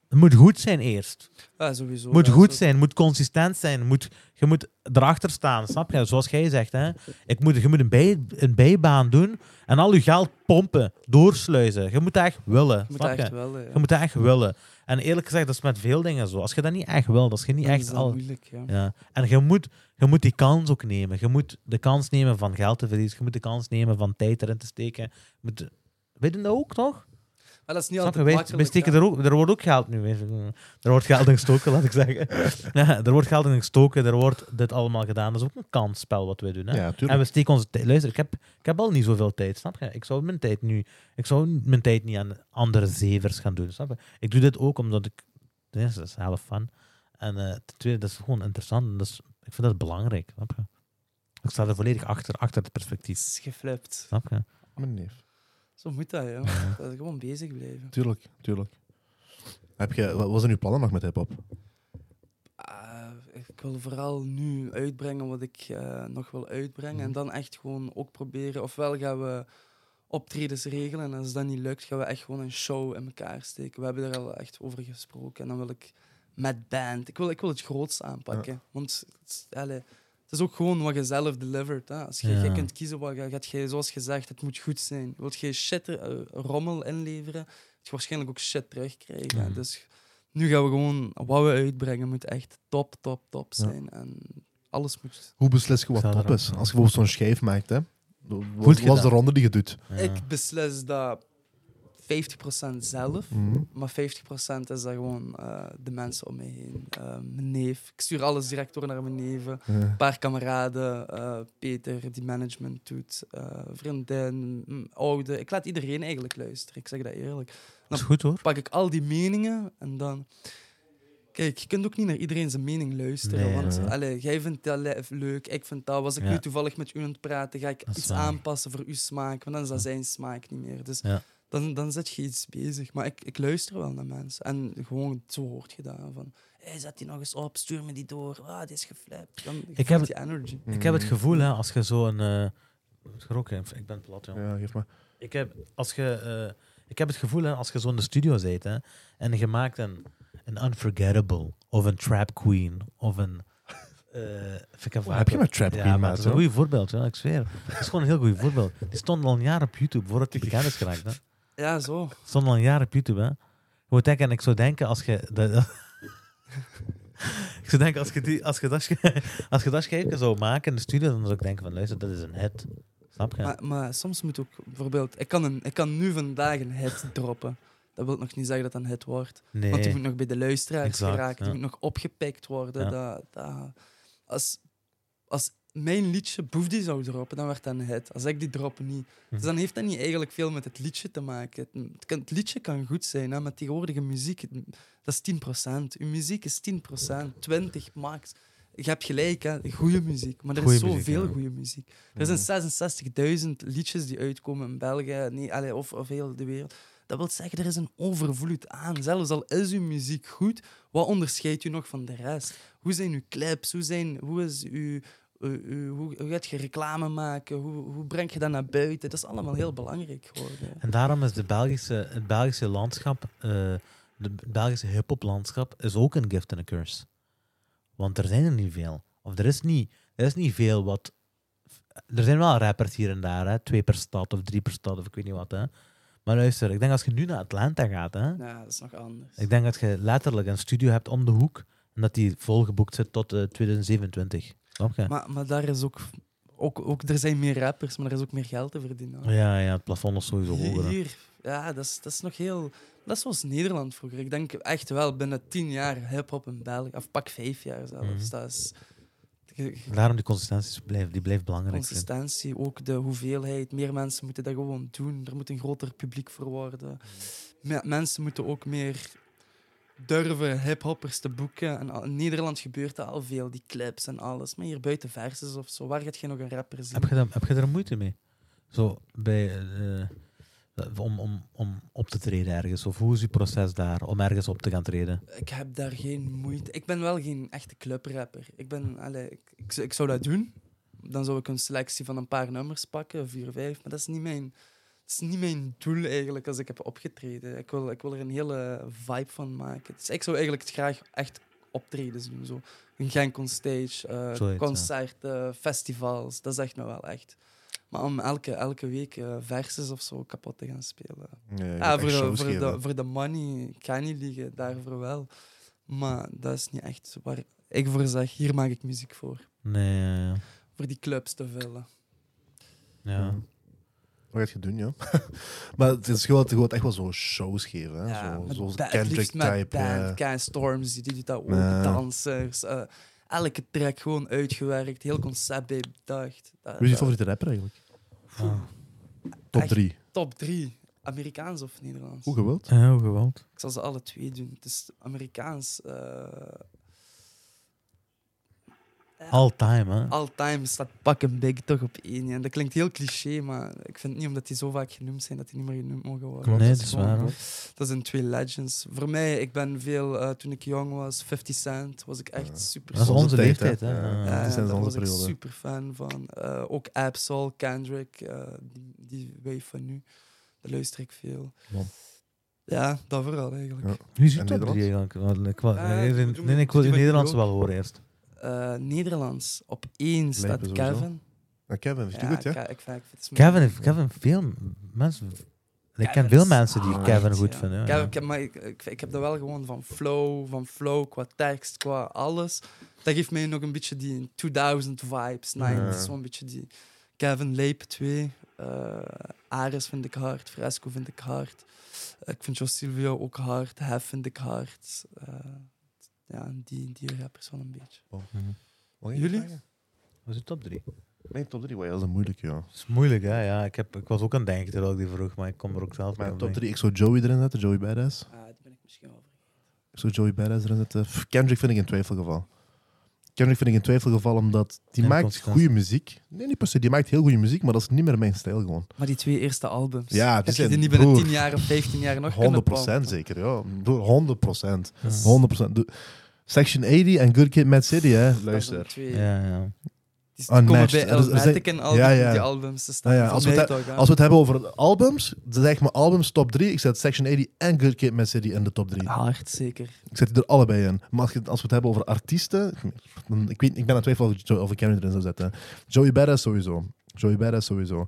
Speaker 2: het moet goed zijn eerst.
Speaker 3: Ja, sowieso.
Speaker 2: Moet
Speaker 3: ja,
Speaker 2: goed
Speaker 3: zo-
Speaker 2: zijn, moet consistent zijn. Moet, je moet erachter staan, snap je? Zoals jij zegt, hè? Ik moet, je moet een, bij, een bijbaan doen en al je geld pompen, doorsluizen. Je moet dat echt willen,
Speaker 3: Je moet
Speaker 2: snap
Speaker 3: dat echt
Speaker 2: je?
Speaker 3: wel, ja.
Speaker 2: Je moet dat echt willen. En eerlijk gezegd, dat is met veel dingen zo. Als je dat niet echt wil, als je niet
Speaker 3: Dan is
Speaker 2: echt
Speaker 3: dat
Speaker 2: al...
Speaker 3: moeilijk, ja.
Speaker 2: Ja. En je moet, je moet die kans ook nemen. Je moet de kans nemen van geld te verliezen. Je moet de kans nemen van tijd erin te steken. Je Moet, wij doen dat ook, toch?
Speaker 3: Maar Ah, dat is niet
Speaker 2: Snap je,
Speaker 3: altijd
Speaker 2: wij, wij
Speaker 3: makkelijk,
Speaker 2: steken
Speaker 3: ja.
Speaker 2: er, ook, er wordt ook geld nu. Er wordt geld in gestoken, laat ik zeggen. Ja, er wordt geld in gestoken, er wordt dit allemaal gedaan. Dat is ook een kansspel wat wij doen. Hè?
Speaker 1: Ja,
Speaker 2: en
Speaker 1: tuurlijk.
Speaker 2: we steken onze tijd. Luister, ik heb, ik heb al niet zoveel tijd, snap je? Ik zou mijn tijd nu. Ik zou mijn tijd niet aan andere zevers gaan doen. Snap je? Ik doe dit ook omdat ik. Ten eerste, dat is half fun. En eh, ten tweede, dat is gewoon interessant. En Dat is, ik vind dat belangrijk. Snap je? Ik sta er volledig achter, achter het
Speaker 3: Het
Speaker 2: perspectief.
Speaker 3: is geflipt.
Speaker 2: Snap je?
Speaker 1: Mijn neef.
Speaker 3: Zo moet dat, joh. Dat is gewoon bezig blijven.
Speaker 1: Tuurlijk, tuurlijk. Heb je, wat wat zijn uw plannen nog met hip-hop?
Speaker 3: Ah, ik wil vooral nu uitbrengen wat ik eh, nog wil uitbrengen. En dan echt gewoon ook proberen. Ofwel gaan we optredens regelen. En als dat niet lukt, gaan we echt gewoon een show in elkaar steken. We hebben er al echt over gesproken. En dan wil ik met band. Ik wil, ik wil het grootst aanpakken. Want het is, allee, het is ook gewoon wat je zelf delivert. Hè. Als je,
Speaker 2: Ja.
Speaker 3: jij kunt kiezen wat je gaat, jij, zoals gezegd, het moet goed zijn. Wilt je shit er- eh, rommel inleveren, dat je waarschijnlijk ook shit terugkrijgen.
Speaker 2: Mhm.
Speaker 3: Dus nu gaan we gewoon wat we uitbrengen moet echt top, top, top zijn. En alles moet.
Speaker 1: Hoe beslis je wat
Speaker 2: Zou er
Speaker 1: top
Speaker 2: ook-
Speaker 1: is? Als je bijvoorbeeld zo'n schijf maakt, hè?
Speaker 2: Voelt
Speaker 1: Wat
Speaker 2: je
Speaker 1: wat is de
Speaker 2: dat?
Speaker 1: ronde die je doet?
Speaker 2: Ja.
Speaker 3: Ik beslis dat 50% zelf,
Speaker 2: Mm.
Speaker 1: Mhm.
Speaker 3: maar 50% is dat gewoon eh, de mensen om me heen. Eh, mijn neef. Ik stuur alles direct door naar mijn neven.
Speaker 1: Ja.
Speaker 3: Een paar kameraden, eh, Peter die management doet, eh, vriendin, mm, oude. Ik laat iedereen eigenlijk luisteren, ik zeg dat eerlijk.
Speaker 2: Dat is goed hoor.
Speaker 3: pak ik al die meningen en dan. Kijk, je kunt ook niet naar iedereen zijn mening luisteren.
Speaker 2: Nee,
Speaker 3: want
Speaker 1: ja.
Speaker 3: allee, jij vindt dat le- leuk, ik vind dat. Was ik
Speaker 2: Ja.
Speaker 3: nu toevallig met u aan het praten, ga ik
Speaker 2: Dat is
Speaker 3: iets
Speaker 2: waar.
Speaker 3: aanpassen voor uw smaak. Want dan is dat zijn smaak niet meer. Dus
Speaker 2: Ja.
Speaker 3: dan, dan zet je iets bezig. Maar ik, ik luister wel naar mensen. En gewoon zo hoort je dat. Van, hey, zet die nog eens op, stuur me die door. Ah, die is geflapt. Dan ik
Speaker 2: heb-
Speaker 3: heb die energy.
Speaker 2: Ik heb het
Speaker 1: Mhm.
Speaker 2: gevoel, hè, als je zo'n. eh het gerok, hè. ik ben plat, jongen.
Speaker 1: Ja, geef maar.
Speaker 2: Ik, heb, als je, eh, ik heb het gevoel, hè, als je zo in de studio zit hè, en je maakt een, een Unforgettable of een Trap Queen of een. eh, vind ik
Speaker 1: Oh, heb je met Trap Queen,
Speaker 2: Ja, maar
Speaker 1: maat,
Speaker 2: het is een
Speaker 1: hoor.
Speaker 2: goed voorbeeld, ja, ik zweer. Het is gewoon een heel goed voorbeeld. Die stond al een jaar op YouTube voordat hij bekend is geraakt. Hè.
Speaker 3: Ja, zo.
Speaker 2: stond al een jaar op YouTube, hè. Je moet denken, en ik zou denken als je... dat- ik zou denken, als je, die, als je dat, sch- als je dat schijfje zou maken in de studio, dan zou ik denken van, luister, dat is een hit. Snap je?
Speaker 3: Maar, maar soms moet ook, bijvoorbeeld, ik kan, een, ik kan nu vandaag een hit droppen. Dat wil nog niet zeggen dat dat een hit wordt. Want die
Speaker 2: nee.
Speaker 3: moet nog bij de luisteraars
Speaker 2: Exact,
Speaker 3: geraken.
Speaker 2: ja.
Speaker 3: Die moet nog opgepikt worden.
Speaker 2: Ja.
Speaker 3: Dat, dat- als, als mijn liedje Boef die zou droppen, dan werd dat een hit. Als ik die drop niet. Dus
Speaker 2: Mhm.
Speaker 3: dan heeft dat niet eigenlijk veel met het liedje te maken. Het, het kan- het liedje kan goed zijn, hè, maar tegenwoordige muziek, het- dat is 10%. Uw muziek is 10%, 20% max. Je hebt gelijk, hè. goede muziek. Maar er
Speaker 2: Goeie
Speaker 3: is
Speaker 2: muziek,
Speaker 3: zoveel
Speaker 2: ja.
Speaker 3: goede muziek. Er zijn 66.000 liedjes die uitkomen in België nee, allee, of, of heel de wereld. Dat wil zeggen, er is een overvloed aan. Zelfs al is uw muziek goed, wat onderscheidt u nog van de rest? Hoe zijn uw clips? Hoe, zijn, hoe, is uw, uw- uw- hoe, hoe gaat je reclame maken? Hoe, hoe breng je dat naar buiten? Dat is allemaal heel belangrijk geworden. hè.
Speaker 2: En daarom is de Belgische, het Belgische landschap, eh de Belgische hip-hop landschap, is ook een gift en een curse. Want er zijn er niet veel. Of er is niet, er is niet veel wat. Er zijn wel rappers hier en daar, hè? twee per stad of drie per stad of ik weet niet wat. Hè? Maar luister, ik denk als je nu naar Atlanta gaat, hè?
Speaker 3: Ja, dat is nog anders.
Speaker 2: ik denk dat je letterlijk een studio hebt om de hoek en dat die volgeboekt zit tot eh, 2027. Snap je?
Speaker 3: Maar, maar daar is ook, ook, ook... Er zijn meer rappers, maar er is ook meer geld te verdienen.
Speaker 2: Ja, ja, het plafond is sowieso hoger.
Speaker 3: Hier,
Speaker 2: hè.
Speaker 3: hier, ja, dat is, dat is nog heel. Dat is zoals Nederland vroeger. Ik denk echt wel binnen tien jaar hip-hop in België, of pak vijf jaar zelfs.
Speaker 2: Mhm.
Speaker 3: Dat is. ge- ge-
Speaker 2: Daarom die consistentie blijft, die blijft belangrijk. zijn.
Speaker 3: Consistentie, ook de hoeveelheid. Meer mensen moeten dat gewoon doen. Er moet een groter publiek voor worden. Me- mensen moeten ook meer durven hiphoppers te boeken. En al- in Nederland gebeurt dat al veel, die clips en alles. Maar hier buiten verses of zo, waar gaat je nog een rapper zien?
Speaker 2: Heb je, daar, heb je daar moeite mee? Zo bij, eh, eh, om, om, om op te treden ergens? Of hoe is je proces daar om ergens op te gaan treden?
Speaker 3: Ik heb daar geen moeite. Ik ben wel geen echte clubrapper. Ik, ben, allee, ik, ik, zou- ik zou dat doen. Dan zou ik een selectie van een paar nummers pakken, vier, vijf. Maar dat is niet mijn, dat is niet mijn doel eigenlijk als ik heb opgetreden. Ik wil, ik wil er een hele vibe van maken. Dus ik zou eigenlijk het graag echt optredens doen. Zo. Een Genk on stage, eh,
Speaker 2: Zoiets, ja.
Speaker 3: concerten, festivals. Dat zegt me wel echt. Maar om elke, elke week eh, verses of zo kapot te gaan spelen.
Speaker 1: Ja,
Speaker 3: Ja, Ah, voor de,
Speaker 1: shows
Speaker 3: voor, de,
Speaker 1: geven.
Speaker 3: voor de money ik ga niet liegen, daarvoor wel. Maar dat is niet echt waar ik voor zeg, hier maak ik muziek voor.
Speaker 2: Nee, ja, ja.
Speaker 3: Voor die clubs te vullen.
Speaker 2: ja.
Speaker 1: Wat gaat je doen, ja? maar het is gewoon, het wordt echt wel zo shows geven, hè? zo,
Speaker 3: met
Speaker 1: zoals
Speaker 3: ba- het
Speaker 1: Kendrick
Speaker 3: liefst met
Speaker 1: type. eh,
Speaker 3: band,
Speaker 1: ja.
Speaker 3: Kai Storms, die doet dat ook,
Speaker 1: Ja.
Speaker 3: dansers. eh, elke track gewoon uitgewerkt, heel concept bij bedacht. Dat-
Speaker 1: Wie is je
Speaker 3: dat-
Speaker 1: favoriete rapper eigenlijk?
Speaker 2: Ah.
Speaker 1: Top
Speaker 3: Echt?
Speaker 1: drie.
Speaker 3: Top drie. Amerikaans of Nederlands?
Speaker 1: Hoe gewild?
Speaker 2: Ja, hoe geweld.
Speaker 3: Ik zal ze alle twee doen. Het is Amerikaans. eh,
Speaker 2: All time, hè?
Speaker 3: All time staat pak een big toch op één. ja. En dat klinkt heel cliché, maar ik vind niet omdat die zo vaak genoemd zijn dat die niet meer genoemd mogen worden.
Speaker 1: Klopt.
Speaker 2: nee,
Speaker 1: dat
Speaker 2: dat
Speaker 1: is
Speaker 2: is
Speaker 3: gewoon
Speaker 2: waar.
Speaker 3: goed.
Speaker 2: hoor.
Speaker 3: Dat zijn twee legends. Voor mij, ik ben veel, eh, toen ik jong was, 50 Cent, was ik echt
Speaker 1: Ja.
Speaker 3: super
Speaker 2: Dat is
Speaker 1: Onze
Speaker 2: onze
Speaker 1: tijd,
Speaker 2: leeftijd,
Speaker 1: hè.
Speaker 2: hè?
Speaker 1: Ja.
Speaker 2: Ja.
Speaker 1: dat
Speaker 3: Ja,
Speaker 1: is
Speaker 3: ja,
Speaker 1: een
Speaker 3: daar
Speaker 1: andere
Speaker 3: was ik
Speaker 1: periode.
Speaker 3: super fan van. Eh, ook Absol, Kendrick, eh, die, die wave van nu. Daar luister ik veel.
Speaker 1: Man.
Speaker 3: Ja, dat vooral eigenlijk.
Speaker 1: Ja.
Speaker 2: Wie zit
Speaker 1: En
Speaker 2: top
Speaker 1: Nederlands?
Speaker 2: drie eigenlijk? Want ik wou-
Speaker 3: Eh,
Speaker 2: nee, nee,
Speaker 3: doe-
Speaker 2: nee, ik
Speaker 3: doe
Speaker 2: wil
Speaker 3: die
Speaker 2: die
Speaker 3: van
Speaker 2: Nederlandse
Speaker 3: Joop.
Speaker 2: wel horen eerst.
Speaker 3: Eh, Nederlands, op één staat
Speaker 1: Lijpen sowieso.
Speaker 3: Kevin.
Speaker 1: Ja, Kevin, vind je goed, hè?
Speaker 3: Ke- ik, vind- ik vind het
Speaker 2: Kevin, heeft- Kevin veel mensen... Ik ken veel
Speaker 3: is
Speaker 2: mensen die
Speaker 3: hard,
Speaker 2: Kevin goed
Speaker 3: ja.
Speaker 2: vinden. ja.
Speaker 3: Kevin, ik heb- maar ik, ik, ik heb dat wel gewoon van flow, van flow qua tekst, qua alles. Dat geeft mij nog een beetje die 2000 vibes, 90s,
Speaker 1: Ja.
Speaker 3: zo'n beetje die Kevin Leep 2. eh Ares vind ik hard, Fresco vind ik hard. Eh, ik vind Jos Silvio ook hard, Hef vind ik hard. Eh, ja, en die, die rappers wel een beetje.
Speaker 2: Mhm.
Speaker 1: Mag ik iets
Speaker 3: Jullie?
Speaker 1: vragen?
Speaker 2: Wat is de top drie?
Speaker 1: Mijn top 3, dat is een moeilijke, ja.
Speaker 2: Dat is moeilijk, hè? Ja, ik, heb, ik was ook aan het denken terwijl ik die vroeg, maar ik kom er ook zelf
Speaker 1: Mijn
Speaker 2: niet
Speaker 1: top
Speaker 2: mee.
Speaker 1: 3, ik zou Joey erin zetten, Joey Badass.
Speaker 3: Ah, die ben ik misschien wel vergeten.
Speaker 1: Ik zou Joey Badass erin zetten. Pff, Kendrick vind ik een twijfelgeval. Kendrick vind ik een twijfelgeval omdat die
Speaker 2: En
Speaker 1: maakt
Speaker 2: constant.
Speaker 1: goede muziek. Nee, niet per se, die maakt heel goede muziek, maar dat is niet meer mijn stijl gewoon.
Speaker 3: Maar die twee eerste albums.
Speaker 1: Ja, die
Speaker 3: heb je
Speaker 1: zijn-
Speaker 3: die niet binnen
Speaker 1: broer.
Speaker 3: 10 jaar of 15 jaar nog
Speaker 1: 100
Speaker 3: kunnen pompen?
Speaker 1: zeker, ja. Broer, 100 procent.
Speaker 2: Ja.
Speaker 1: 100 De- Section 80 en Good Kid, Mad City, hè.
Speaker 3: Dat zijn
Speaker 1: Luister.
Speaker 3: twee
Speaker 2: Ja, ja.
Speaker 3: Die
Speaker 1: Ah,
Speaker 3: komen
Speaker 1: next.
Speaker 3: bij
Speaker 1: Er is- er
Speaker 3: Elmatic
Speaker 1: zijn-
Speaker 3: en al die-
Speaker 1: Ja, ja.
Speaker 3: die albums te staan.
Speaker 1: Ja, ja,
Speaker 3: Voor
Speaker 1: als we
Speaker 3: mij
Speaker 1: het-
Speaker 3: toch, hè.
Speaker 1: Als we het hebben over albums, dan zeg ik mijn albums top 3. Ik zet Section 80 en Good Kid, Mad City in de top 3.
Speaker 3: Hard, zeker.
Speaker 1: Ik zet die er allebei in. Maar als, je- als we het hebben over artiesten, dan, ik, weet, ik ben aan het twijfelen of ik Jo- of ik Cameron erin zou zetten. Joey Badass sowieso. Joey Badass sowieso.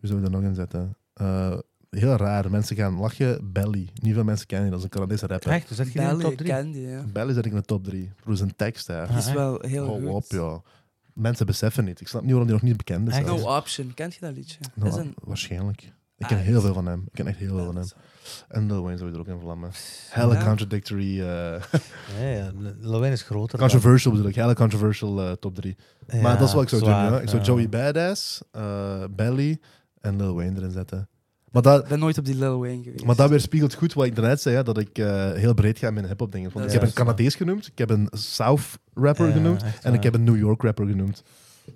Speaker 1: Wie zou ik er nog in zetten? Eh, heel raar, mensen gaan lachen. Belly. Niet veel mensen kennen die, dat is een Canadese rapper.
Speaker 2: Echt, dus dat je die in de
Speaker 3: Belly,
Speaker 2: top
Speaker 3: ik
Speaker 2: drie?
Speaker 3: ken die, ja.
Speaker 1: Belly zet ik in de top 3. Voor zijn tekst daar.
Speaker 3: Die is
Speaker 2: echt?
Speaker 3: wel heel
Speaker 1: Hou
Speaker 3: goed.
Speaker 1: Oh, op, ja. Mensen beseffen niet. Ik snap niet waarom die nog niet bekend is.
Speaker 2: Echt?
Speaker 1: zelfs.
Speaker 3: No Option, kent je dat liedje?
Speaker 1: Nou,
Speaker 3: is een...
Speaker 1: waarschijnlijk. Ik
Speaker 3: Ah,
Speaker 1: ken
Speaker 3: dat
Speaker 1: heel
Speaker 3: is-
Speaker 1: veel van hem. Ik ken echt heel veel van hem. En Lil Wayne zou je er ook in vlammen. Helle
Speaker 3: Ja.
Speaker 1: contradictory. eh,
Speaker 2: Ja, ja. Lewijn is groter. dan-
Speaker 1: controversial bedoel ik. Hele controversial eh, top 3. maar
Speaker 2: Ja,
Speaker 1: dat is wat ik zou
Speaker 2: zwaar,
Speaker 1: doen. Ja. Ik zou
Speaker 2: ja.
Speaker 1: Joey Badass, eh, Belly en Lil Wayne erin zetten. Maar dat,
Speaker 3: Ik ben nooit op die Lil Wayne geweest.
Speaker 1: maar dat weerspiegelt goed wat ik daarnet zei, hè, dat ik eh, heel breed ga in mijn hip-hop dingen. Want
Speaker 3: Dat
Speaker 1: ik
Speaker 3: is
Speaker 1: heb een
Speaker 2: juist, ja.
Speaker 1: Canadees genoemd, ik heb een South rapper
Speaker 2: Ja,
Speaker 1: genoemd
Speaker 2: echt
Speaker 1: en ik
Speaker 2: waar.
Speaker 1: heb een New York rapper genoemd.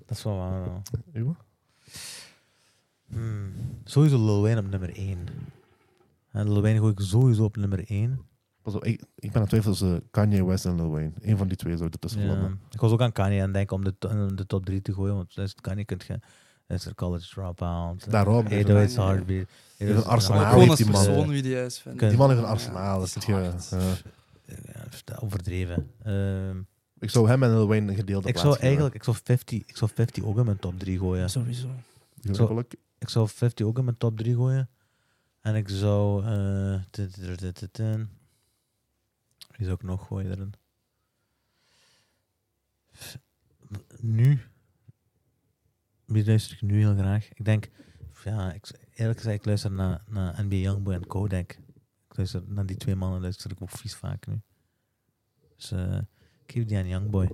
Speaker 2: Dat is wel waar. ja.
Speaker 1: Uwe?
Speaker 2: Hmm. Sowieso Lil Wayne op nummer 1. En Lil Wayne gooi ik sowieso op nummer 1.
Speaker 1: Pas op, ik, ik ben aan het twijfelen tussen Kanye West en Lil Wayne. Eén van die twee zou ik ertussen vlammen.
Speaker 2: Ik was ook aan Kanye aan het denken om de, to- om de top 3 te gooien, want is Kanye kunt je... Is er College Dropout, eh,
Speaker 1: Daarom.
Speaker 3: Hey,
Speaker 1: even-
Speaker 3: dat-
Speaker 2: 808's Heartbeat.
Speaker 1: een
Speaker 2: Heroes-
Speaker 1: arsenaal
Speaker 3: Maar
Speaker 1: Ah,
Speaker 3: gewoon
Speaker 1: heeft
Speaker 3: als
Speaker 1: die man-
Speaker 3: persoon wie die is. vind ik.
Speaker 1: die man heeft een
Speaker 3: Ja,
Speaker 1: arsenaal.
Speaker 3: die
Speaker 1: dat
Speaker 3: is
Speaker 1: is eh, ge-
Speaker 3: hard.
Speaker 1: ja.
Speaker 2: Eh, Ja, dat is Overdreven. Ehm,
Speaker 1: ik zou hem en Lil Wayne een gedeelde
Speaker 2: ik
Speaker 1: plaats
Speaker 2: zou
Speaker 1: geven.
Speaker 2: eigenlijk ik zou 50, ik zou 50 ook in mijn top 3 gooien.
Speaker 3: Sowieso.
Speaker 1: Gelukkig.
Speaker 2: Ik zou 50 ook in mijn top 3 gooien. En ik zou. eh, tut, tut, tut, tut, tut. Wie zou ik nog gooien erin? Nu. Wie luister ik nu heel graag? Ik denk. Ja, ik, eerlijk gezegd, ik luister naar, naar NBA Youngboy en Kodak. Ik luister naar die twee mannen, luister ik ook vies vaak nu. Dus eh, ik geef die aan Youngboy.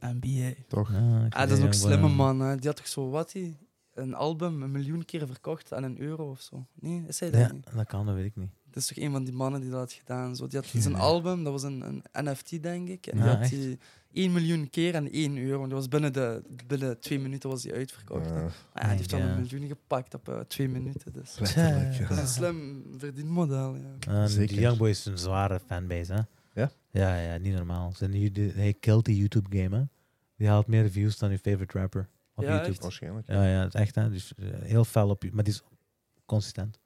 Speaker 3: NBA.
Speaker 1: Toch?
Speaker 2: Ja, ik
Speaker 3: Ah,
Speaker 2: geef
Speaker 3: dat is
Speaker 2: die
Speaker 3: ook
Speaker 2: aan
Speaker 3: slimme
Speaker 2: Youngboy.
Speaker 1: ehm,
Speaker 3: man. Hè. Die had toch zo wat, die? Een album een miljoen keer verkocht aan een euro of zo. Nee, is hij dat
Speaker 2: Ja,
Speaker 3: niet?
Speaker 2: dat kan, dat weet ik niet.
Speaker 3: Dat is toch een van die mannen die dat had gedaan. Zo, die had
Speaker 2: Ja.
Speaker 3: zijn album, dat was een, een NFT, denk ik. En
Speaker 2: Ja,
Speaker 3: die had
Speaker 2: echt?
Speaker 3: die 1 miljoen keer en 1 euro. Want die was binnen, de, binnen twee minuten was die uitverkocht. hè.
Speaker 1: Ja,
Speaker 3: Maar ja, die heeft dan
Speaker 2: Ja.
Speaker 3: een miljoen gepakt op eh, twee minuten. Dus.
Speaker 1: letterlijk,
Speaker 2: Tja.
Speaker 1: ja.
Speaker 3: Dat is een slim verdienmodel. Ja.
Speaker 2: En
Speaker 1: Zeker.
Speaker 2: Ehm, Die Youngboy is een zware fanbase, hè?
Speaker 1: Ja?
Speaker 2: Ja, ja niet normaal. Zijn die- die- Hij killt die YouTube-game, hè? Die haalt meer views dan je favorite rapper op
Speaker 3: Ja,
Speaker 2: YouTube.
Speaker 3: echt?
Speaker 1: Waarschijnlijk.
Speaker 2: Ja, ja, het is echt, hè? Dus eh, heel fel op je, maar die is consistent.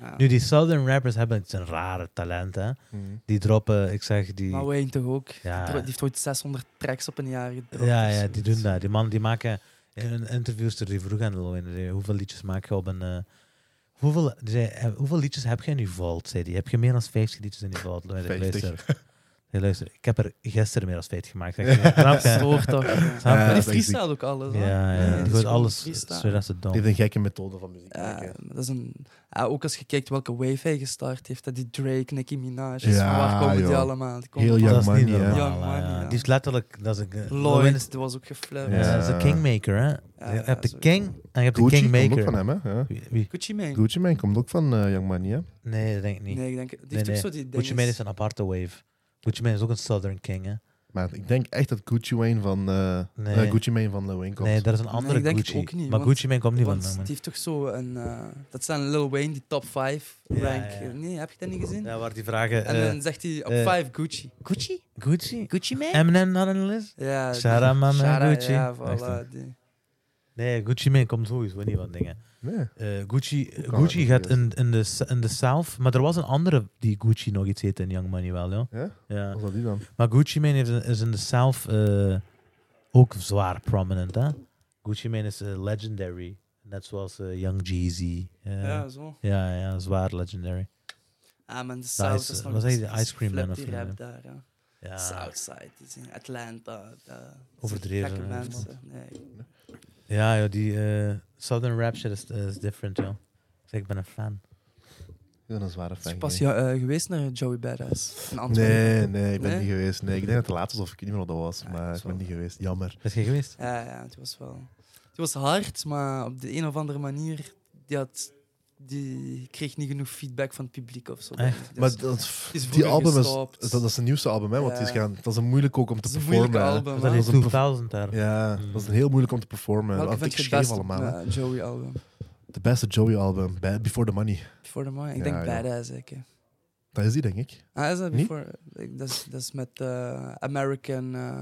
Speaker 3: Ja.
Speaker 2: Nu, die Southern rappers hebben het zijn rare talent, hè?
Speaker 1: Mhm.
Speaker 2: Die droppen, ik zeg, die...
Speaker 3: Maar Wayne toch ook?
Speaker 2: Ja.
Speaker 3: Die dro- Die heeft ooit 600 tracks op een jaar gedropt. dus
Speaker 2: Ja,
Speaker 3: of
Speaker 2: ja, die
Speaker 3: zoiets.
Speaker 2: doen dat. Die mannen die maken in hun interviews er die vroeg aan de Lil Wayne, Hoeveel liedjes maak je op een. eh, hoeveel, die zei, eh, hoeveel liedjes heb je in je vault? Zei die. Heb je meer dan 50 liedjes in je vault? Lil Wayne,
Speaker 1: 50.
Speaker 2: ik Luister. Ik luister, ik heb er gisteren meer dan 50 gemaakt. Zeg, je, snap je?
Speaker 3: Stoort toch? Ja.
Speaker 2: Snap je?
Speaker 1: Ja,
Speaker 3: Maar
Speaker 1: dat
Speaker 3: die
Speaker 1: is
Speaker 3: freestyle ook alles. hè?
Speaker 2: Ja,
Speaker 1: Ja,
Speaker 2: ja.
Speaker 1: dat
Speaker 2: Die
Speaker 1: is
Speaker 2: gooit
Speaker 3: gewoon
Speaker 2: alles
Speaker 3: freestyle.
Speaker 2: zodat ze dom.
Speaker 1: Die heeft een gekke methode van muziek
Speaker 3: Ja,
Speaker 1: maken.
Speaker 3: Eh, dat is een, ja, ook als je kijkt welke wave hij gestart heeft, dat die Drake, Nicki Minaj, is,
Speaker 1: Ja,
Speaker 3: van waar komen die
Speaker 1: joh.
Speaker 3: allemaal? Die
Speaker 1: Heel
Speaker 3: komen
Speaker 1: Young
Speaker 2: Dat is
Speaker 1: Money,
Speaker 2: niet
Speaker 1: hè?
Speaker 2: normaal.
Speaker 3: Young
Speaker 2: hè,
Speaker 3: Money,
Speaker 2: ja.
Speaker 3: ja.
Speaker 2: Die is letterlijk. Dat is een, eh,
Speaker 3: van
Speaker 2: Lil Wayne
Speaker 3: Lloyd, die was ook geflirt.
Speaker 1: Ja.
Speaker 2: is een kingmaker, hè? je hebt de
Speaker 3: sowieso.
Speaker 2: king en je hebt de
Speaker 1: Gucci komt ook
Speaker 2: kingmaker.
Speaker 1: van hem, hè? Ja.
Speaker 2: Wie- wie?
Speaker 3: Gucci Mane?
Speaker 1: Gucci Mane komt ook van eh, Young Money, hè?
Speaker 2: Nee, dat denk ik niet.
Speaker 3: Nee, ik denk... Die
Speaker 2: Nee,
Speaker 3: heeft ook
Speaker 2: nee.
Speaker 3: zo die
Speaker 2: Gucci
Speaker 3: dinges-
Speaker 2: Mane is een aparte wave. Gucci Mane is ook een Southern King, hè?
Speaker 1: Maar ik denk echt dat Gucci Mane van, eh,
Speaker 2: Nee.
Speaker 1: eh, Gucci Mane van Lil Wayne komt.
Speaker 2: Nee, daar is een andere
Speaker 3: ik denk het
Speaker 2: Gucci.
Speaker 3: ook niet,
Speaker 2: maar
Speaker 3: want-
Speaker 2: Gucci Mane komt niet van
Speaker 3: Want die heeft toch zo een... eh, dat zijn Lil Wayne, die top 5
Speaker 2: Ja,
Speaker 3: rank.
Speaker 2: ja, ja.
Speaker 3: Nee, heb je dat niet gezien?
Speaker 2: Ja, waar die vragen...
Speaker 3: En
Speaker 2: eh,
Speaker 3: dan zegt hij op
Speaker 2: eh,
Speaker 3: 5 Gucci. Gucci?
Speaker 2: Gucci?
Speaker 3: Gucci mee?
Speaker 2: Eminem not on the list?
Speaker 3: Ja.
Speaker 2: Sarah, man, eh,
Speaker 3: Sarah,
Speaker 2: Gucci.
Speaker 3: Ja,
Speaker 2: Echt, hè?
Speaker 3: voilà. die.
Speaker 2: Nee, Gucci Mane komt sowieso niet van dingen.
Speaker 1: Nee.
Speaker 2: Eh, Gucci,
Speaker 1: Hoe kan dat
Speaker 2: Gucci gaat
Speaker 1: niet?
Speaker 2: in, in, de, s- in de South, maar er was een andere die Gucci nog iets heette in Young Money wel, ja.
Speaker 1: Ja?
Speaker 2: ja.
Speaker 1: Wat is dat die dan?
Speaker 2: Maar Gucci Mane heeft, is in de South eh, ook zwaar prominent, hè. Gucci Mane is eh, legendary, net zoals eh, Young Jeezy. eh,
Speaker 3: Ja, zo.
Speaker 2: ja, ja, zwaar legendary.
Speaker 3: Ah, man, de South
Speaker 2: is-
Speaker 3: is nog...
Speaker 2: wat zei je, de
Speaker 3: is- is
Speaker 2: ice cream man
Speaker 3: flipped
Speaker 2: of
Speaker 3: die
Speaker 2: zo,
Speaker 3: rap daar, ja.
Speaker 2: Ja.
Speaker 3: Southside, die zijn Atlanta. de-
Speaker 2: Overdreven,
Speaker 3: gekke
Speaker 2: hè,
Speaker 3: mensen. Nee.
Speaker 2: Ja, ja die eh, Southern rap shit is, is different, joh. Ik zeg, ik ben een fan.
Speaker 1: Ik ben een zware
Speaker 3: Is
Speaker 1: fan.
Speaker 3: je pas
Speaker 1: geweest.
Speaker 3: ja, eh, geweest naar Joey Badass? In Antwerpen?
Speaker 1: Nee, nee, ik ben
Speaker 3: Nee?
Speaker 1: niet geweest. Nee, ik denk dat het laatste was, of ik weet niet meer wat dat was,
Speaker 3: Ja,
Speaker 1: maar
Speaker 3: dat
Speaker 1: ik
Speaker 3: is
Speaker 1: ben
Speaker 3: wel-
Speaker 1: niet geweest. Jammer.
Speaker 2: Is je geweest?
Speaker 3: Ja, ja, het was wel... Het was hard, maar op de een of andere manier... Die, had, die kreeg niet genoeg feedback van het publiek of zo.
Speaker 2: Echt?
Speaker 3: Dus
Speaker 1: Maar dat,
Speaker 3: is
Speaker 1: die
Speaker 3: vroeger
Speaker 1: album is,
Speaker 3: gestopt.
Speaker 1: dat, dat is het nieuwste album, hè? Want die is
Speaker 3: Ja.
Speaker 1: gaan, dat is een moeilijk ook om te
Speaker 3: Het is een
Speaker 1: performen.
Speaker 3: moeilijke
Speaker 1: hè.
Speaker 3: album,
Speaker 2: Was
Speaker 3: hè?
Speaker 2: dat
Speaker 1: Dat
Speaker 2: die
Speaker 1: was een
Speaker 2: 2000 daar?
Speaker 1: Ja,
Speaker 2: Mm.
Speaker 1: dat is een heel moeilijk om te performen.
Speaker 3: Welke
Speaker 1: dat
Speaker 3: vind je
Speaker 1: ik
Speaker 3: het beste
Speaker 1: allemaal. hè.
Speaker 3: eh, Joey-album?
Speaker 1: De beste Joey-album, Ba- Before the Money.
Speaker 3: Before the Mind? Ik
Speaker 1: Ja,
Speaker 3: denk
Speaker 1: ja.
Speaker 3: Badass, ik. hè.
Speaker 1: Dat is die, denk ik.
Speaker 3: Ah, is dat
Speaker 1: Niet?
Speaker 3: Before... ik- Dat is, dat is met eh, American... eh,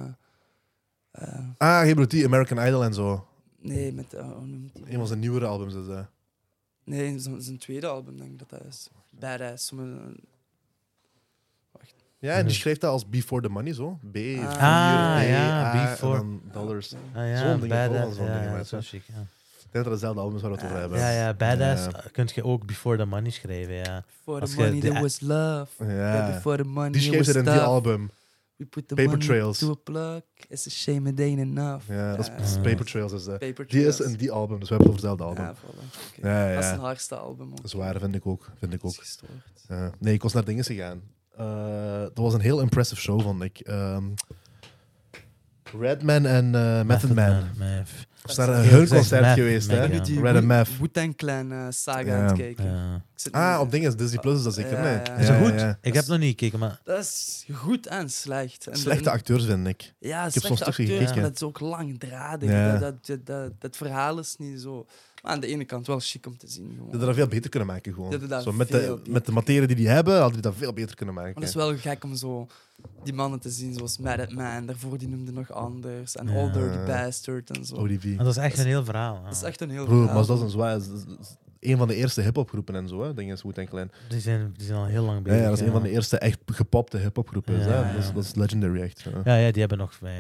Speaker 3: eh,
Speaker 1: Ah, hey bro, die American Idol en zo.
Speaker 3: nee, met... eh, hoe noemt die?
Speaker 1: Een van zijn nieuwere albums dus, eh. is dat.
Speaker 3: Nee, zijn, zijn tweede album denk ik dat dat is. Badass. sommige-
Speaker 1: Ja, en die
Speaker 2: Mhm.
Speaker 1: schrijft dat als Before the Money, zo. B, vier,
Speaker 3: Ah,
Speaker 1: A,
Speaker 2: ja,
Speaker 1: en
Speaker 2: Before.
Speaker 1: dan
Speaker 3: eh,
Speaker 1: dollars. Ik
Speaker 2: Ah, ja,
Speaker 1: Zo'n ding,
Speaker 2: badass.
Speaker 1: gewoon zo'n
Speaker 2: ja,
Speaker 1: ding,
Speaker 2: ja,
Speaker 1: weet
Speaker 2: zo
Speaker 1: je.
Speaker 2: chic, ja.
Speaker 1: denk dat het dezelfde album is waar we het over
Speaker 3: Ah,
Speaker 1: hebben.
Speaker 2: ja, ja, badass
Speaker 1: Ja.
Speaker 2: eh, kun je ook Before the Money schrijven, ja.
Speaker 3: For
Speaker 2: Als
Speaker 3: the
Speaker 2: je
Speaker 3: money
Speaker 2: de-
Speaker 3: there was love.
Speaker 1: Ja.
Speaker 3: Yeah, before the money
Speaker 1: Die schreef
Speaker 3: was
Speaker 1: ze in die
Speaker 3: tough.
Speaker 1: album.
Speaker 3: We put the
Speaker 1: Paper
Speaker 3: money
Speaker 1: Trails.
Speaker 3: to a plug. It's a shame it ain't enough.
Speaker 1: Ja, dat is
Speaker 3: Ja.
Speaker 1: dat is
Speaker 2: Ah.
Speaker 1: Paper Trails. Is, dat.
Speaker 3: Paper
Speaker 1: Die is
Speaker 3: Trails.
Speaker 1: in die album, dus we hebben het over hetzelfde album.
Speaker 3: Ja, voilà. Oké.
Speaker 1: Ja,
Speaker 3: Dat is
Speaker 1: ja.
Speaker 3: een hardste album. Ook.
Speaker 1: Zwaar, vind ik ook. Vind ik ook.
Speaker 3: Dat is gestoord.
Speaker 1: Ja. nee, ik was naar dingen gegaan. Eh, dat was een heel impressive show, vond ik. Ehm, Redman en eh Method Man.
Speaker 2: Meth.
Speaker 1: Ik was naar
Speaker 3: Heel
Speaker 1: hun
Speaker 2: gezegd,
Speaker 1: concert
Speaker 2: Meth-
Speaker 1: geweest, hè?
Speaker 2: Meth,
Speaker 3: Nu
Speaker 2: Ja.
Speaker 3: die
Speaker 1: Red and Meth.
Speaker 3: Wu-Tang Clan eh, saga
Speaker 1: Ja.
Speaker 3: aan het kijken.
Speaker 2: Ja.
Speaker 3: Ik zit nu-
Speaker 1: Ah, op dingen is Disney Plus, is dat zeker?
Speaker 3: Ja,
Speaker 1: nee.
Speaker 3: ja.
Speaker 1: Ja,
Speaker 2: Is dat goed?
Speaker 1: ja.
Speaker 2: Ik heb nog niet gekeken, maar
Speaker 3: Dat is goed en slecht. En de-
Speaker 1: Slechte acteurs, vind ik.
Speaker 3: Ja, ik
Speaker 1: heb
Speaker 3: slechte
Speaker 1: soms stukjes
Speaker 3: acteurs,
Speaker 1: gekeken.
Speaker 3: maar dat is ook langdradig.
Speaker 1: Ja.
Speaker 3: Dat, dat, dat, dat, dat verhaal is niet zo... Maar aan de ene kant wel chic om te zien. Gewoon.
Speaker 1: Dat hadden dat veel beter kunnen maken, gewoon.
Speaker 3: Dat hadden dat
Speaker 1: Zo, met,
Speaker 3: veel
Speaker 1: de,
Speaker 3: beter
Speaker 1: met de materie die die hebben, hadden die dat veel beter kunnen maken.
Speaker 3: Maar het is wel gek om zo die mannen te zien, zoals Mad Man. Daarvoor die noemde nog anders. En
Speaker 2: Ja.
Speaker 3: All Dirty Bastard en zo.
Speaker 1: ODB.
Speaker 2: dat is echt een heel verhaal.
Speaker 3: Dat is
Speaker 2: ja.
Speaker 3: echt een heel
Speaker 1: Oh, Broer,
Speaker 3: verhaal.
Speaker 1: maar dat is een zwaar... dat is- dat is Een van de eerste hip-hopgroepen en zo, hè? Dingen is Wu-Tang Clan.
Speaker 2: Die, zijn, die zijn al heel lang
Speaker 1: Ja,
Speaker 2: bezig.
Speaker 1: ja, dat is een van de eerste echt gepopte hip-hopgroepen. is, hè.
Speaker 2: Ja, ja.
Speaker 1: Dat, is, dat is legendary, echt. Ja,
Speaker 2: Ja, ja, die hebben nog... eh,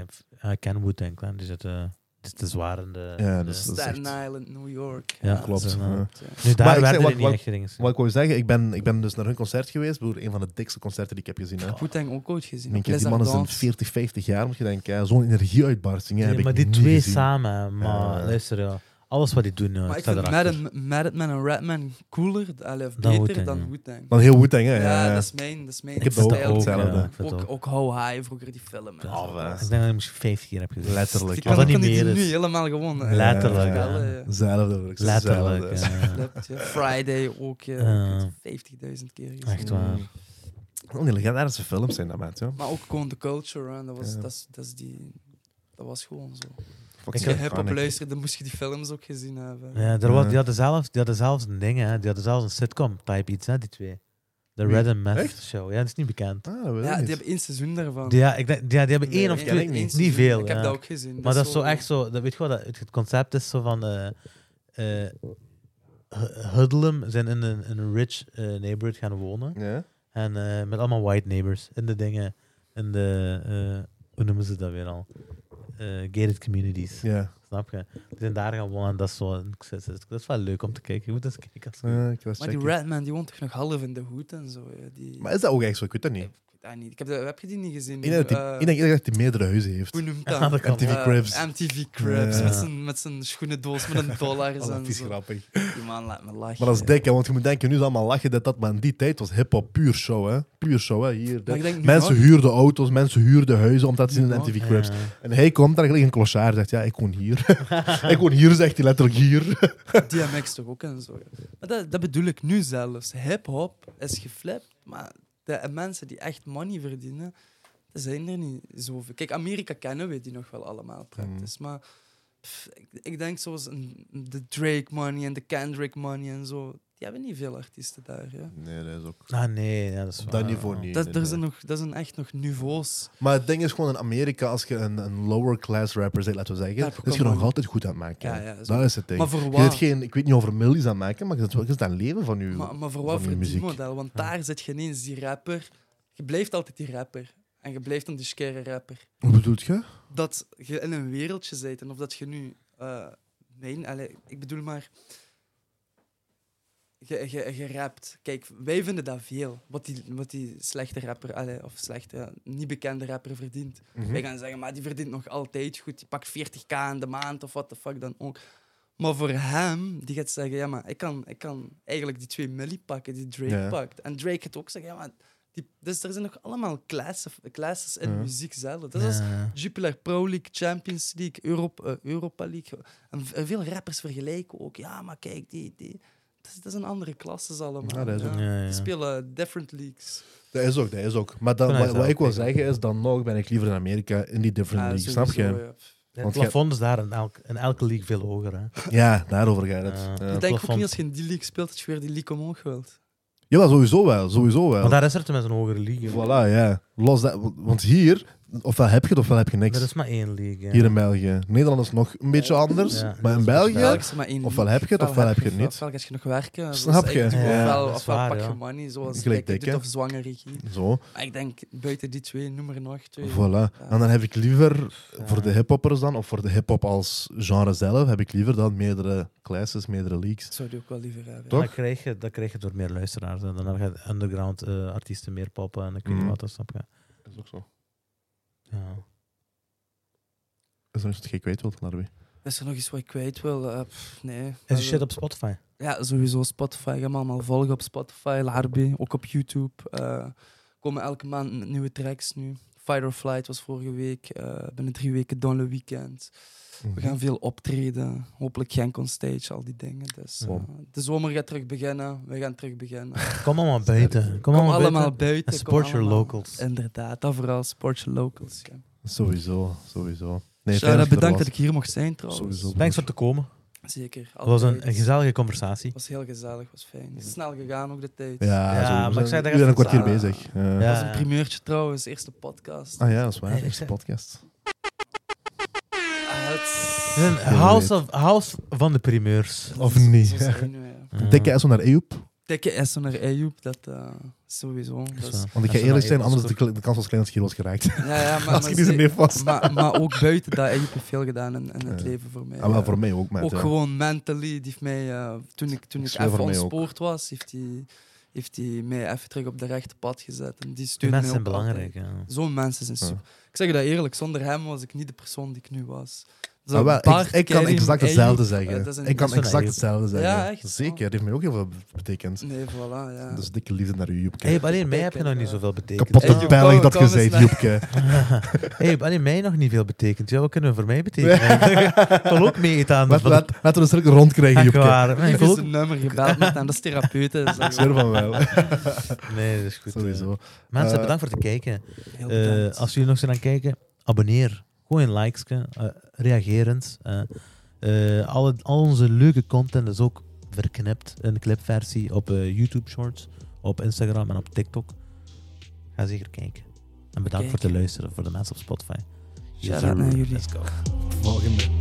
Speaker 2: Uh, Kenwood en Clan, die zitten... Die zitten zwaar in de...
Speaker 1: Ja,
Speaker 2: de-
Speaker 1: dus dat is echt-
Speaker 3: Staten Island, New York.
Speaker 2: Ja,
Speaker 1: klopt.
Speaker 3: dat is
Speaker 2: Ja.
Speaker 3: goed, ja.
Speaker 2: eh, Nu, daar
Speaker 1: Maar ik zeg,
Speaker 2: werden
Speaker 1: wat-
Speaker 2: er niet
Speaker 1: wat-
Speaker 2: echt dingen.
Speaker 1: Wat ik wou zeggen, ik ben, ik ben dus naar hun concert geweest. Broer, een van de dikste concerten die ik heb gezien. Hè.
Speaker 3: Ik Wu-Tang ook ooit gezien.
Speaker 1: Denk je,
Speaker 3: Les
Speaker 1: die man is in
Speaker 3: Ardentes.
Speaker 1: 40, 50 jaar, moet je denken. hè. Zo'n energieuitbarsting. hè,
Speaker 2: Nee,
Speaker 1: heb ik
Speaker 2: maar die
Speaker 1: niet
Speaker 2: twee
Speaker 1: gezien.
Speaker 2: samen, hè, maar
Speaker 1: Ja.
Speaker 2: luister, ja. alles wat die doen, ja,
Speaker 3: Maar ik
Speaker 2: ik sta
Speaker 3: vind
Speaker 2: erachter.
Speaker 3: Mad, Mad Man en Redman cooler, allee, of
Speaker 2: Dan
Speaker 3: beter
Speaker 2: Wu-Tang, ja.
Speaker 3: dan Wu-Tang.
Speaker 1: Dan heel Wu-Tang, hè.
Speaker 3: Ja,
Speaker 1: ja, ja.
Speaker 3: dat is mijn, dat is mijn
Speaker 1: Ik heb dat
Speaker 2: vind
Speaker 1: ook
Speaker 3: stijl.
Speaker 1: hetzelfde.
Speaker 2: ja, ik vind
Speaker 3: Ook,
Speaker 2: het
Speaker 3: ook, How High, vroeger die film. hè.
Speaker 1: Oh,
Speaker 2: Ik
Speaker 1: wel.
Speaker 2: denk dat ik misschien vijf keer heb gezien.
Speaker 1: Letterlijk.
Speaker 3: Die
Speaker 1: ja.
Speaker 2: Als dat
Speaker 3: kan
Speaker 2: niet
Speaker 3: die
Speaker 2: meer
Speaker 3: nu
Speaker 2: is.
Speaker 3: helemaal gewonnen.
Speaker 2: Ja, Letterlijk,
Speaker 1: ja.
Speaker 2: hè.
Speaker 3: Wel, eh,
Speaker 1: Hetzelfde, broer,
Speaker 2: Letterlijk.
Speaker 1: hetzelfde.
Speaker 2: ja.
Speaker 3: Klopt, ja. Friday ook ja,
Speaker 2: Ja.
Speaker 3: ik heb het 50.000 keer gezien.
Speaker 2: Echt waar.
Speaker 1: Oh, die legendarische films zijn dat, maat. joh.
Speaker 3: Maar ook gewoon de culture, hè. dat was,
Speaker 1: Ja.
Speaker 3: dat is, dat is die... Dat was gewoon zo. Als
Speaker 1: Fucking
Speaker 3: je hip-hop
Speaker 1: iconic.
Speaker 3: luisterde, moest je die films ook gezien hebben.
Speaker 2: Ja, er was,
Speaker 1: Ja.
Speaker 2: die, hadden zelfs, die hadden zelfs een ding, hè. die hadden zelfs een sitcom-type iets, hè, die twee. De
Speaker 1: Wie?
Speaker 2: Red and Meth
Speaker 1: Echt?
Speaker 2: Show. Ja, dat is niet bekend.
Speaker 1: Ah, dat weet ik
Speaker 3: Ja, die
Speaker 1: niet.
Speaker 3: hebben één seizoen daarvan.
Speaker 2: Die, ja, ik denk, die, die hebben één of
Speaker 1: nee,
Speaker 2: twee,
Speaker 1: ken ik niet.
Speaker 3: één
Speaker 2: niet
Speaker 3: seizoen.
Speaker 2: veel.
Speaker 3: Oh. Ik
Speaker 2: ja.
Speaker 3: heb dat ook gezien.
Speaker 2: maar dat is zo echt zo, dat, weet je wat, dat, het het concept is zo van... eh eh, hu- Huddelen zijn in een, in een rich eh, neighborhood gaan wonen.
Speaker 1: Ja?
Speaker 2: En eh, met allemaal white neighbors. In de dingen. In de. eh, hoe noemen ze dat weer al? Eh, gated communities.
Speaker 1: Ja.
Speaker 2: Snap je? Die zijn daar gaan wonen. en Dat is, zo, een- dat is wel leuk om te kijken. Je moet eens kijken. Als je-
Speaker 1: Ja, Eh, ik was
Speaker 3: Maar die
Speaker 1: checken.
Speaker 3: Redman, die woont toch nog half in de hoed en zo. Ja. Die...
Speaker 1: Maar is dat ook echt zo? Ik weet dat niet.
Speaker 3: Ik weet dat niet. Ik heb, dat- heb je die niet gezien?
Speaker 1: Ik denk dat die,
Speaker 3: Eh,
Speaker 1: ik denk dat die meerdere huizen heeft.
Speaker 3: Hoe noemt
Speaker 2: Ja,
Speaker 3: dat?
Speaker 2: dat kan.
Speaker 1: MTV
Speaker 3: Eh,
Speaker 1: Cribs.
Speaker 3: MTV Cribs.
Speaker 1: Ja.
Speaker 3: Met zijn- Met zijn schoenendoos met een dollar
Speaker 1: Oh, dat
Speaker 3: en
Speaker 1: is
Speaker 3: zo.
Speaker 1: grappig.
Speaker 3: Die man laat me lachen.
Speaker 1: Maar dat is dik, hè, want je moet denken, nu is allemaal lachen dat dat, maar in die tijd was hip-hop puur show, hè? Puur show, hè? Hier, dit.
Speaker 3: Maar ik denk nu
Speaker 1: Mensen
Speaker 3: nog-
Speaker 1: huurden auto's, mensen huurden huizen omdat ze in de
Speaker 3: Nu nog?
Speaker 1: MTV Cribs.
Speaker 2: Ja.
Speaker 1: En hij komt daar gelijk een klosjaar en zegt: Ja, ik woon hier. ik woon hier, zegt hij letterlijk hier.
Speaker 3: DMX toch ook en zo. ja. Maar dat, dat bedoel ik nu zelfs. Hip-hop is geflipt, maar de mensen die echt money verdienen, zijn er niet zoveel. Kijk, Amerika kennen we die nog wel allemaal praktisch.
Speaker 1: Mm.
Speaker 3: Maar pff, ik, ik denk zoals een- de Drake money en de Kendrick money en zo. Die hebben niet veel artiesten daar. Ja.
Speaker 1: Nee, dat is ook...
Speaker 2: Ah, nee, ja, dat is
Speaker 1: Op
Speaker 2: waar,
Speaker 1: dat niveau
Speaker 2: ja.
Speaker 1: niet.
Speaker 3: Dat,
Speaker 1: nee,
Speaker 3: er
Speaker 1: nee.
Speaker 3: zijn nog, dat zijn echt nog niveaus.
Speaker 1: Maar het ding is gewoon in Amerika, als je een, een lower class rapper bent, laten we
Speaker 3: Daar
Speaker 1: zeggen, is
Speaker 3: komt
Speaker 1: je nog
Speaker 3: nog-
Speaker 1: altijd goed aan het maken.
Speaker 3: Ja, ja, dat is
Speaker 1: dat is het ding.
Speaker 3: Maar voor
Speaker 1: je zit
Speaker 3: wat?
Speaker 1: geen, ik weet niet over millies aan het maken, maar je zit wel eens aan het leven van je.
Speaker 3: Maar, maar voor
Speaker 1: van
Speaker 3: wat
Speaker 1: uw muziek.
Speaker 3: verdienmodel? Want daar zit je ineens die rapper. Je blijft altijd die rapper. En je blijft een discare rapper.
Speaker 1: Hoe bedoelt je?
Speaker 3: Dat je in een wereldje zit en of dat je nu. eh mijn, allee, ik bedoel maar. Je, je, je rapt. Kijk, wij vinden dat veel. Wat die, wat die slechte rapper, allee, of slechte, niet bekende rapper verdient.
Speaker 1: Hm?
Speaker 3: Wij gaan zeggen, maar die verdient nog altijd goed. Die pakt 40k in de maand of wat de fuck dan ook. Maar voor hem, die gaat zeggen, ja, maar ik kan, ik kan eigenlijk die 2 milli pakken die Drake
Speaker 1: Ja.
Speaker 3: pakt. En Drake gaat ook zeggen, ja, maar... Die, dus er zijn nog allemaal classes, classes in
Speaker 1: Ja.
Speaker 3: muziek zelf. Dat is als
Speaker 2: Ja.
Speaker 3: Jupiler Pro League, Champions League, Europ- eh, Europa League. En v- en veel rappers vergelijken ook. Ja, maar kijk, die... die dat, is, dat zijn andere klasses allemaal.
Speaker 1: Ja, dat is ook-
Speaker 2: Ja, ja.
Speaker 3: Die spelen different leagues.
Speaker 1: Dat is ook, dat is ook. Maar dan,
Speaker 2: Ik vind
Speaker 1: wat, wat
Speaker 2: dat zelf
Speaker 1: ik wil
Speaker 2: ook.
Speaker 1: zeggen is, dan nog ben ik liever in Amerika in die different
Speaker 3: Ah,
Speaker 1: league, snap
Speaker 3: sowieso,
Speaker 1: je?
Speaker 3: ja.
Speaker 2: Het
Speaker 1: Want
Speaker 2: plafond is daar in, elk, in elke league veel hoger. Hè?
Speaker 1: Ja, daarover gaat het.
Speaker 2: Ja.
Speaker 1: Ja.
Speaker 3: Ik denk ook
Speaker 2: plafond.
Speaker 3: niet als je in die league speelt dat je weer die league omhoog wilt.
Speaker 1: Jawel, sowieso wel, sowieso wel.
Speaker 2: Want daar is er tenminste een hogere league.
Speaker 1: Voilà, ja. Los dat, want hier, ofwel heb je het ofwel heb je niks.
Speaker 2: Er is maar één league. Ja.
Speaker 1: Hier in België. Nederland is nog een beetje anders,
Speaker 2: Ja,
Speaker 1: maar in
Speaker 2: dat is
Speaker 1: België...
Speaker 2: Ja.
Speaker 3: België is er maar één
Speaker 1: Ofwel
Speaker 3: league.
Speaker 1: heb je het, ofwel heb je het niet.
Speaker 3: Ofwel gaat je nog werken. zoals
Speaker 1: Snap
Speaker 3: ik
Speaker 1: je?
Speaker 3: doe,
Speaker 2: Ja,
Speaker 3: Ofwel,
Speaker 2: dat is
Speaker 3: ofwel
Speaker 2: waar,
Speaker 3: pak je
Speaker 2: ja.
Speaker 3: money, zoals
Speaker 1: Gelijk
Speaker 3: ik
Speaker 1: dik,
Speaker 3: doet,
Speaker 1: hè?
Speaker 3: of zwangere regie.
Speaker 1: Zo,
Speaker 3: Maar ik denk, buiten die twee, noem er nog twee.
Speaker 1: voilà. En dan heb ik liever, voor de hiphoppers dan, of voor de hiphop als genre zelf, heb ik liever dan meerdere classes, meerdere leagues.
Speaker 3: Dat zou die ook wel liever hebben.
Speaker 1: Toch?
Speaker 2: Dat krijg, je, dat krijg je door meer luisteraars. En dan gaan underground eh, artiesten meer poppen en dan kun je
Speaker 1: Mhm.
Speaker 2: wat, dat snap je.
Speaker 1: Dat is ook zo.
Speaker 2: Ja.
Speaker 1: Is er nog iets dat je kwijt wilt, Larbi?
Speaker 3: Is er nog iets wat ik kwijt wil? Eh, pff, nee. eh,
Speaker 2: Is je shit op Spotify?
Speaker 3: Ja, sowieso Spotify. Ga me allemaal volgen op Spotify, Larbi, ook op YouTube. Eh, komen elke maand nieuwe tracks nu. Fire or Flight was vorige week. eh binnen drie weken Don Le Weekend. We gaan veel optreden. Hopelijk Genk on stage, al die dingen. Dus, eh,
Speaker 1: Wow.
Speaker 3: de zomer gaat terug beginnen. We gaan terug beginnen.
Speaker 2: Kom allemaal buiten. Kom,
Speaker 3: Kom,
Speaker 2: allemaal,
Speaker 3: allemaal
Speaker 2: buiten.
Speaker 3: buiten.
Speaker 2: En
Speaker 3: kom
Speaker 2: support your
Speaker 3: allemaal-
Speaker 2: locals.
Speaker 3: Inderdaad, dat vooral. Support your locals. Ja.
Speaker 1: Sowieso, sowieso.
Speaker 3: Nee,
Speaker 1: Nee, fijn je er
Speaker 3: bedankt dat
Speaker 1: was.
Speaker 3: ik hier mocht zijn trouwens.
Speaker 1: Sowieso.
Speaker 2: Thanks voor te komen.
Speaker 3: Zeker.
Speaker 2: Het was een,
Speaker 3: altijd.
Speaker 2: een gezellige conversatie.
Speaker 3: was heel gezellig, was fijn. Snel gegaan ook de tijd.
Speaker 1: Ja,
Speaker 2: Ja,
Speaker 1: sowieso.
Speaker 2: maar ik
Speaker 1: We
Speaker 2: zei
Speaker 1: zijn
Speaker 2: daar
Speaker 1: nu
Speaker 2: even
Speaker 1: een kwartier
Speaker 3: aan.
Speaker 1: bezig. Ja.
Speaker 2: Ja.
Speaker 3: Dat is een primeurtje trouwens, eerste podcast.
Speaker 1: Ah ja, dat is waar.
Speaker 2: Nee, ik
Speaker 1: Eerste
Speaker 2: zei-
Speaker 1: podcast.
Speaker 3: Ah, het-
Speaker 2: Een
Speaker 1: Heel
Speaker 2: house, of, house van de primeurs.
Speaker 1: Of
Speaker 3: zo-
Speaker 1: niet.
Speaker 3: Dus zo zijn we, ja.
Speaker 2: Ja.
Speaker 1: Dikke S naar Eeup.
Speaker 3: Dikke S naar Ejoep, dat eh, sowieso.
Speaker 2: Dat is
Speaker 3: Dat is-
Speaker 2: waar.
Speaker 1: Want ik ga
Speaker 2: Als we
Speaker 1: eerlijk zijn,
Speaker 2: maar even
Speaker 1: anders is de, kle- de kans was klein dat je hier was geraakt.
Speaker 3: ja, ja, maar,
Speaker 1: Als
Speaker 3: maar
Speaker 1: je niet zijn
Speaker 3: ze-
Speaker 1: neef was.
Speaker 3: maar, maar ook buiten dat, Ejoep heeft veel gedaan in, in het
Speaker 1: Ja.
Speaker 3: leven voor mij.
Speaker 1: Ah, wel,
Speaker 3: ja.
Speaker 1: voor mij ook, maar
Speaker 3: Ook
Speaker 1: ja.
Speaker 3: gewoon mentally, die heeft mij, eh, toen ik, toen ik
Speaker 1: Zwaar
Speaker 3: even
Speaker 1: voor mij ook.
Speaker 3: ontspoord was, heeft hij heeft die mij even terug op de rechte pad gezet. En die
Speaker 2: Die
Speaker 3: steunde
Speaker 2: mensen zijn
Speaker 3: mij ook
Speaker 2: belangrijk. Ja.
Speaker 3: altijd. Zo'n mensen zijn
Speaker 1: Ja.
Speaker 3: super. Ik zeg je dat eerlijk, zonder hem was ik niet de persoon die ik nu was. Dus
Speaker 1: Ah, wel,
Speaker 3: Bart,
Speaker 1: ik, ik kan
Speaker 3: Kerim,
Speaker 1: exact
Speaker 3: Ejoep,
Speaker 1: hetzelfde
Speaker 3: eh,
Speaker 1: zeggen.
Speaker 3: dat is een-
Speaker 1: ik kan
Speaker 2: dat is een
Speaker 1: exact
Speaker 2: Ejoep.
Speaker 1: hetzelfde zeggen.
Speaker 3: Ja, echt.
Speaker 1: Zeker, dat heeft mij ook heel veel betekend.
Speaker 3: Nee, voilà, ja.
Speaker 1: Dus dikke liefde naar u, Joepke.
Speaker 2: Hey, maar alleen mij
Speaker 3: Kijk,
Speaker 2: heb je
Speaker 3: en,
Speaker 2: nog niet
Speaker 3: eh,
Speaker 2: zoveel betekend.
Speaker 1: Kapotte
Speaker 3: Hey,
Speaker 1: pijling
Speaker 3: kom-
Speaker 1: dat je
Speaker 3: kom eens
Speaker 1: zei,
Speaker 3: naar-
Speaker 1: Joepke.
Speaker 2: hey, alleen mij nog niet veel betekent. Ja, wat kunnen we voor mij betekenen? eigenlijk? ik wil ook mee dus eten aan de
Speaker 1: Laat- laat- Laten we een cirkel rondkrijgen,
Speaker 2: Echt
Speaker 1: Joepke.
Speaker 2: waar. Nee,
Speaker 3: Ik
Speaker 2: ik wil
Speaker 3: heb
Speaker 2: ook...
Speaker 3: zijn nummer gebeld met hem, dat is therapeuten. Dus
Speaker 1: Ik zweer van wel.
Speaker 2: Nee, dat is goed.
Speaker 1: Sowieso.
Speaker 2: Mensen,
Speaker 1: Eh,
Speaker 2: bedankt voor het kijken.
Speaker 3: heel
Speaker 2: Eh,
Speaker 3: bedankt.
Speaker 2: als jullie nog zijn aan het kijken, abonneer. Gooi een likesje, eh, reagerend. eh. Eh, alle, al onze leuke content is ook verknipt in de clipversie op eh, YouTube Shorts, op Instagram en op TikTok. Ga zeker kijken. En bedankt voor
Speaker 3: Kijk.
Speaker 2: het luisteren voor de mensen op Spotify.
Speaker 3: Shout-out naar jullie.
Speaker 2: Let's go.
Speaker 1: Volgende.